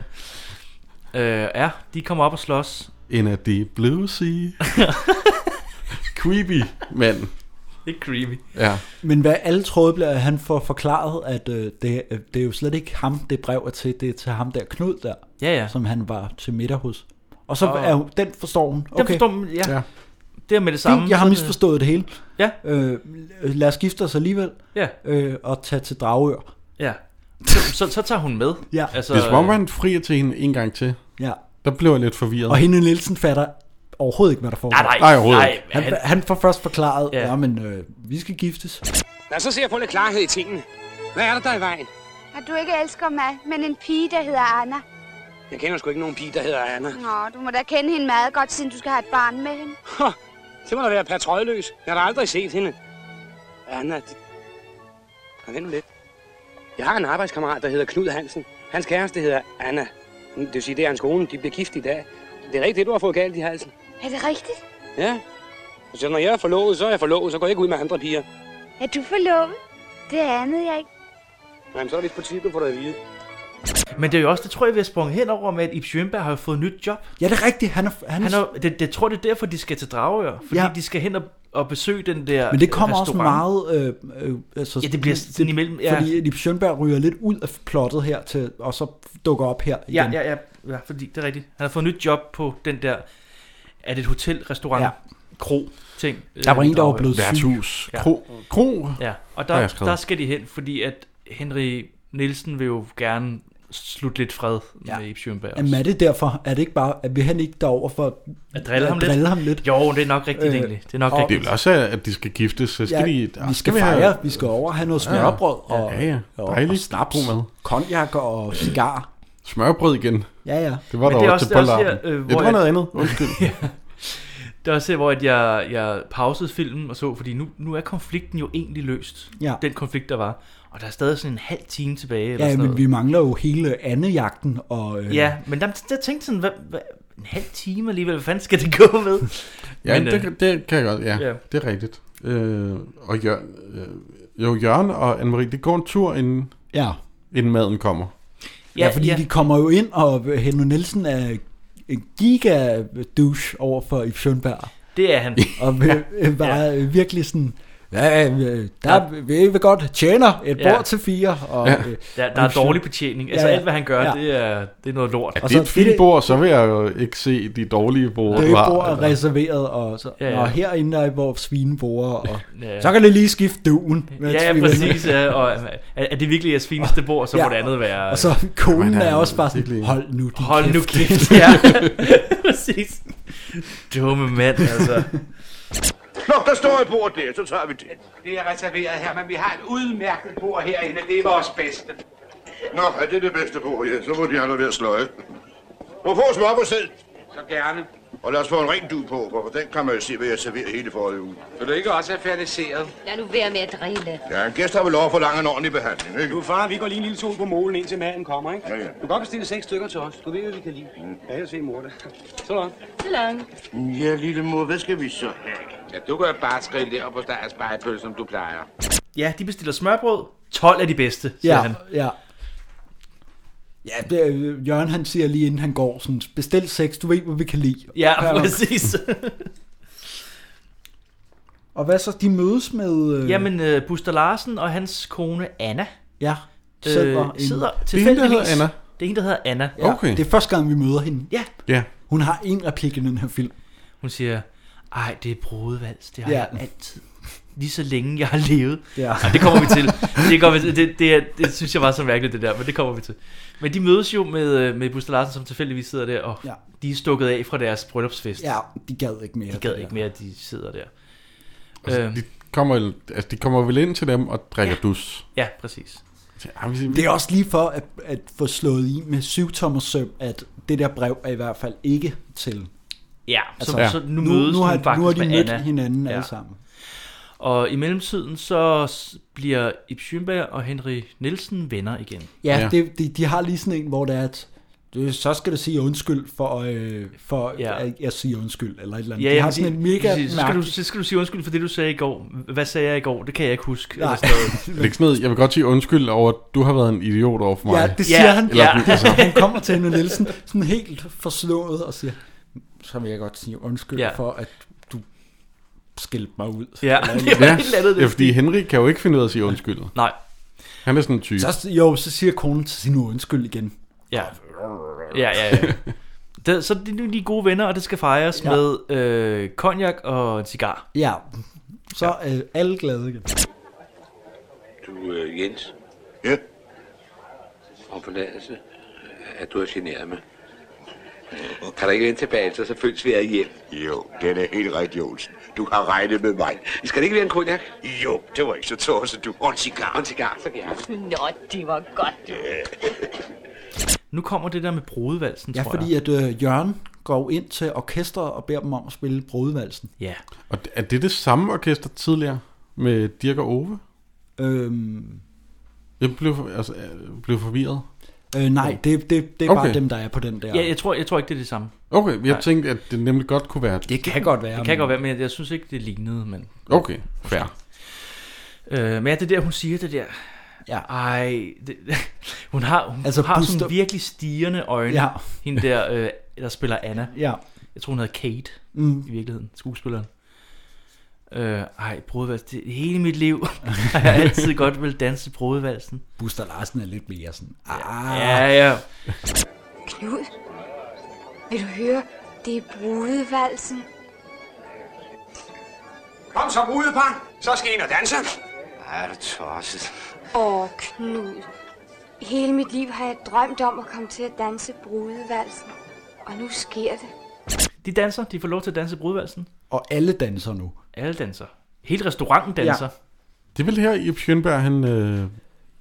S4: Øh, ja, de kommer op og slås.
S3: En af de blue
S4: (laughs)
S3: sea. creepy mand.
S4: Det er creamy.
S3: Ja.
S2: Men hvad alle tråde bliver, han får forklaret, at øh, det, øh, det er jo slet ikke ham, det brev er til, det er til ham der Knud der,
S4: Ja, ja.
S2: som han var til middag hos. Og så
S4: Og-
S2: er jo, den forstår hun.
S4: Den forstår man, ja. Ja. Det er med det samme.
S2: Fint, jeg har
S4: Sådan,
S2: misforstået det hele.
S4: Ja.
S2: Øh, lad os gifte os alligevel.
S4: Ja.
S2: Øh, og tage til Dragør.
S4: Ja. Så, så, så øh, tager hun med. Altså,
S2: Ja.
S3: Så, det er som om, han frier til hende en gang til.
S2: Ja.
S3: Der blev jeg lidt forvirret.
S2: Og hende Nielsen fatter overhovedet ikke, hvad der foregår.
S3: Nej, nej, Nej, overhovedet nej, ikke.
S2: Han,
S3: han-
S2: han, han får først forklaret, ja, men øh, vi skal giftes.
S5: Lad os så se at få lidt klarhed i tingene. Hvad er der der er i vejen?
S13: Og du ikke elsker mig, men en pige, der hedder Anna.
S5: Jeg kender sgu ikke nogen pige, der hedder Anna.
S13: Nå, du må da kende hende meget godt, siden du skal have et barn med hende.
S5: Hå, det må da være patrøjløs. Jeg har da aldrig set hende. Anna, det... Kom, vent nu lidt. Jeg har en arbejdskammerat, der hedder Knud Hansen. Hans kæreste hedder Anna. Det vil sige, det er hans kone. De bliver gift i dag. Det er rigtigt, det du har fået galt i halsen.
S13: Er det rigtigt?
S5: Ja. Så når jeg er forlovet, så er jeg forlovet. Så går jeg ikke ud med andre piger.
S13: Er du forlovet? Det anede jeg ikke.
S5: Jamen, så er det vist på tide, du får det at vide.
S4: Men det er jo også, det tror jeg, vi har sprunget hen over med, at Ib Schønberg har jo fået nyt job.
S2: Ja, det er rigtigt. Han er, han
S4: han er, det, det, tror jeg, det er derfor, de skal til Dragør. Fordi
S2: Ja.
S4: ja. de skal hen og, og besøge den der
S2: Men det kommer også
S4: restaurant.
S2: meget... Øh, øh, altså,
S4: Ja, det bliver sådan imellem, ja.
S2: Fordi Lip Schønberg ryger lidt ud af plottet her, til, og så dukker op her igen.
S4: Ja, ja, ja, ja, fordi det er rigtigt. Han har fået nyt job på den der, er det et hotel, restaurant?
S2: Ja.
S4: kro ting. Øh,
S2: Der var en, der var blevet syg. Værtshus. Kro- kro?
S4: Ja, og
S2: Har
S4: der,
S2: jeg skrevet.
S4: der skal de hen, fordi at Henry Nielsen vil jo gerne slutte lidt fred ja. med Abe Schoenberg.
S2: Jamen er det derfor, er det ikke bare, at vi han ikke derover for
S4: At drille ham lidt?
S2: drille ham lidt? Øh,
S4: Jo, det er nok rigtigt egentlig. Det er nok
S2: og-
S4: rigtigt.
S3: Det er vel også, øh, at de skal giftes, så skal
S2: Ja,
S3: de...
S2: vi skal fejre, vi skal over og have noget smørbrød og,
S3: ja, ja.
S2: og,
S3: Dejligt.
S2: og snaps,
S3: God mad.
S2: konjak og cigar.
S3: Smørbrød igen.
S2: Ja, ja.
S3: Det var
S4: Men
S3: der
S4: det er
S3: også til
S4: det er
S3: Pollarken.
S4: her,
S3: Ja,
S4: øh,
S3: det
S4: hvor
S3: var
S4: jeg-
S3: noget andet. Undskyld.
S4: (laughs) ja. Det er også her, hvor at jeg, jeg pausede filmen og så, fordi nu, nu er konflikten jo egentlig løst.
S2: Ja.
S4: Den konflikt, der var. Og der er stadig sådan en halv time tilbage. Eller
S2: Ja,
S4: sådan
S2: men
S4: noget.
S2: vi mangler jo hele andejagten og... Øh,
S4: Ja, men der, der tænkte sådan, hvad, hvad, en halv time alligevel, hvad fanden skal det gå med?
S3: (laughs) Ja,
S4: men,
S3: men,
S4: øh,
S3: det, kan- det kan jeg godt, ja.
S4: Ja.
S3: ja. Det er rigtigt. Øh, og Jørgen, øh, jo, Jørgen og Anne-Marie, det går en tur, inden,
S2: Ja.
S3: inden maden kommer.
S2: Ja, ja fordi ja. de kommer jo ind, og Henry Nielsen er en giga douche over for Ibs Schønberg.
S4: Det er han.
S2: (laughs) Og øh, øh, bare ja. virkelig sådan, ja, øh, der vi vil godt tjener et
S4: Ja.
S2: bord til fire. Og,
S3: Ja.
S2: øh,
S4: Der, der er
S2: Ibs-
S4: dårlig betjening. Altså
S2: Ja, ja.
S4: alt, hvad han gør,
S2: Ja.
S4: det, er, det er noget lort.
S3: Er det et fint bord, så vil jeg jo ikke se de dårlige bord.
S2: Det bord er reserveret, og, så,
S4: Ja,
S2: ja,
S4: ja.
S2: ja. og herinde er hvor svine borer, og
S4: Ja.
S2: ja. så kan det lige skifte duen. mens
S4: Ja, ja,
S2: vi
S4: præcis.
S2: venter.
S4: Ja, og er, er det virkelig jeres fineste bord, så ja. må det andet være...
S2: Og så konen er også bare sådan, hold nu din
S4: Hold nu
S2: kæft. (laughs)
S4: kæft, ja. (laughs) præcis. Dumme mand,
S6: (laughs)
S4: altså.
S6: Nå, der står et bord der, så tager vi det.
S15: Det er reserveret her, men vi har et udmærket bord herinde. Det er vores bedste.
S6: Nå, er det det bedste bord, ja, så må de andre ved at sløje. Må få smør på selv.
S15: Så gerne.
S6: Og lad os få en ren du på, for på den kan man jo se, hvad jeg serverer hele forrige uge.
S15: Vil du ikke også have ferniseret?
S18: Lad nu være med at drille.
S6: Ja, en gæst har vel lov at forlange en ordentlig behandling, ikke?
S7: Du, far, vi går lige en lille tur på målen, indtil maden kommer, ikke?
S6: Ja, ja.
S7: Du kan godt bestille seks stykker til os. Du ved, hvad vi kan lide.
S5: Mm.
S7: Ja, jeg ser
S5: (laughs)
S7: mor det. Så langt.
S18: Så langt.
S6: Ja, lille mor, hvad skal vi så have?
S14: Ja, du kan bare skrive det op på dig spejepøl, som du plejer.
S4: Ja, de bestiller smørbrød. 12 er de bedste, siger
S2: Ja,
S4: han.
S2: ja. Ja, det, er- Jørgen han siger lige inden han går sådan, bestil sex, du ved, hvad vi kan lide.
S4: Ja, præcis. (laughs)
S2: Og hvad så, de mødes med... Øh,
S4: Jamen, øh, Buster Larsen og hans kone Anna
S2: Ja,
S4: øh,
S2: sidder
S4: sidder,
S2: en-
S4: sidder
S2: Det er
S4: tilfældigvis...
S2: hende, der hedder Anna.
S4: Det er en, der hedder Anna.
S2: Ja, Det er første gang, vi møder hende.
S4: Ja.
S3: Ja.
S2: Hun har en replik i den her film.
S4: Hun siger, ej, det er brudevals, det har ja.
S2: Ja.
S4: jeg altid. Lige så længe jeg har levet.
S2: Ja.
S4: Ej, det kommer vi
S2: (laughs)
S4: til. Det, kommer vi til. Det, det, er- det, synes jeg var så mærkeligt, det der, men det kommer vi til. Men de mødes jo med, øh, med Buster Larsen, som tilfældigvis sidder der, og ja.
S2: Ja.
S4: de er stukket af fra deres bryllupsfest.
S2: Ja, de gad ikke mere.
S4: De gad ikke mere, at de sidder der.
S3: Altså, de, kommer, altså, de kommer vel ind til dem og drikker ja. dus. "Ah,
S4: Ja, præcis.
S2: Det er også lige for at, at få slået i med syv tommer søm, at det der brev er i hvert fald ikke til.
S4: Ja, så, altså, så nu mødes
S2: nu,
S4: nu,
S2: har,
S4: hun faktisk
S2: nu har de
S4: med
S2: mødt
S4: Anna.
S2: hinanden
S4: Ja.
S2: alle sammen.
S4: Og i mellemtiden så s- bliver Ib Schønberg og Henry Nielsen venner igen.
S2: Ja, ja. Det, de, de har lige sådan en, hvor det er, at det, så skal du sige undskyld for, øh, for
S4: Ja.
S2: ja. at jeg siger undskyld, eller et eller andet.
S4: Ja,
S2: Ja, de
S4: ja,
S2: har
S4: fordi-
S2: sådan en mega
S4: præcis. så skal, du,
S2: mærkelig...
S4: så skal du sige undskyld for det, du sagde i går. Hvad sagde jeg i går? Det kan jeg ikke huske.
S2: Nej.
S4: Eller sådan
S3: Er
S2: (laughs)
S3: det
S4: noget.
S3: ikke sådan noget, jeg vil godt sige undskyld over, at du har været en idiot over for mig.
S2: Ja, det siger ja, han.
S3: Eller,
S2: Ja. (laughs)
S3: altså,
S2: han kommer til Henry Nielsen sådan helt forslået og siger, så vil jeg godt sige undskyld
S4: Ja.
S2: ja. for, at du skældte mig ud.
S4: Ja,
S2: Eller et
S4: det var
S2: eller
S3: ja,
S4: et
S2: andet.
S4: eller andet, det
S3: ja,
S4: er
S3: fordi Henrik kan jo ikke finde ud af at sige undskyld.
S4: Nej.
S3: Han er sådan en type.
S2: Så, jo, så siger konen til sin undskyld igen.
S4: Ja. Ja, ja, ja. Det, så de, nu er de gode venner, og det skal fejres ja.
S2: Ja.
S4: med øh, cognac og en cigar.
S2: Ja, så er øh, alle glade igen.
S14: Du, øh, Jens?
S6: Ja?
S14: Om forladelse, at du har generet mig. Kan der ikke vende tilbage, så, så føles vi ad hjem.
S6: Jo, den er helt rigtig, Olsen. Du har regnet med mig.
S14: Skal det ikke være en cognac?
S6: Jo, det var ikke så tosset, du. Og en cigar.
S14: En cigar, så gerne.
S18: Nå, det var godt.
S4: Nu kommer det der med brudevalsen,
S2: Ja,
S4: tror
S2: fordi
S4: jeg.
S2: at øh, Jørgen går ind til orkestret og beder dem om at spille brudvalsen.
S4: Ja.
S3: Og er det det samme orkester tidligere med Dirk og Ove?
S2: Øhm...
S3: Jeg blev, for- altså, jeg blev forvirret.
S2: Øh, nej, det, det, det er okay. bare dem, der er på den der.
S4: Ja, jeg tror, jeg tror ikke, det er det samme.
S3: Okay, jeg
S4: Nej.
S3: Nej. tænkte, at det nemlig godt kunne være...
S2: Det kan godt være.
S4: Det kan godt være, men jeg, jeg synes ikke, det lignede, men...
S3: Okay, fair.
S4: Øh, men ja, det der, hun siger det der.
S2: Ja.
S4: Ej, det, (laughs) hun har, hun altså,
S2: Altså,
S4: har
S2: Buster-
S4: sådan virkelig stigende øjne.
S2: Ja.
S4: Hende der, øh, der spiller Anna.
S2: Ja.
S4: Jeg tror, hun hedder Kate mm.
S2: Mm.
S4: i virkeligheden, skuespilleren. Øh, ej, brudevals, det, hele mit liv (laughs) har jeg altid godt vil danse brudevalsen.
S2: Buster Larsen er lidt mere sådan... Ah.
S4: Ja, ja.
S13: Knud, vil du høre? Det er brudevalsen.
S5: Kom så brudepar, så skal I ind og danse.
S8: Ej, er du tosset.
S13: Åh, Knud. Hele mit liv har jeg drømt om at komme til at danse brudevalsen. Og nu sker det.
S4: De danser, de får lov til at danse brudvalsen.
S2: Og alle danser nu.
S4: Alle danser. Hele restauranten danser. Ja.
S3: Det er vel her, Ip Schønberg, han... Øh,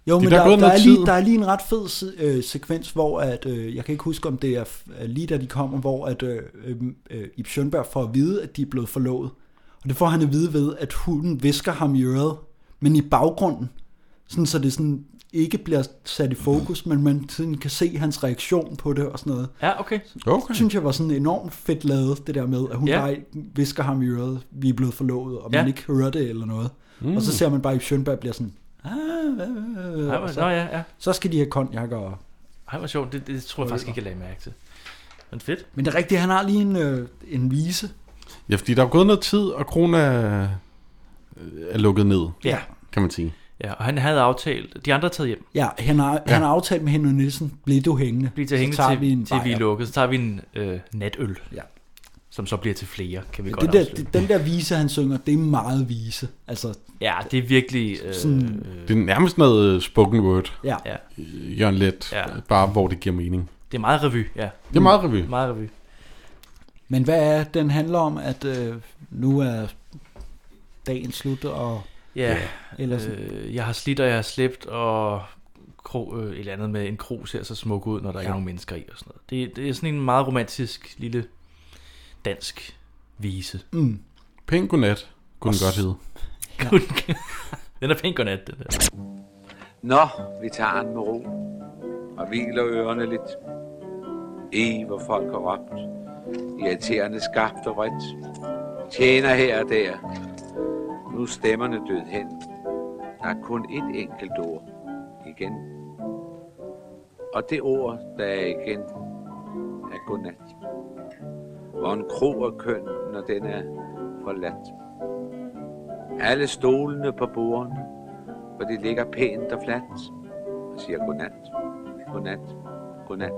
S2: Jo,
S3: de
S2: men der, der,
S3: gået
S2: der,
S3: noget
S2: er lige,
S3: tid.
S2: der er lige en ret fed se, øh, sekvens, hvor at, øh, jeg kan ikke huske, om det er f- er lige da de kommer, hvor at, øh, øh, øh, Ib Schønberg får at vide, at de er blevet forlovet. Og det får han at vide ved, at hunden visker ham i øret, men i baggrunden, sådan, så det sådan ikke bliver sat i fokus, men man sådan kan se hans reaktion på det og sådan noget.
S4: Ja, okay.
S2: okay. synes jeg var sådan enormt fedt lavet, det der med, at hun
S4: Ja.
S2: ja. bare visker ham i øret, vi er blevet forlovet, og
S4: Ja.
S2: man ikke hører det eller noget.
S4: Mm.
S2: Mm. Og så ser man bare, at Ib Schønberg bliver sådan, ah, øh,
S4: Ej,
S2: og
S4: hvor-
S2: så,
S4: nå, ja, ja.
S2: så skal de have konjak og...
S4: Ej, hvor sjovt. Det, det tror jeg faktisk ikke, jeg lagde mærke til. Men fedt.
S2: Men det er rigtigt, han har lige en, øh, en vise.
S3: Ja, fordi der er gået noget tid, og Kron er, øh, er lukket ned,
S4: Ja.
S3: kan man sige.
S4: Ja, og han havde aftalt, de andre er taget hjem.
S2: Ja, han har, ja. han har aftalt med Henry Nielsen, bliv du hængende.
S4: Bliv til
S2: Så
S4: hængende
S2: tager
S4: til,
S2: vi en
S4: til vi er
S2: bajer."
S4: lukket. Så tager vi en øh, natøl,
S2: ja.
S4: som så bliver til flere, kan vi
S2: Men
S4: godt
S2: det der,
S4: afsløre.
S2: det, den der vise, han synger, det er meget vise. Altså,
S4: Ja, det er virkelig... Øh,
S2: Sådan-
S3: Det er nærmest noget øh, spoken word.
S2: Ja.
S4: Ja.
S3: Øh, Jørgen Let, ja. bare hvor det giver mening.
S4: det er meget revy, ja.
S3: Det er meget revy.
S4: Meget revy.
S2: Men hvad er, den handler om, at øh, nu er dagen slut, og...
S4: Ja,
S2: eller sådan.
S4: øh, jeg har slidt, og jeg har slæbt, og kro, øh, et eller andet med en kro ser så smuk ud, når der ja. ikke er nogen mennesker i og sådan noget. Det, det er sådan en meget romantisk lille dansk vise.
S2: Mm.
S3: Pæn godnat, kunne den
S4: Og
S3: godt
S4: s-
S3: hedde.
S4: Kun- den er pænt godnat, den der.
S14: Nå, vi tager den med ro og hviler ørerne lidt. I, hvor folk har råbt. Irriterende skarpt og vredt. Tjener her og der. Nu er stemmerne død hen. Der er kun et enkelt ord igen. Og det ord, der er igen, er godnat. Hvor en krog er køn, når den er forladt. Alle stolene på bordene for det ligger pænt og fladt. Og siger godnat, godnat, godnat.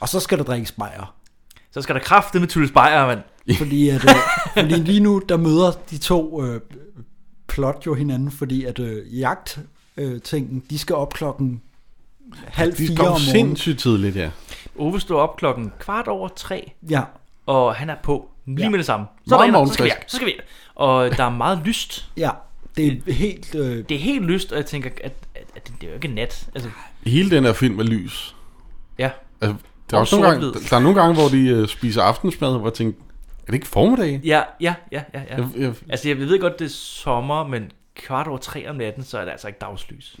S2: Og så skal der drikkes bajer.
S4: Så skal der krafte med Tulles Beyer, mand.
S2: (laughs) Fordi, at, øh, fordi lige nu, der møder de to øh, plot jo hinanden, fordi at øh, jagt øh, tingen, de skal op klokken halv
S3: De
S2: fire
S3: kom
S2: om morgenen.
S3: sindssygt tidligt, ja.
S4: (laughs) Ove står op klokken kvart over tre,
S2: Ja.
S4: og han er på lige ja. med det samme. Så,
S2: Meget
S4: er der en, så skal vi
S2: morgenfrisk.
S4: ind, så skal vi ind. Og der er meget lyst.
S2: (laughs) Ja, det er helt... Øh...
S4: Det er helt lyst, og jeg tænker, at, at, at det er jo ikke nat. Altså,
S3: Hele den her film er lys.
S4: Ja.
S3: Altså, der, er
S4: Og
S3: også nogle gange,
S4: sort-hvid.
S3: der er nogle gange, hvor de øh, spiser aftensmad, hvor jeg tænker, er det ikke formiddag?
S4: Ja, ja, ja, ja. ja.
S3: Jeg- jeg-
S4: Altså, jeg ved godt, det er sommer, men kvart over tre om natten, så er det altså ikke dagslys.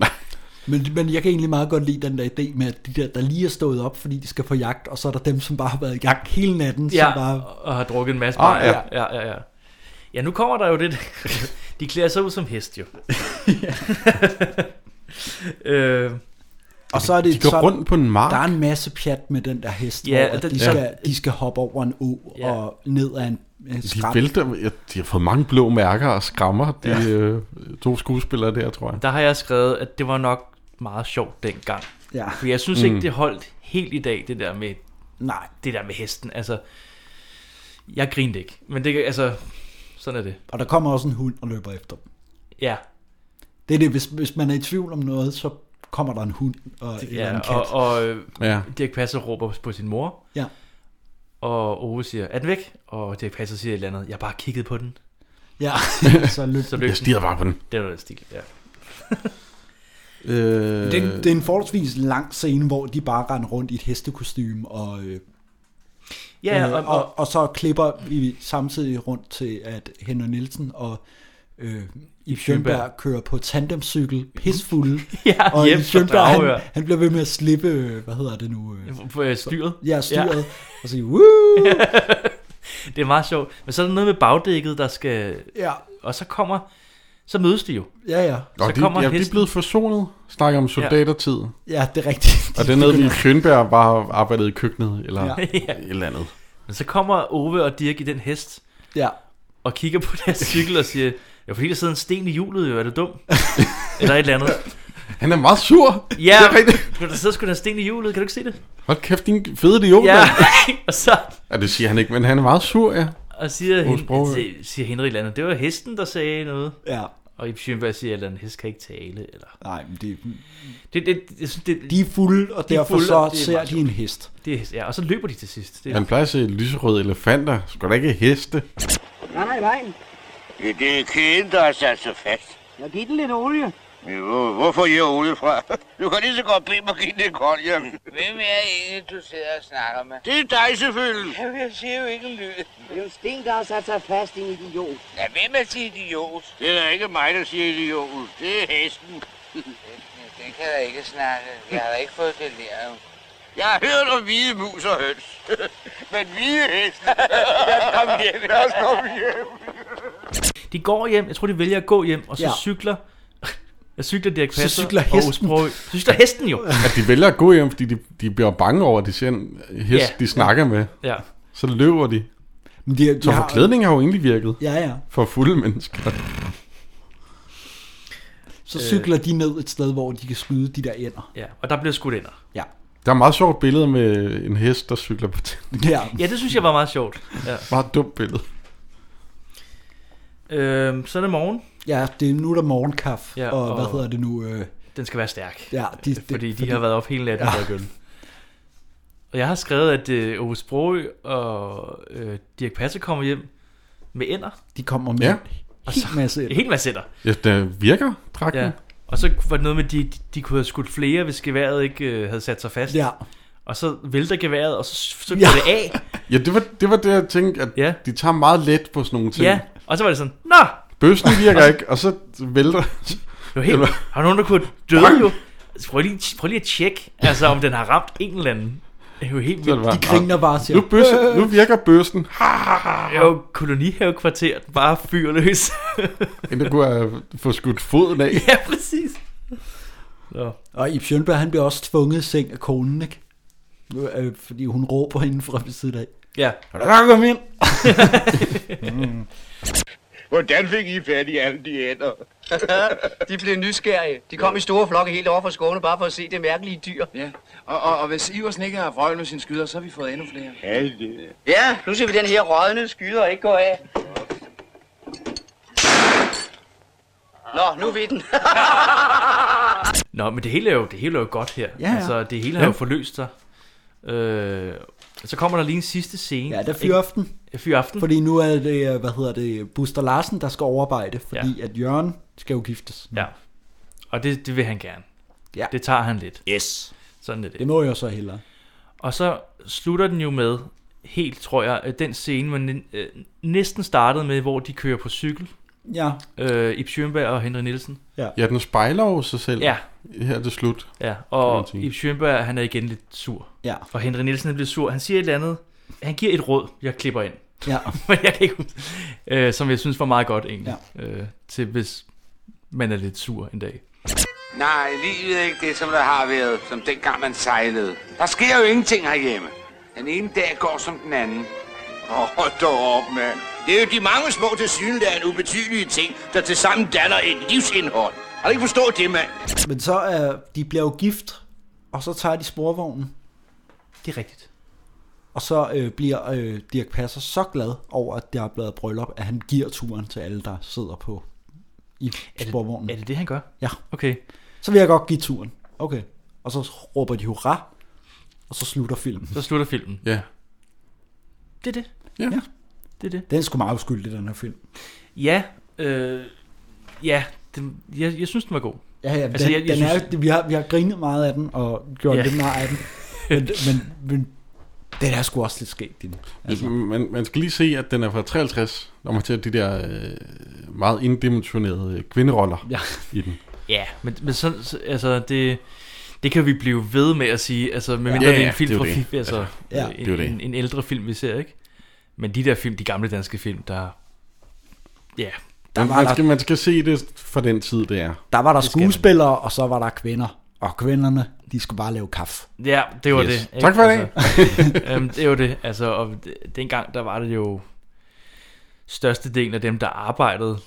S2: Men, men jeg kan egentlig meget godt lide den der idé med, at de der, der lige er stået op, fordi de skal på jagt, og så er der dem, som bare har været i gang hele natten,
S4: ja,
S2: som bare...
S4: og har drukket en masse
S2: Ah,
S4: bajer.
S2: ja.
S4: ja. ja, ja, ja. nu kommer der jo det. (laughs) De klæder sig ud som
S3: (laughs)
S4: hest, jo. (laughs) øh,
S2: Og så er det,
S3: De går
S2: så,
S3: rundt på en mark.
S2: Der er en masse pjat med den der hest,
S4: Ja,
S2: ja, hvor at
S4: den-
S2: de,
S4: ja.
S2: skal, de skal hoppe over en å ja. og ned ad en en
S3: De
S2: skræt.
S3: vælter, ja, de har fået mange blå mærker og skrammer, de ja. øh, to skuespillere der, tror jeg.
S4: der har jeg skrevet, at det var nok meget sjovt dengang.
S2: Ja.
S4: For jeg synes ikke,
S3: Mm.
S4: det holdt helt i dag, det der med,
S2: Nej.
S4: Det der med hesten. Altså, jeg grinte ikke. Men det, kan- altså, sådan er det.
S2: Og der kommer også en hund og løber efter dem.
S4: Ja,
S2: Det er det, hvis, hvis man er i tvivl om noget, så kommer der en hund og en eller
S4: ja
S2: en kat.
S4: og, og øh,
S3: Ja.
S4: Dirk Passer råber på sin mor.
S2: Ja.
S4: Og Ove siger, er den væk? Og Dirk Passer siger et eller andet, jeg har bare kigget på den. (laughs)
S2: Ja, så løb den.
S4: den.
S3: Jeg stirrede bare på den.
S4: Det var den stil, ja.
S3: Øh,
S2: det, er en, det er en forholdsvis lang scene, hvor de bare render rundt i et hestekostyme og... Øh,
S4: Ja,
S2: øh,
S4: og-
S2: og, og, og så klipper vi samtidig rundt til, at Henry Nielsen og øh, Ip Schønberg
S4: Schønberg.
S2: kører på tandemcykel, pisfulde,
S4: (laughs) Ja,
S2: og
S4: hjem
S2: Ip
S4: fra
S2: Schønberg,
S4: Dragør.
S2: han, han bliver ved med at slippe, øh, hvad hedder det nu? Øh,
S4: På, øh, styret.
S2: Ja, styret,
S4: Ja.
S2: ja. og
S5: (laughs)
S2: sige, woo!
S4: Det er meget sjovt. Men så er der noget med bagdækket, der skal...
S2: Ja.
S4: Og så kommer... Så mødes de jo.
S2: Ja, ja.
S3: Nå,
S4: så
S3: de,
S4: kommer
S3: ja, de er
S4: hesten.
S3: blevet forsonet. Snakker om soldatertid.
S2: Ja, det er rigtigt.
S3: Og det er noget, vi Schønberg bare har arbejdet i køkkenet, eller
S4: Ja.
S3: ja.
S4: (laughs) Ja.
S3: (laughs) et eller andet.
S4: Men så kommer Ove og Dirk i den hest.
S2: Ja.
S4: Og kigger på
S3: (laughs)
S4: deres cykel og siger, ja, fordi der sidder en sten i hjulet, jo, er du
S2: (laughs)
S4: dum? eller et eller andet.
S3: Han er meget sur.
S4: Ja,
S3: Det er rigtigt.
S4: (laughs) men der sidder sgu da en sten i hjulet, kan du ikke se det?
S3: Hold kæft, din fede idiot,
S4: Ja,
S3: mand.
S4: (laughs) og så...
S3: Ja, det siger han ikke, men han er meget sur, ja.
S4: Og siger,
S3: Hos
S4: hen,
S3: Brohøj.
S4: til- siger Henrik et eller andet, det var hesten, der sagde noget.
S2: Ja.
S4: Og i Sjønberg siger et eller andet, hest kan ikke tale. Eller...
S2: Nej, men det,
S4: det, det, jeg synes, det
S2: De er fulde, og
S4: de er
S2: derfor
S4: fulde,
S2: så
S4: og det er
S2: ser
S4: meget
S2: de
S4: sjovt.
S2: en hest.
S4: Det er hest, ja. Og så løber de til sidst. Det er,
S3: Han plejer at se lyserøde elefanter. Skal da ikke heste?
S19: Nej, nej, vejen.
S8: Ja, det er kæden, der har sat sig fast.
S19: Jeg giver den lidt olie.
S8: Men hvor- Hvorfor jeg olie fra? Du kan lige så godt bede mig at give det kold, jamen.
S19: Hvem er egentlig, du sidder og snakker med?
S8: Det er dig selvfølgelig.
S19: Jamen, jeg siger jo ikke en lyd. Det er jo Sten, der har sat sig fast i en idiot. Ja, hvem er til idiot?
S8: Det er da ikke mig, der siger idiot. Det er hesten.
S19: Den kan da ikke snakke. (laughs) Jeg har da ikke fået det lært.
S8: Jeg har hørt om hvide mus og høns. (laughs) Men hvide
S19: (laughs)
S8: hesten. Lad os komme hjem. Lad os komme hjem.
S4: De går hjem, jeg tror de vælger at gå hjem, og så
S8: Ja.
S4: ja. cykler... Jeg cykler Dirk
S2: Så
S4: Passer.
S2: cykler
S4: og
S2: hesten.
S4: Sprogøe. Så cykler hesten jo.
S3: At de vælger at gå hjem, fordi de, de bliver bange over, at de ser en hest,
S4: Ja.
S3: de snakker med.
S4: Ja.
S3: Så løber de.
S2: Men de, de
S3: så
S2: har-
S3: forklædning har jo egentlig virket.
S2: Ja, ja.
S3: For fulde mennesker.
S2: Så
S4: Øh.
S2: cykler de ned et sted, hvor de kan skyde de der ender.
S4: Ja, og der bliver skudt ender.
S2: Ja.
S3: Der er meget sjovt billede med en hest, der cykler på tænding.
S2: Ja.
S4: Ja, det synes jeg var meget sjovt. Ja.
S3: Meget dumt billede.
S4: Øhm, så er det morgen.
S2: Ja, det er nu er der morgenkaffe,
S4: Ja,
S2: ja, og, og hvad
S4: og-
S2: hedder det nu? Øh,
S4: Den skal være stærk. Øh,
S2: Ja, de- det-
S4: fordi de
S2: fordi-
S4: har været op hele natten ja.
S2: Ja.
S4: og Og jeg har skrevet, at øh, Ove Sprogø og øh, Dirk Passe kommer hjem med ender.
S2: de kommer med
S4: Ja.
S2: ja. en hel masse
S4: En hel masse ender.
S3: Ja, der virker dragten.
S4: Ja. Og så var det noget med, at de, de, de kunne have skudt flere, hvis geværet ikke øh, havde sat sig fast.
S2: Ja.
S4: Og så vælter geværet, og så søgte ja. det af.
S3: Ja, det var det, var det jeg tænkte, at ja. de tager meget let på sådan nogle ting.
S4: Ja, og så var det sådan, Nå!
S3: Bøssen virker ikke, og så vælter... Det
S4: var helt, har nogen, der kunne have døde jo. Altså, Prøv lige, prøv lige at tjekke, altså, om den har ramt en eller anden. Det er jo helt vildt.
S3: bare, nu, bøsse, nu virker bøssen.
S4: Det er jo kolonihavekvarteret, bare fyrløs.
S3: Inden der kunne have få skudt foden af.
S4: (laughs) ja, præcis. Nå.
S2: Og Ip Schønberg, han bliver også tvunget i seng af konen, ikke? Nu, øh, Fordi hun råber indenfra ved siden af.
S4: Ja.
S2: Og der kom
S4: (laughs)
S2: ind!
S4: Mm.
S8: Hvordan fik I fat i alle de ænder?
S11: (laughs) de blev nysgerrige. De kom i store flokke helt over fra Skåne, bare for at se det mærkelige dyr.
S5: Ja, og, og, og hvis Iversen ikke har vrøvl med sin skyder, så har vi fået endnu flere.
S8: Ja, det...
S11: Ja, nu ser vi den her rådne skyder ikke gå af. Nå, nu ved (laughs) den.
S4: Nå, men det hele er jo, det hele er jo godt her.
S11: Ja, ja.
S4: Altså, det hele har
S11: Ja.
S4: jo forløst sig. Øh, så kommer der lige en sidste scene.
S2: Ja, der er fyraften.
S4: Fyraften.
S2: Fordi nu er det, øh, hvad hedder det, Buster Larsen, der skal overarbejde, fordi ja. at Jørgen skal jo giftes.
S4: Ja. Og det, det vil han gerne.
S2: Ja.
S4: Det tager han lidt.
S2: Yes.
S4: Sådan er det.
S2: Det må jeg så hellere.
S4: Og så slutter den jo med, helt tror jeg, at den scene, man øh, næsten startede med, hvor de kører på cykel.
S2: Ja.
S4: Øh, Ib Schønberg og Henry Nielsen.
S3: Ja, den spejler jo sig selv.
S4: Ja.
S3: Her til slut.
S4: Ja,
S3: kan man
S4: og
S3: sige.
S4: Ib Schønberg, han er igen lidt sur.
S2: Ja.
S4: Og Henry Nielsen er blevet sur. Han siger et eller andet. Han giver et råd, jeg klipper ind.
S2: Ja.
S4: (laughs) Men jeg kan ikke huske. Øh, som jeg synes var meget godt egentlig. Ja. Øh, til hvis man er lidt sur en dag.
S15: Nej, livet er ikke det, som der har været, som dengang man sejlede. Der sker jo ingenting herhjemme. Den ene dag går som den anden.
S8: Åh, hold dog op, mand. Det er jo de mange små tilsyneladende ubetydelige ting, der tilsammen danner et livsindhold. Har du ikke forstået det, mand?
S2: Men så er, de bliver jo gift, og så tager de sporvognen.
S4: Det er rigtigt.
S2: Og så øh, bliver øh, Dirk Passer så glad over, at der er blevet bryllup, at han giver turen til alle, der sidder på i sporvognen. Er
S4: det det, han gør?
S2: Ja.
S4: Okay.
S2: Så vil jeg godt give turen. Okay. Og så råber de hurra, og så slutter filmen.
S4: Så slutter filmen.
S3: Ja.
S4: Det er det.
S3: Ja. ja.
S4: Det er det.
S2: Den er sgu meget uskyldig, den her film.
S4: Ja, øh, ja den, jeg, jeg synes, den var god.
S2: Ja, ja, altså, den, jeg, jeg den synes... er, vi, har, vi har grinet meget af den, og gjort
S4: Ja.
S2: ja. lidt
S4: (laughs)
S2: meget af den. Men, men, men den er sgu også lidt skægt, din.
S3: Altså. Man, man skal lige se, at den er fra 53, når man ser de der øh, meget indimensionerede kvinderoller
S4: Ja.
S3: i den.
S4: Ja, men, men så, så- altså, det, det kan vi blive ved med at sige, altså, med
S3: Ja,
S4: mindre
S3: ja,
S4: det er
S3: ja,
S4: en film
S3: det er jo
S4: fra
S3: det.
S4: FIFA, altså,
S3: Altså, ja,
S4: øh,
S3: det er jo
S4: en,
S3: det.
S4: en, en ældre film, vi ser, ikke? Men de der film, de gamle danske film, der, ja,
S3: Der man, man, skal, man skal se det fra den tid, det er.
S2: Der var der skuespillere, og så var der kvinder. Og kvinderne, de skulle bare lave kaffe.
S4: Ja, det var
S2: Yes.
S4: det. ikke?
S2: Tak for i dag.
S4: Altså, (laughs) øhm, det var det. Altså, og d- dengang, der var det jo størstedelen af dem, der arbejdede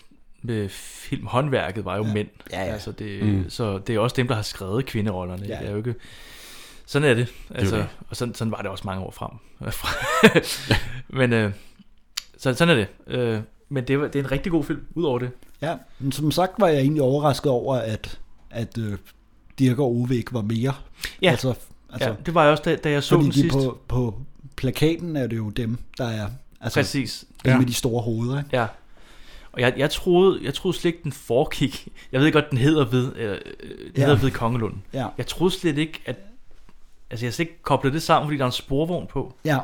S4: med filmhåndværket, var jo ja. mænd. Ja, ja. Altså, det, mm.
S3: Mm.
S4: Så det er også dem, der har skrevet kvinderollerne. Ja.
S3: Ja.
S4: Det er jo ikke... Sådan er det.
S3: er
S4: Altså, det
S3: det.
S4: (laughs) Og sådan, sådan var det også mange år frem. Men øh, Så sådan er det. Øh, men det, var- det er en rigtig god film, udover det.
S2: Ja, men som sagt var jeg egentlig overrasket over, at, at øh, Dirk og Ove ikke var mere.
S4: Ja. Ja, det var jeg også, da- da jeg så
S2: Altså, fordi
S4: den
S2: de
S4: sidst.
S2: På, på plakaten er det jo dem, der er... Altså,
S4: Præcis.
S2: Dem
S4: Ja.
S2: med de store hoveder, ikke?
S4: Ja. Og jeg, jeg, troede, jeg troede slet ikke, den foregik. Jeg ved godt, den hedder ved, øh, den
S2: Ja.
S4: hedder ved Kongelunden.
S2: Ja.
S4: Jeg troede slet ikke, at... Altså, jeg har slet ikke koblet det sammen, fordi der er en sporvogn på.
S2: Ja.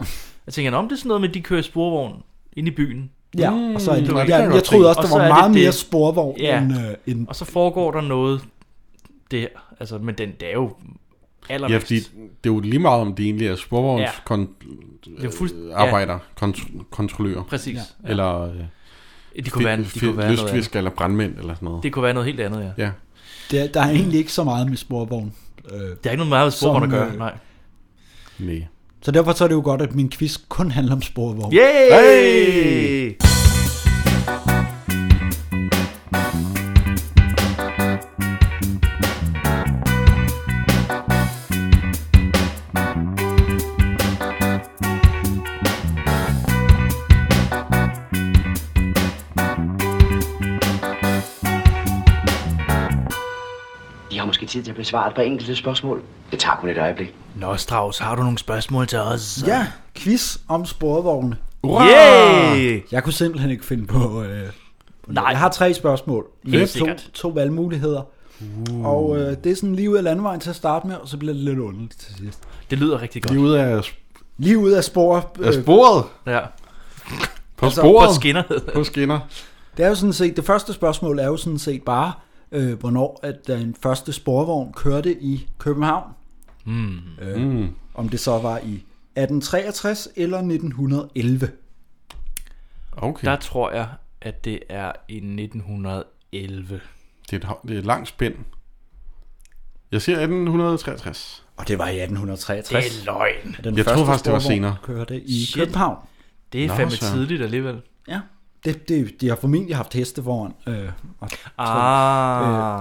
S4: Jeg tænker, om det er sådan noget med, at de kører i sporvogn ind i byen.
S2: Ja,
S3: Mm.
S2: og så er det-
S4: Du ved,
S2: ja,
S4: det kan
S2: jeg
S4: godt
S2: troede
S4: se.
S2: også, der
S4: så
S2: var
S4: er det
S2: meget
S4: det.
S2: mere sporvogn
S4: ja.
S2: end, øh, end-
S4: Og så foregår der noget der. Altså, men den det er jo
S3: Ja,
S4: allermest...
S3: fordi det er jo lige meget, om det egentlig er sporvogns
S4: Ja.
S3: ja. kon-
S4: Det er fuldst-
S3: øh, arbejder, ja. kont- kontrollører.
S4: Præcis, Ja. ja.
S3: Eller øh,
S4: De kunne være- de kunne være noget
S3: lystfisker
S4: andet.
S3: eller brandmænd eller sådan noget.
S4: Det kunne være noget helt andet, ja.
S3: ja.
S2: Der, der er egentlig ikke så meget med sporvogn. Øh, der er
S4: ikke noget meget med sporvogn at
S2: øh,
S4: gøre, nej.
S3: Nej.
S2: Så derfor så er det jo godt, at min quiz kun handler om sporvogn.
S4: Yay! Hey!
S11: I har måske tid til at besvare et par enkelte spørgsmål. Det tager kun et øjeblik.
S4: Nå, Strauss, har du nogle spørgsmål til os?
S2: Ja, quiz om sporvogne.
S4: Hurra! Yay!
S2: Jeg kunne simpelthen ikke finde på... Øh, på
S4: Nej.
S2: noget. Jeg har tre spørgsmål.
S4: Helt
S2: Med to,
S4: sikkert.
S2: to valgmuligheder. Uh. Og øh, det er sådan lige ud af landevejen til at starte med, og så bliver det lidt underligt til sidst.
S4: Det lyder rigtig godt.
S3: Lige ud af...
S2: Lige ud af spor...
S3: Af sporet?
S4: Ja.
S3: På sporet?
S4: På skinner.
S3: På skinner.
S2: Altså, Det er jo sådan set, det første spørgsmål er jo sådan set bare, øh, hvornår at den første sporvogn kørte i København.
S4: Mm.
S7: 嗯
S2: Øh, mm. Om det så var i 1863 eller 1911.
S3: Okay.
S4: Der tror jeg, at det er i 1911.
S3: Det er et, ho- det er et langt spænd. Jeg siger 1863.
S2: Og det var i
S4: Det er løgn.
S2: Den
S3: jeg troede faktisk,
S2: første
S3: det var
S2: sporvogn
S3: senere.
S2: Kørte i
S4: Shit.
S2: Shit. København.
S4: Det er
S2: Nå,
S4: fandme
S2: så.
S4: tidligt alligevel.
S2: Ja. Det, det, de har formentlig haft heste foran. Øh, og, øh,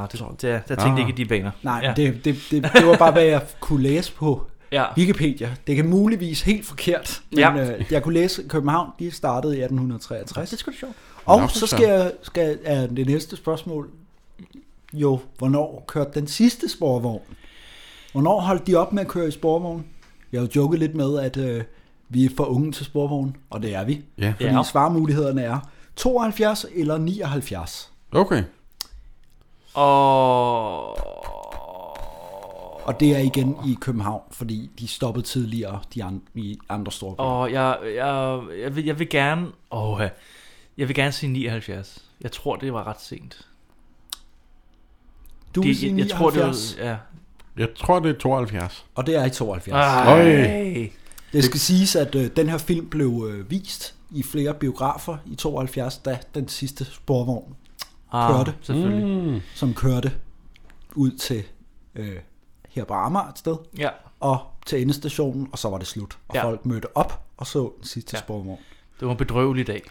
S4: Ah, det- det- jeg tænkte ikke i de baner.
S2: Nej,
S4: Ja.
S2: ja. det, det, det, det var bare, hvad jeg kunne læse på
S4: Ja.
S2: Wikipedia. Det kan muligvis helt forkert, men
S4: Ja.
S2: ja. øh, jeg kunne læse, at København de startede i 1863. Det
S4: er sgu da sjovt.
S2: Og
S4: Nå, for
S2: så skal,
S4: søren.
S2: jeg, skal er det næste spørgsmål jo, hvornår kørte den sidste sporvogn? Hvornår holdt de op med at køre i sporvogn? Jeg har jo joket lidt med, at øh, vi er for unge til sporvogn, og det er vi.
S3: Ja.
S2: Fordi
S3: Ja.
S2: svarmulighederne er 72 eller 79.
S3: Okay.
S4: Og...
S2: Og det er igen i København, fordi de stoppede tidligere de andre, i andre store byer.
S4: Og jeg, jeg, jeg, vil, jeg vil gerne... Åh, ja. jeg vil gerne sige 79. Jeg tror, det var ret sent.
S2: Du vil
S4: Det-
S2: sige
S4: jeg, jeg tror, det var,
S2: 79.
S4: ja.
S3: Jeg tror, det er 72.
S2: Og det er i 72.
S4: Ej.
S3: Øj.
S2: Det skal siges, at øh, den her film blev øh, vist i flere biografer i 72, da den sidste sporvogn
S4: Ah,
S2: kørte.
S4: selvfølgelig.
S2: Mm. Som kørte ud til øh, her på Amager et sted.
S4: Ja.
S2: Og til endestationen, og så var det slut. Og
S4: Ja.
S2: ja. folk mødte op og så den sidste
S4: Ja.
S2: ja. sporvogn.
S4: Det var en bedrøvelig dag.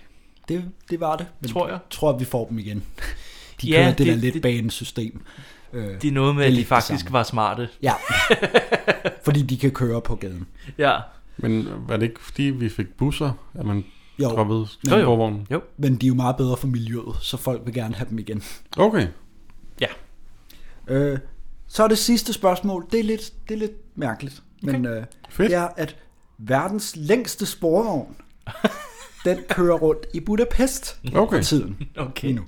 S2: Det, det var det. Men
S4: Tror jeg.
S2: tror, at vi får dem igen. De
S4: Ja,
S2: kører ja, det, det der
S4: det-
S2: lidt banesystem. Øh,
S4: Det er noget med,
S2: er
S4: at de
S2: lidt det
S4: faktisk
S2: samme.
S4: var smarte.
S2: Ja. (laughs) Fordi de kan køre på gaden.
S4: Ja.
S3: Men var det ikke, fordi vi fik busser, at man
S2: Jo.
S3: droppede
S2: Jo, jo.
S3: sporvognen?
S4: Jo.
S2: Men de er jo meget bedre for miljøet, så folk vil gerne have dem igen.
S3: Okay.
S4: Ja.
S2: Øh, så er det sidste spørgsmål. Det er lidt, det er lidt mærkeligt. Men øh, det er, at verdens længste
S4: (laughs)
S2: sporvogn, den kører rundt i Budapest
S3: Okay.
S2: for tiden.
S4: Okay.
S2: lige Nu.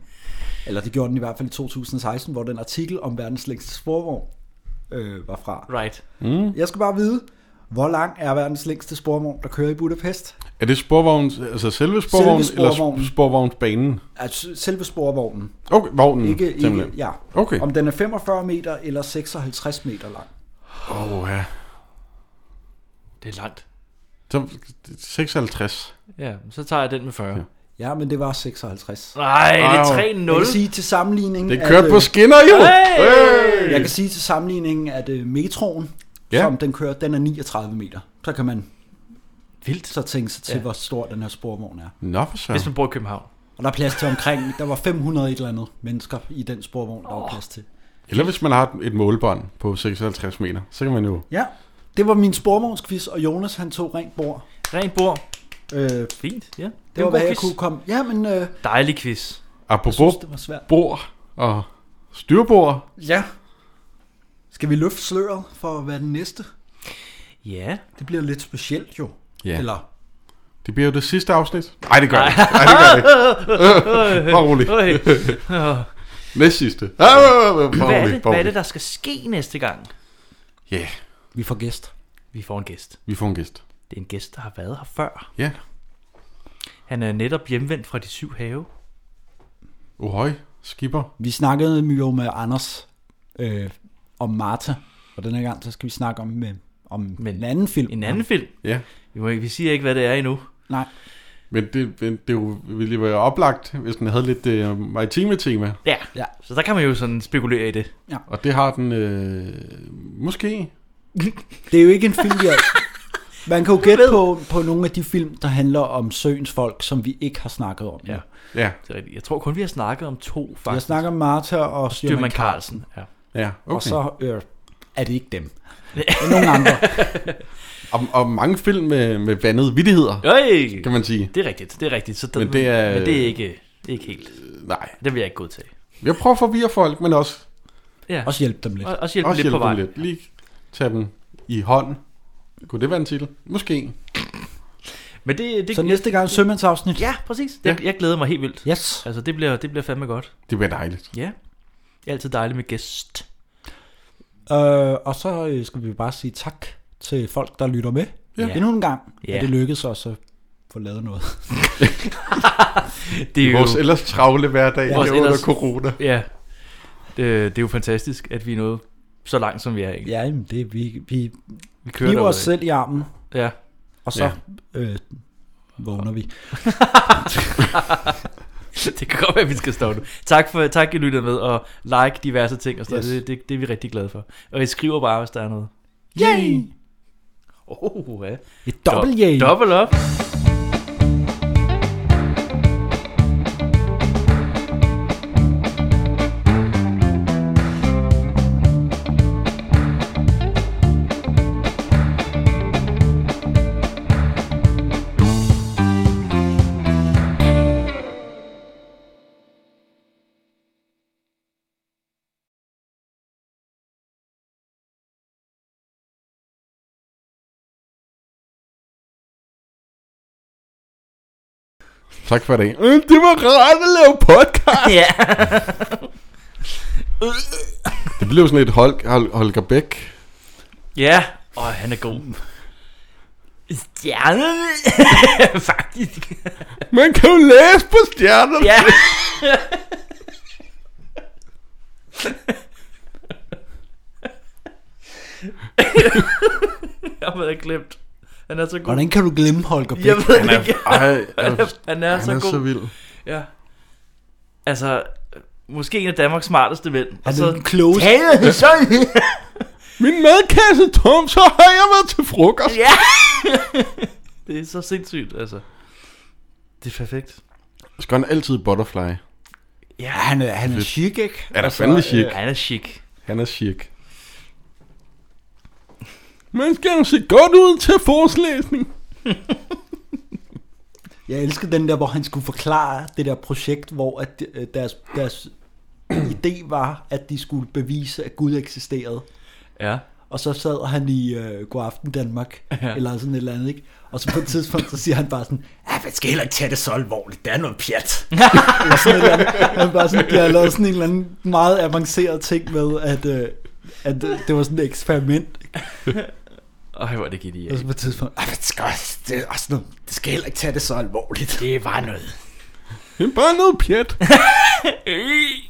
S2: Eller det gjorde den i hvert fald i 2016, hvor den artikel om verdens længste sporvogn øh, var fra.
S4: Right.
S3: Mm.
S2: Jeg skal bare vide, hvor lang er verdens længste sporvogn, der kører i Budapest?
S3: Er det sporvogns, altså selve sporvognen,
S2: Selve sporvognen.
S3: eller sp- sporvognsbanen?
S2: Altså selve sporvognen.
S3: Okay, vognen,
S2: Ikke, ikke,
S3: simpelthen.
S2: ja.
S3: Okay.
S2: Om den er 45 meter eller 56 meter lang.
S3: Åh, oh, ja.
S4: Det er langt.
S3: Så 56.
S4: Ja, så tager jeg den med 40.
S2: Ja, men det var 56.
S4: Nej, det er 3-0.
S2: Jeg kan sige til sammenligning...
S3: Det
S2: at,
S3: kørte
S2: øh,
S3: på skinner, jo!
S2: Hey!
S3: Hey!
S2: Jeg kan sige til sammenligning, at øh, metroen,
S3: Ja.
S2: ja. som den kører, den er 39 meter. Så kan man
S4: Vildt.
S2: så tænke sig til,
S4: Ja.
S2: ja. hvor stor den her sporvogn er.
S3: Nå, for søren.
S4: Hvis man bor i København.
S2: Og der er plads til omkring, der var 500 et eller andet mennesker i den sporvogn, der var plads til.
S3: Eller hvis man har et målbånd på 56 meter, så kan man jo...
S2: Ja, det var min sporvognsquiz, og Jonas han tog rent bord.
S4: Rent bord.
S2: Øh,
S4: Fint, ja. en
S2: Det var,
S4: god
S2: hvad jeg
S4: quiz.
S2: kunne komme... Ja, men... Øh,
S4: Dejlig quiz.
S3: Apropos
S2: Jeg synes, det var svært.
S3: bord og styrbord.
S2: ja. Skal vi løfte sløret for at være den næste?
S4: Ja.
S2: Det bliver lidt specielt jo.
S3: Ja.
S2: Eller...
S3: Det bliver jo det sidste afsnit. Nej, det gør det ikke. Nej, det gør det ikke. Øh, Bare rolig.
S4: Øj.
S3: Næst sidste. Øh, Bare
S4: Hvad
S3: rolig.
S4: er,
S3: bare
S4: det, hvad er
S3: rolig.
S4: det, der skal ske næste gang?
S3: Ja, yeah,
S2: Vi får gæst.
S4: Vi får en gæst.
S3: vi får en gæst.
S4: Det er en gæst, der har været her før.
S3: Ja.
S4: Han er netop hjemvendt fra de syv have.
S3: Ohøj, skipper.
S2: Vi snakkede jo med Anders øh, om Marta, og den her gang, så skal vi snakke om, med, om med en anden film.
S4: En anden film?
S3: Ja.
S4: Vi, må ikke, vi siger ikke, hvad det er endnu.
S2: Nej.
S3: Men det, men det jo- ville jo være oplagt, hvis den havde lidt øh, maritime tema.
S4: Ja. ja. Så der kan man jo sådan spekulere i det.
S2: Ja.
S3: Og det har den øh, måske.
S2: Det er jo ikke en film, jeg...
S4: (laughs)
S2: Man kan jo gætte på, på nogle af de film, der handler om søens folk, som vi ikke har snakket om.
S4: Ja.
S3: Ja.
S4: Det er rigtigt. Jeg tror kun, vi har snakket om to, faktisk.
S2: Vi har snakket om Martha og
S4: Styrman
S2: Styrman
S4: Carlsen.
S2: Carlsen.
S4: Ja.
S3: Ja, okay.
S2: Og så øh, er det ikke dem. Det er nogle andre.
S3: og, og mange film med, med vandede vittigheder,
S4: Øj!
S3: kan man sige.
S4: Det er rigtigt, det er rigtigt. Så
S3: Men det er- Øh,
S4: men det er ikke, ikke helt.
S3: Nej.
S4: Det vil jeg ikke godtage.
S3: Jeg prøver at forvirre folk, men også...
S4: Ja.
S2: Også hjælpe dem lidt.
S4: Og- også hjælpe dem lidt på vej.
S3: Lige tage dem i hånden. Kunne det være en titel? Måske.
S4: (laughs) Men det, det,
S2: Så næste gang sømandsafsnit.
S4: Ja, præcis. Jeg, jeg glæder mig helt vildt.
S2: Yes.
S4: Altså, det bliver, det bliver fandme godt.
S3: Det bliver dejligt.
S4: Ja. Det er altid dejligt med gæst.
S2: Øh, og så øh, skal vi bare sige tak til folk, der lytter med.
S4: Ja.
S2: Ja. Endnu en gang.
S4: Ja.
S2: Ja. Og det lykkedes os at få lavet noget.
S4: (laughs) Det er
S3: Vores
S4: jo-
S3: ellers travle hverdag
S4: Vores
S3: her under corona.
S4: Ja. Det, det er jo fantastisk, at vi er nået så langt, som vi er. Ikke?
S2: ja, jamen, det, vi, vi,
S4: Vi
S2: vi
S4: kører
S2: kniver os
S4: derudad.
S2: selv i armen.
S4: Ja.
S2: Og så
S4: Ja.
S2: ja. øh, vågner vi.
S4: (laughs) det kan godt være, at vi skal stoppe nu. Tak, for, tak I lyttede med, og like diverse ting. Og sådan yes.
S2: Yes.
S4: det, det, det, er vi rigtig glade for. Og I skriver bare, hvis der er noget.
S2: Yay!
S4: Oh, ja.
S2: Et dobbelt yay.
S4: Dobbelt op.
S2: (laughs)
S3: Tak for i dag. Øh, Det var rart at lave podcast.
S4: Ja.
S3: det blev sådan et Hol- Hol- Holger Bæk.
S4: Ja. Åh, oh, han er god. Stjernerne. (laughs) Faktisk.
S3: Man kan jo læse på stjernerne.
S4: Ja. jeg havde glemt. Han er så god.
S2: Hvordan kan du glemme Holger Bech?
S4: Jeg ved han
S2: Han er-
S4: er, ikke.
S2: ej, altså,
S4: han, er, han
S2: han
S4: er
S2: er
S4: så god.
S2: så vild.
S4: Ja. Altså, måske en af Danmarks smarteste mænd. Altså, Han
S2: er den klogeste.
S4: Taler så
S3: (laughs) Min madkasse er tom, så har jeg været til frokost.
S4: Ja. Det er så sindssygt, altså. Det er perfekt.
S3: Skal han altid butterfly?
S4: Ja,
S2: han er, han er
S3: Fedt.
S2: chic, ikke?
S3: Er der
S2: Altså,
S3: fandme chic?
S4: Han er chic.
S3: Han er chic. Man skal jo se godt ud til forelæsning.
S2: (laughs) Jeg elsker den der, hvor han skulle forklare det der projekt, hvor at øh, deres, deres (clears throat) idé var, at de skulle bevise, at Gud eksisterede.
S4: Ja.
S2: Og så sad han i øh, God Aften Danmark,
S4: Ja.
S2: ja. eller sådan et eller andet, ikke? Og så på et tidspunkt, så siger han bare sådan, ja, man skal heller ikke tage det så alvorligt, det er noget pjat. eller sådan et eller andet. Han bare sådan, de har lavet sådan en eller anden meget avanceret ting med, at, øh, at øh, det var sådan et eksperiment. ikke?
S4: Ej, hvor er det genialt.
S2: Og så på et tidspunkt, "Ej, men det skal, også- det, er også noget, det skal heller ikke tage det så alvorligt.
S4: (laughs) Det var noget.
S3: Det er bare noget pjat.
S4: Øh.